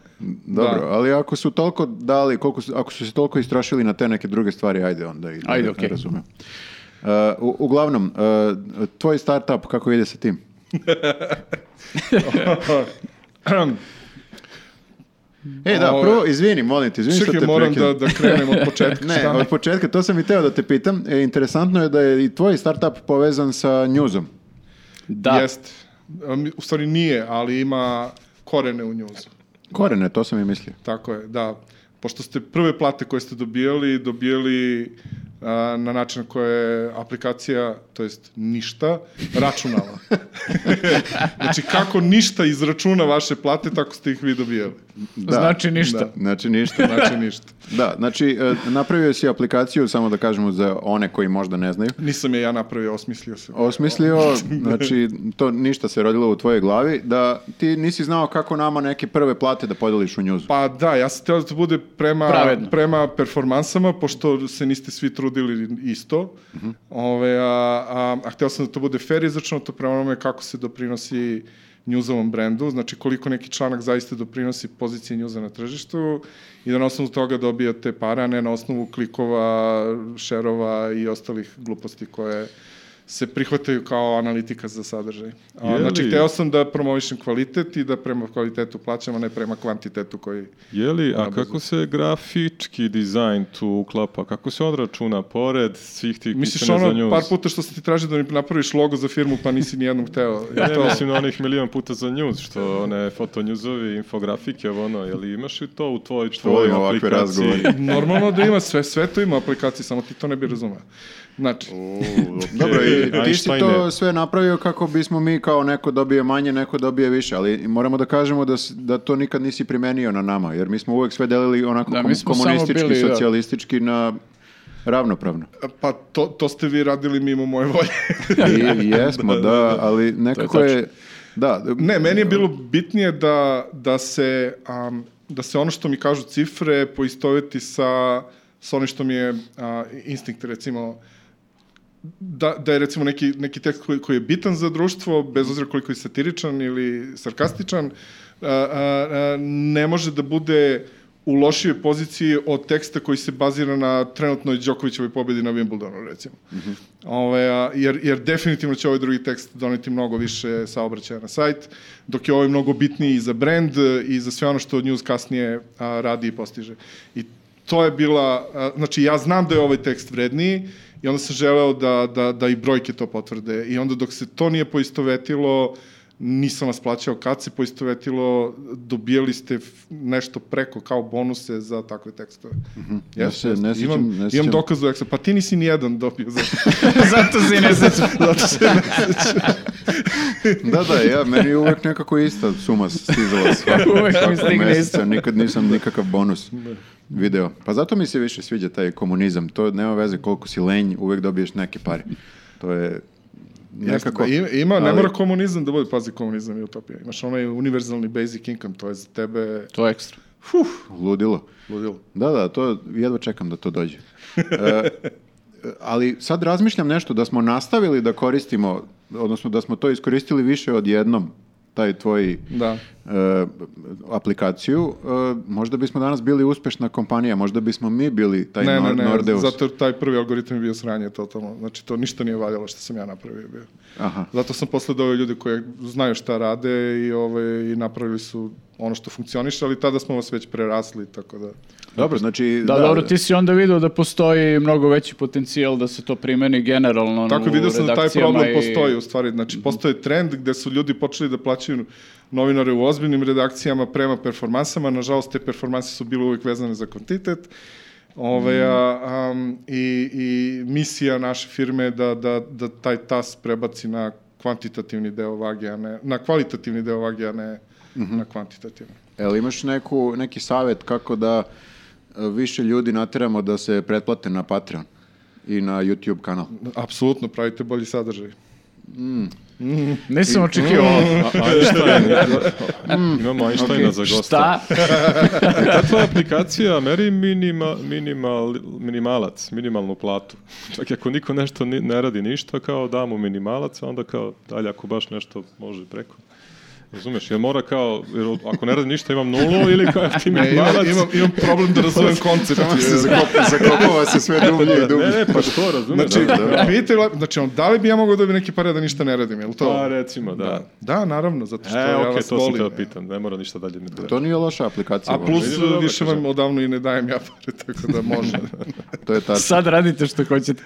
Speaker 3: Dobro,
Speaker 4: Da.
Speaker 3: ali ako su toliko dali, koliko su, ako su se toliko istrošili na te neke druge stvari, ajde onda i da
Speaker 1: Ajde,
Speaker 3: ne
Speaker 1: okej.
Speaker 3: razumem. Uh, u- uglavnom, uh, tvoj startup, kako ide sa tim? E, da,
Speaker 4: Ove-
Speaker 3: prvo, izvini, molim te, izvini što
Speaker 4: Čekaj,
Speaker 3: te
Speaker 4: moram
Speaker 3: prekidam.
Speaker 4: da, da krenem od početka.
Speaker 3: Ne,
Speaker 4: Šta?
Speaker 3: od početka, to sam i teo da te pitam. E, interesantno je da je i tvoj startup povezan sa newsom.
Speaker 1: Da,
Speaker 4: Jeste. Um, U stvari nije, ali ima korene u njuzu.
Speaker 3: Korene, to sam i mislio.
Speaker 4: Tako je, da. Pošto ste prve plate koje ste dobijali, dobijali a, na način na koje je aplikacija, to jest ništa, računala. znači, kako ništa izračuna vaše plate, tako ste ih vi dobijali.
Speaker 1: znači ništa.
Speaker 4: da.
Speaker 3: Znači ništa.
Speaker 4: Znači, ništa.
Speaker 3: Da, znači e, napravio si aplikaciju, samo da kažemo za one koji možda ne znaju.
Speaker 4: Nisam je ja napravio, osmislio sam.
Speaker 3: Osmislio, znači to ništa se rodilo u tvojoj glavi, da ti nisi znao kako nama neke prve plate da podeliš u njuzu.
Speaker 4: Pa da, ja sam htio da to bude prema,
Speaker 1: Pravedno.
Speaker 4: prema performansama, pošto se niste svi trudili isto. Ove, a, a, a htio sam da to bude fair izračunato prema onome kako se doprinosi njuzovom brendu, znači koliko neki članak zaista doprinosi poziciji njuza na tržištu i da na osnovu toga dobijate pare, a ne na osnovu klikova, šerova i ostalih gluposti koje se prihvataju kao analitika za sadržaj. A,
Speaker 5: Je
Speaker 4: Znači,
Speaker 5: li?
Speaker 4: hteo sam da promovišem kvalitet i da prema kvalitetu plaćam, a ne prema kvantitetu koji...
Speaker 5: Jeli, a kako se grafički dizajn tu uklapa? Kako se on računa pored svih tih
Speaker 4: Misliš
Speaker 5: pisanja za
Speaker 4: ono
Speaker 5: news?
Speaker 4: par puta što sam ti tražio da mi napraviš logo za firmu, pa nisi nijednom hteo. Je
Speaker 5: Ne,
Speaker 4: Pa to-
Speaker 5: E, mislim na onih milion puta za news, što one fotonjuzovi, infografike, ovo ono, jeli imaš i to u tvoj, tvojoj
Speaker 3: volim ovakve
Speaker 5: aplikaciji?
Speaker 3: razgovore.
Speaker 4: Normalno da ima sve, sve to ima aplikaciji, samo ti to ne bi razumeo. Znači,
Speaker 3: Dobro, i ti si
Speaker 5: Einstein
Speaker 3: to
Speaker 5: je.
Speaker 3: sve napravio kako bismo mi kao neko dobije manje, neko dobije više, ali moramo da kažemo da, s- da to nikad nisi primenio na nama, jer mi smo uvek sve delili onako
Speaker 1: Da,
Speaker 3: kom-
Speaker 1: mi smo samo
Speaker 3: komunistički,
Speaker 1: bili, da.
Speaker 3: socijalistički na ravnopravno.
Speaker 4: pa to, to ste vi radili mimo moje volje.
Speaker 3: I jesmo, da, ali nekako je... Da,
Speaker 4: Ne, meni je bilo bitnije da, da, se, am, da se ono što mi kažu cifre poistoveti sa, sa onim što mi je a, instinkt, recimo, da, da je recimo neki, neki tekst koji, koji je bitan za društvo, bez obzira koliko je satiričan ili sarkastičan, a, a, a, ne može da bude u lošijoj poziciji od teksta koji se bazira na trenutnoj Đokovićevoj pobedi na Wimbledonu, recimo. Ove, Ovaj, a, jer, jer definitivno će ovaj drugi tekst doneti mnogo više saobraćaja na sajt, dok je ovaj mnogo bitniji i za brand e, i za sve ono što News kasnije a, radi i postiže. I to je bila, a, znači ja znam da je ovaj tekst vredniji i onda sam želeo da, da, da i brojke to potvrde i onda dok se to nije poistovetilo, nisam vas plaćao kad se poistovetilo, dobijali ste f- nešto preko kao bonuse za takve tekstove.
Speaker 3: Ja
Speaker 4: Jeste,
Speaker 3: se Mhm. ne
Speaker 4: jeste.
Speaker 3: sjećam-
Speaker 4: imam,
Speaker 3: ne sjećam.
Speaker 4: imam dokaz do Excel, pa ti nisi ni jedan dobio za
Speaker 1: Zato si ne sećam.
Speaker 3: da, da, ja, meni je uvek nekako ista suma stizala svakog,
Speaker 1: Uvek mi Da.
Speaker 3: svakog
Speaker 1: stigne
Speaker 3: meseca, nikad nisam nikakav bonus video. Pa zato mi se više sviđa taj komunizam, to nema veze koliko si lenj, uvek dobiješ neke pare. To je nekako...
Speaker 4: Jeste, da, ima, ne
Speaker 3: ali-
Speaker 4: mora komunizam da bude, pazi, komunizam i utopija. Imaš onaj univerzalni basic income, to je za tebe
Speaker 1: To je ekstra.
Speaker 3: Ludilo.
Speaker 4: ludilo.
Speaker 3: Da, da, to jedva čekam da to dođe. E, ali sad razmišljam nešto da smo nastavili da koristimo, odnosno da smo to iskoristili više od jednom, taj tvoj
Speaker 4: Da.
Speaker 3: e, aplikaciju, e, možda bismo danas bili uspešna kompanija, možda bismo mi bili taj
Speaker 4: ne,
Speaker 3: Nor-
Speaker 4: ne, ne,
Speaker 3: Nordeus.
Speaker 4: zato jer taj prvi algoritam je bio sranje totalno. Znači, to ništa nije valjalo što sam ja napravio bio.
Speaker 3: Aha.
Speaker 4: Zato sam posle doveo ljudi koji znaju šta rade i, ove, i napravili su ono što funkcioniše, ali tada smo vas već prerasli, tako da...
Speaker 3: Dobro, znači...
Speaker 1: Da, dobro, ti si onda vidio da postoji mnogo veći potencijal da se to primeni generalno
Speaker 4: Tako
Speaker 1: u
Speaker 4: vidio sam da taj
Speaker 1: redakcijama
Speaker 4: problem
Speaker 1: i-
Speaker 4: postoji u stvari, znači postoje trend gde su ljudi počeli da plaćaju novinare u ozbiljnim redakcijama prema performansama, nažalost te performanse su bile uvijek vezane za kvantitet. Ove, a, am, i, I misija naše firme je da, da, da taj tas prebaci na kvantitativni deo vage, a ne, na kvalitativni deo vage, a ne na kvantitativni.
Speaker 3: da. Jel imaš neku, neki savjet kako da e, više ljudi nateramo da se pretplate na Patreon i na YouTube kanal?
Speaker 4: Apsolutno, pravite bolji sadržaj.
Speaker 1: Nisam očekio ovo.
Speaker 5: A- Einstein. Imamo Einsteina
Speaker 3: okej.
Speaker 5: za gosta.
Speaker 1: Šta?
Speaker 5: Kakva je aplikacija meri minima, minimal, minimalac, minimalnu platu? Čak i ako niko nešto ni, ne radi ništa, kao da mu minimalac, a onda kao dalje ako baš nešto može preko. Razumeš, jer mora kao, jer ako ne radi ništa imam nulu ili kao ti
Speaker 4: Ne, imam,
Speaker 5: minimalac.
Speaker 4: imam, imam problem da razumem koncept.
Speaker 3: Zakopava se sve dublje i
Speaker 5: Ne, ne, pa što, razumeš?
Speaker 4: Znači,
Speaker 5: da,
Speaker 4: da, znači, on, da li bi ja mogao da bi neki pare da ništa ne radim, jel to?
Speaker 5: Pa, recimo, da.
Speaker 4: Da, naravno, zato što
Speaker 5: E,
Speaker 4: ja
Speaker 5: okej,
Speaker 4: vas
Speaker 5: to sam
Speaker 4: volim.
Speaker 5: teo pitam, ne mora ništa dalje da ne
Speaker 3: To nije loša aplikacija.
Speaker 4: A plus,
Speaker 5: Vidiš da dobro
Speaker 4: više
Speaker 5: kažem.
Speaker 4: vam odavno i ne dajem ja pare, tako da može.
Speaker 3: To je tačno.
Speaker 1: Sad radite što hoćete.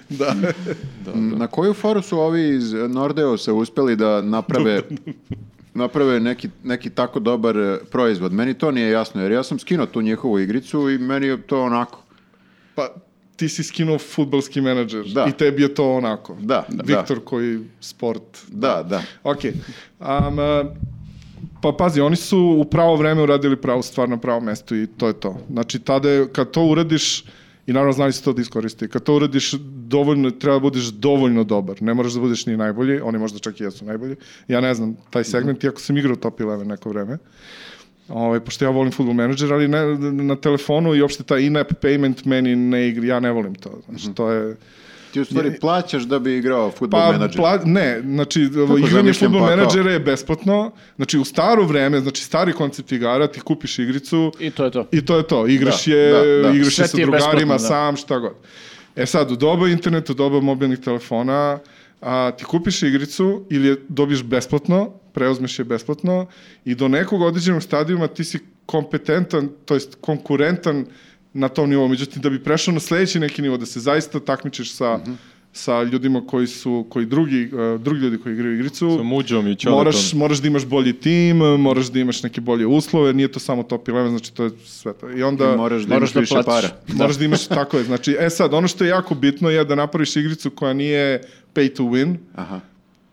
Speaker 3: Na koju foru su ovi iz Nordeosa uspeli da naprave naprave neki, neki tako dobar e, proizvod. Meni to nije jasno, jer ja sam skinuo tu njihovu igricu i meni je to onako.
Speaker 4: pa, ti si skinuo futbalski menadžer
Speaker 3: Da.
Speaker 4: i tebi je to onako.
Speaker 3: Da, da.
Speaker 4: Viktor koji sport.
Speaker 3: Da, da.
Speaker 4: Ok. Am, e, pa pazi, oni su u pravo vreme uradili pravu stvar na pravo mesto i to je to. Znači, tada je, kad to uradiš, i naravno znali su to da iskoristi, kad to uradiš, dovoljno, treba da budeš dovoljno dobar. Ne moraš da budeš ni najbolji, oni možda čak i jesu najbolji. Ja ne znam, taj segment, iako sam igrao top 11 neko vreme, Ovaj pošto ja volim Football Manager, ali ne, na telefonu i uopšte taj in-app payment meni ne igri, ja ne volim to. Znači, to je...
Speaker 3: Ti u stvari plaćaš da bi igrao futbol
Speaker 4: Pa,
Speaker 3: menadžer.
Speaker 4: pla, ne, znači, igranje
Speaker 3: zamišljam
Speaker 4: futbol
Speaker 3: pakao?
Speaker 4: menadžera je besplatno, znači u staro vreme, znači stari koncept igara, ti kupiš igricu
Speaker 1: I to je to.
Speaker 4: i to je to, igraš
Speaker 3: Da,
Speaker 4: je,
Speaker 3: da, da.
Speaker 4: igraš
Speaker 1: Sve
Speaker 4: je sa
Speaker 1: ti je
Speaker 4: drugarima,
Speaker 1: besplatno, da.
Speaker 4: sam, šta god. E sad, u doba interneta, u doba mobilnih telefona, a, ti kupiš igricu ili je dobiješ besplatno, preuzmeš je besplatno i do nekog određenog stadijuma ti si kompetentan, to jest konkurentan na tom nivou. Međutim, da bi prešao na sledeći neki nivo, da se zaista takmičiš sa, sa ljudima koji su, koji drugi, e, drugi ljudi koji igraju igricu.
Speaker 5: Sa muđom i čaletom.
Speaker 4: Moraš, moraš da imaš bolji tim, moraš da imaš neke bolje uslove, nije to samo top 11, znači to je sve to. I onda...
Speaker 3: moraš da
Speaker 1: moraš
Speaker 3: imaš
Speaker 1: da
Speaker 3: više
Speaker 1: platiš.
Speaker 3: para.
Speaker 4: Moraš da imaš, tako je, znači, e sad, ono što je jako bitno je da napraviš igricu koja nije pay to win,
Speaker 3: Aha.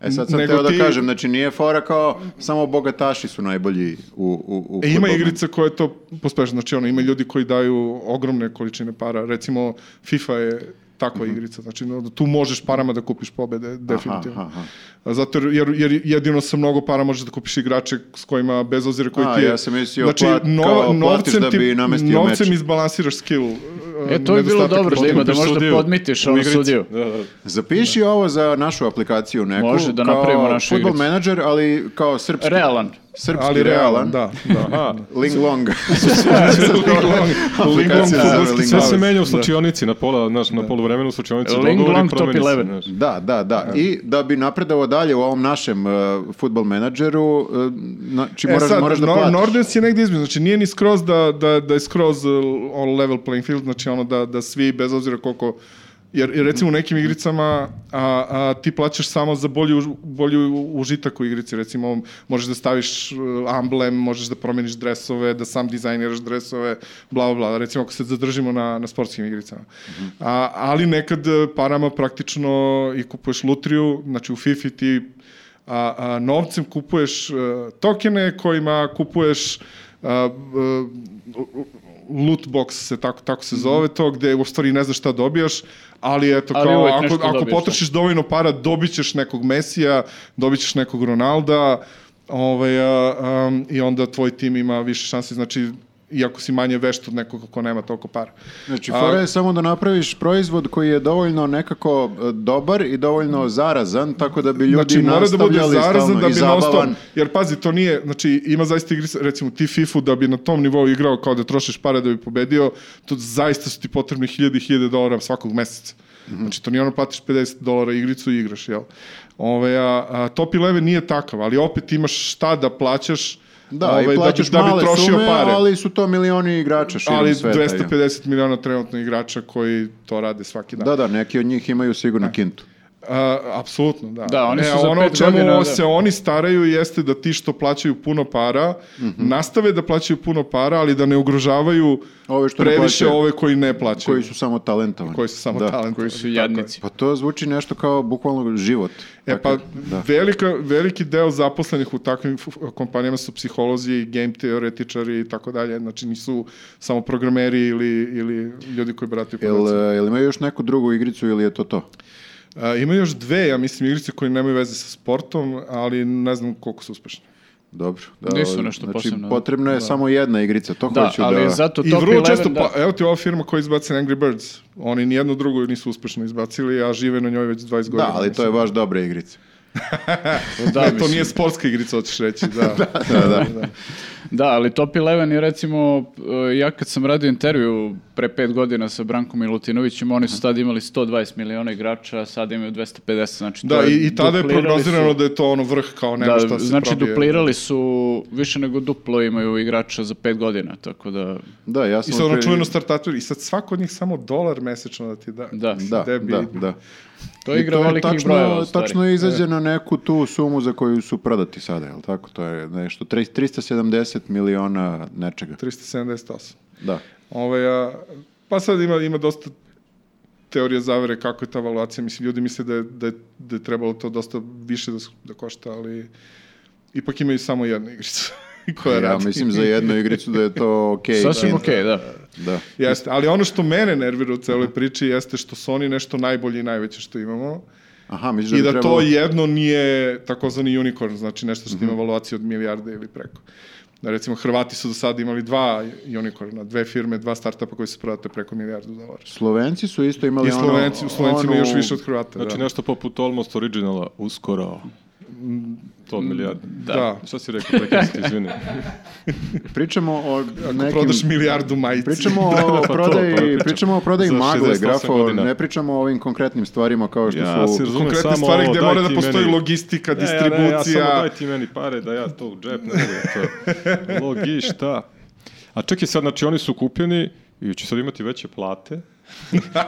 Speaker 3: E sad sam
Speaker 4: Nego
Speaker 3: teo
Speaker 4: ti-
Speaker 3: da kažem, znači nije fora kao samo bogataši su najbolji u, u, u
Speaker 4: E, ima
Speaker 3: fudbalu.
Speaker 4: igrica koja to pospešna, znači ono, ima ljudi koji daju ogromne količine para, recimo FIFA je takva igrica, znači no, tu možeš parama da kupiš pobede, definitivno.
Speaker 3: Mhm. aha,
Speaker 4: Zato jer- jer, jer jedino sa mnogo para možeš da kupiš igrače s kojima, bez obzira koji
Speaker 3: A,
Speaker 4: ti je... Znači,
Speaker 3: ja sam mislio plat- kao platiš da bi namestio
Speaker 4: novcem
Speaker 3: meč.
Speaker 4: izbalansiraš skill.
Speaker 1: E, to bi bilo dobro da ima, da
Speaker 5: Kupiš
Speaker 1: možda
Speaker 5: sudiju
Speaker 1: podmitiš
Speaker 5: u
Speaker 1: ovom
Speaker 5: igrici.
Speaker 1: sudiju.
Speaker 5: Da, da.
Speaker 3: Zapiši ovo za našu aplikaciju neku.
Speaker 1: Može, da
Speaker 3: kao
Speaker 1: napravimo našu
Speaker 3: Football
Speaker 1: igricu.
Speaker 3: manager, ali kao srpski.
Speaker 1: Realan.
Speaker 3: Srpski
Speaker 4: Ali realan, da. da.
Speaker 5: Aha,
Speaker 3: Ling long.
Speaker 4: Ling long
Speaker 3: Aplikacija se zove
Speaker 4: fudbalski
Speaker 3: Ling
Speaker 5: sve
Speaker 3: long.
Speaker 4: savez.
Speaker 5: se menja u slučionici na pola, znaš,
Speaker 4: Da.
Speaker 5: na poluvremenu u slučionici.
Speaker 1: Ling
Speaker 5: dogovori,
Speaker 1: long, top
Speaker 5: promeni se,
Speaker 1: 11.
Speaker 5: znaš.
Speaker 3: Da, da, da. I da bi napredovao dalje u ovom našem uh, futbol menadžeru, uh, znači moraš,
Speaker 4: e sad,
Speaker 3: moraš da
Speaker 4: Nor-
Speaker 3: platiš.
Speaker 4: Norden's je negdje između, znači nije ni skroz da, da, da je skroz uh, on level playing field, znači ono da, da svi, bez obzira koliko, jer, jer recimo u nekim igricama a, a, ti plaćaš samo za bolju, už- bolju užitak u igrici, recimo možeš da staviš uh, amblem, možeš da promeniš dresove, da sam dizajniraš dresove, bla, bla, bla, recimo ako se zadržimo na, na sportskim igricama.
Speaker 3: Mhm.
Speaker 4: A, ali nekad uh, parama praktično i kupuješ lutriju, znači u FIFA ti a, a novcem kupuješ e, tokene kojima kupuješ a, e, loot box se tako, tako
Speaker 1: Mhm.
Speaker 4: se zove to, gde u stvari ne znaš šta dobijaš, ali eto
Speaker 1: Ali
Speaker 4: kao,
Speaker 1: uvek
Speaker 4: ako,
Speaker 1: nešto
Speaker 4: ako
Speaker 1: dobiješ, da.
Speaker 4: potrošiš dovoljno para, dobit ćeš nekog Mesija, dobit ćeš nekog Ronalda, ovaj, a, am, i onda tvoj tim ima više šanse, znači iako si manje vešt od nekog ko nema toliko para.
Speaker 3: Znači,
Speaker 4: A-
Speaker 3: fora je samo da napraviš proizvod koji je dovoljno nekako uh, dobar i dovoljno zarazan, tako da bi ljudi
Speaker 4: Mm. znači, mora da bude
Speaker 3: nastavljali
Speaker 4: zarazan
Speaker 3: stalno
Speaker 4: da
Speaker 3: i
Speaker 4: bi non stop,
Speaker 3: zabavan.
Speaker 4: jer pazi, to nije, znači ima zaista igri, recimo ti FIFA da bi na tom nivou igrao kao da trošiš pare da bi pobedio, to zaista su ti potrebni hiljade i hiljade dolara svakog meseca.
Speaker 3: Mhm.
Speaker 4: Znači, to nije ono platiš 50 dolara igricu i igraš, jel? Ove, a, a, top 11 nije takav, ali opet imaš šta da plaćaš
Speaker 3: Da,
Speaker 4: ovaj,
Speaker 3: i plaćaš
Speaker 4: da bi, da bi
Speaker 3: male
Speaker 4: trošio
Speaker 3: sume,
Speaker 4: pare.
Speaker 3: ali su to milioni igrača širom
Speaker 4: ali
Speaker 3: sveta. jel?
Speaker 4: 250 miliona trenutno igrača koji to rade svaki dan.
Speaker 3: Da, da, neki od njih imaju
Speaker 4: E.
Speaker 3: sigurno kintu.
Speaker 4: A, apsolutno, da.
Speaker 1: Da, oni su za
Speaker 4: ono
Speaker 1: pet
Speaker 4: o čemu
Speaker 1: godina, da.
Speaker 4: se oni staraju jeste da ti što plaćaju puno para,
Speaker 3: Mhm.
Speaker 4: nastave da plaćaju puno para, ali da ne ugrožavaju
Speaker 3: Ove što ne
Speaker 4: previše
Speaker 3: plaćaju.
Speaker 4: ove koji ne plaćaju.
Speaker 3: Koji su samo talentovani.
Speaker 4: koji su samo
Speaker 3: Da.
Speaker 4: talentovani.
Speaker 1: Koji su
Speaker 4: Tako je.
Speaker 1: jadnici.
Speaker 3: Pa to zvuči nešto kao bukvalno život.
Speaker 4: E
Speaker 3: Tako
Speaker 4: pa,
Speaker 3: je, da.
Speaker 4: velika, veliki deo zaposlenih u takvim f- kompanijama su psiholozi, game teoretičari i tako dalje, znači nisu samo programeri ili, ili ljudi koji brate
Speaker 3: Jel, e, jel imaju još neku drugu igricu ili je to to?
Speaker 4: A, ima još dve, ja mislim, igrice koje nemaju veze sa sportom, ali ne znam koliko su uspešne.
Speaker 3: Dobro.
Speaker 1: Nisu nešto
Speaker 3: znači,
Speaker 1: posebno, da.
Speaker 3: potrebna je samo jedna igrica, to
Speaker 1: Da,
Speaker 3: hoću
Speaker 1: ali
Speaker 3: da...
Speaker 1: zato
Speaker 4: I
Speaker 1: top
Speaker 4: vrlo
Speaker 1: 11
Speaker 4: često,
Speaker 1: da-
Speaker 4: pa, evo ti ova firma koja izbaci Angry Birds. Oni nijednu drugu nisu uspešno izbacili, a žive na njoj već 20 godina.
Speaker 3: Da, ali to je baš dobra igrica.
Speaker 1: da,
Speaker 4: Da, to
Speaker 1: mislim.
Speaker 4: nije sportska igrica, hoćeš reći, da.
Speaker 3: Da, da.
Speaker 1: Da, ali Top Eleven je recimo, e, ja kad sam radio intervju pre pet godina sa Brankom Milutinovićem, oni su tad imali 120 miliona igrača, a sad imaju 250, znači to
Speaker 4: da, i, i tada je
Speaker 1: duplirali su-
Speaker 4: prognozirano da je to ono vrh, kao nema
Speaker 1: da,
Speaker 4: šta se
Speaker 1: znači
Speaker 4: probije.
Speaker 1: duplirali su, više nego duplo imaju igrača za pet godina, tako da...
Speaker 3: Da, ja
Speaker 4: I
Speaker 3: sam...
Speaker 4: sad ono
Speaker 3: otprilike-
Speaker 4: čuveno startator, i sad svako od njih samo dolar mesečno da ti da.
Speaker 1: Da.
Speaker 3: Da,
Speaker 4: debi.
Speaker 3: da, da.
Speaker 1: To je
Speaker 3: I
Speaker 1: igra
Speaker 3: to je
Speaker 1: velikih
Speaker 3: tačno,
Speaker 1: brojeva, u stvari. Da.
Speaker 3: Tačno je izađe na neku tu sumu za koju su prodati sada, jel tako? To je nešto, tre- 370 miliona nečega.
Speaker 4: 378.
Speaker 3: Da.
Speaker 4: Ovaj, a, pa sad ima, ima dosta teorija zavere kako je ta valuacija. Mislim, ljudi misle da je, da je, da je trebalo to dosta više da, s- da košta, ali ipak imaju samo jednu igricu. koja
Speaker 3: Ja
Speaker 4: radi.
Speaker 3: mislim za jednu igricu da je to okej.
Speaker 1: Sasvim
Speaker 3: Da.
Speaker 1: okej, da.
Speaker 3: Da.
Speaker 4: Jeste, ali ono što mene nervira u celoj priči jeste što su oni nešto najbolje i najveće što imamo
Speaker 3: Aha, misliš
Speaker 4: i
Speaker 3: da bi
Speaker 4: da
Speaker 3: trebalo... Mhm.
Speaker 4: to jedno nije takozvani unicorn, znači nešto što ima valuaciju od milijarde ili preko. Da recimo Hrvati su do sada imali dva unicorna, dve firme, dva startupa koji se prodate preko milijardu dolara.
Speaker 3: Slovenci su isto imali
Speaker 4: I Slovenci,
Speaker 3: ono...
Speaker 4: u Slovencima
Speaker 3: onu-
Speaker 4: još više od Hrvata.
Speaker 5: Znači
Speaker 4: da.
Speaker 5: nešto poput Almost Originala, uskoro. To od milijarde.
Speaker 4: Da. da.
Speaker 5: Šta si rekao, prekisti, izvini.
Speaker 3: Pričamo o nekim...
Speaker 4: Prodaš milijardu majici. da,
Speaker 3: Pričamo o
Speaker 5: pa to, pa
Speaker 3: prodaji,
Speaker 5: pričam.
Speaker 3: pričamo o prodaji
Speaker 5: Za
Speaker 3: magle,
Speaker 5: 68
Speaker 3: grafo,
Speaker 5: godina.
Speaker 3: ne pričamo o ovim konkretnim stvarima kao što
Speaker 5: Ja
Speaker 3: su...
Speaker 5: se razumem
Speaker 4: Konkretne
Speaker 5: samo
Speaker 4: stvari
Speaker 5: ovo,
Speaker 4: gde
Speaker 5: daj
Speaker 4: mora da
Speaker 5: ti
Speaker 4: postoji
Speaker 5: meni-
Speaker 4: logistika,
Speaker 5: Ne, E, ja
Speaker 4: distribucija.
Speaker 5: Ne, ja samo daj ti meni pare da ja to u džep ne mogu ja to. Logi, šta? A čekaj sad, znači oni su kupljeni i će sad imati veće plate.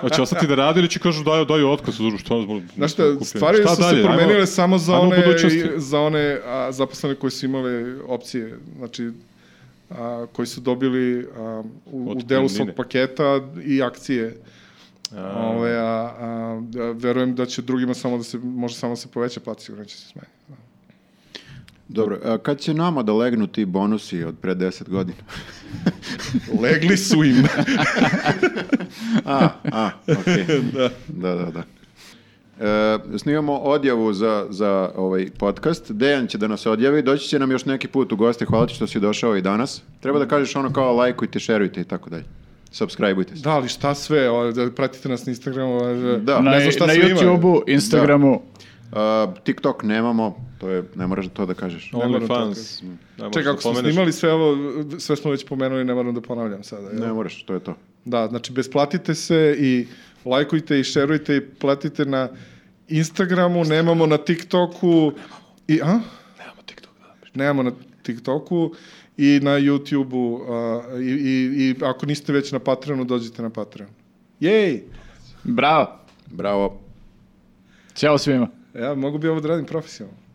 Speaker 5: Hoće ostati da rade ili će kažu daju, daju otkaz, Zuru, što ono zbog...
Speaker 4: Znaš šta, stvari su se promenile samo za
Speaker 5: ajmo u
Speaker 4: one,
Speaker 5: budućnosti.
Speaker 4: za one a, zaposlene koje su imale opcije, znači a, koji su dobili a, u, u delu svog
Speaker 5: Otpremnine.
Speaker 4: paketa i akcije. Ove, a, a, a, verujem da će drugima samo da se, može samo da se poveća plata, sigurno će se smanjiti.
Speaker 3: Dobro, a kad će nama da legnu ti bonusi od pre 10 godina?
Speaker 4: Legli su im.
Speaker 3: A, a, okej. da. Da, da, E, snimamo odjavu za, za ovaj podcast. Dejan će da nas odjavi, doći će nam još neki put u goste. Hvala ti što si došao i danas. Treba da kažeš ono kao lajkujte, šerujte i tako dalje. Subscribeujte se.
Speaker 4: da, ali šta sve, o, da pratite nas na Instagramu, ovaj, o,
Speaker 3: Da.
Speaker 1: na,
Speaker 4: ne znam šta
Speaker 1: na
Speaker 4: Da. sve ima.
Speaker 1: YouTube-u, Instagramu.
Speaker 3: A, TikTok nemamo, to je, ne moraš to da kažeš.
Speaker 4: Ne moram
Speaker 5: Only
Speaker 4: to
Speaker 5: fans. da
Speaker 4: Čekaj, ako smo snimali sve ovo, sve smo već pomenuli, ne moram da ponavljam sada. jel?
Speaker 3: Ne moraš, to je to.
Speaker 4: Da, znači besplatite se i lajkujte i šerujte i platite na Instagramu, nemamo na TikToku i a?
Speaker 5: Nemamo TikTok, da.
Speaker 4: Nemamo na TikToku i na YouTubeu a, i, i, i ako niste već na Patreonu, dođite na Patreon. Jej!
Speaker 1: Bravo.
Speaker 3: Bravo.
Speaker 1: Ćao svima.
Speaker 4: Ja mogu bi ovo da radim profesionalno.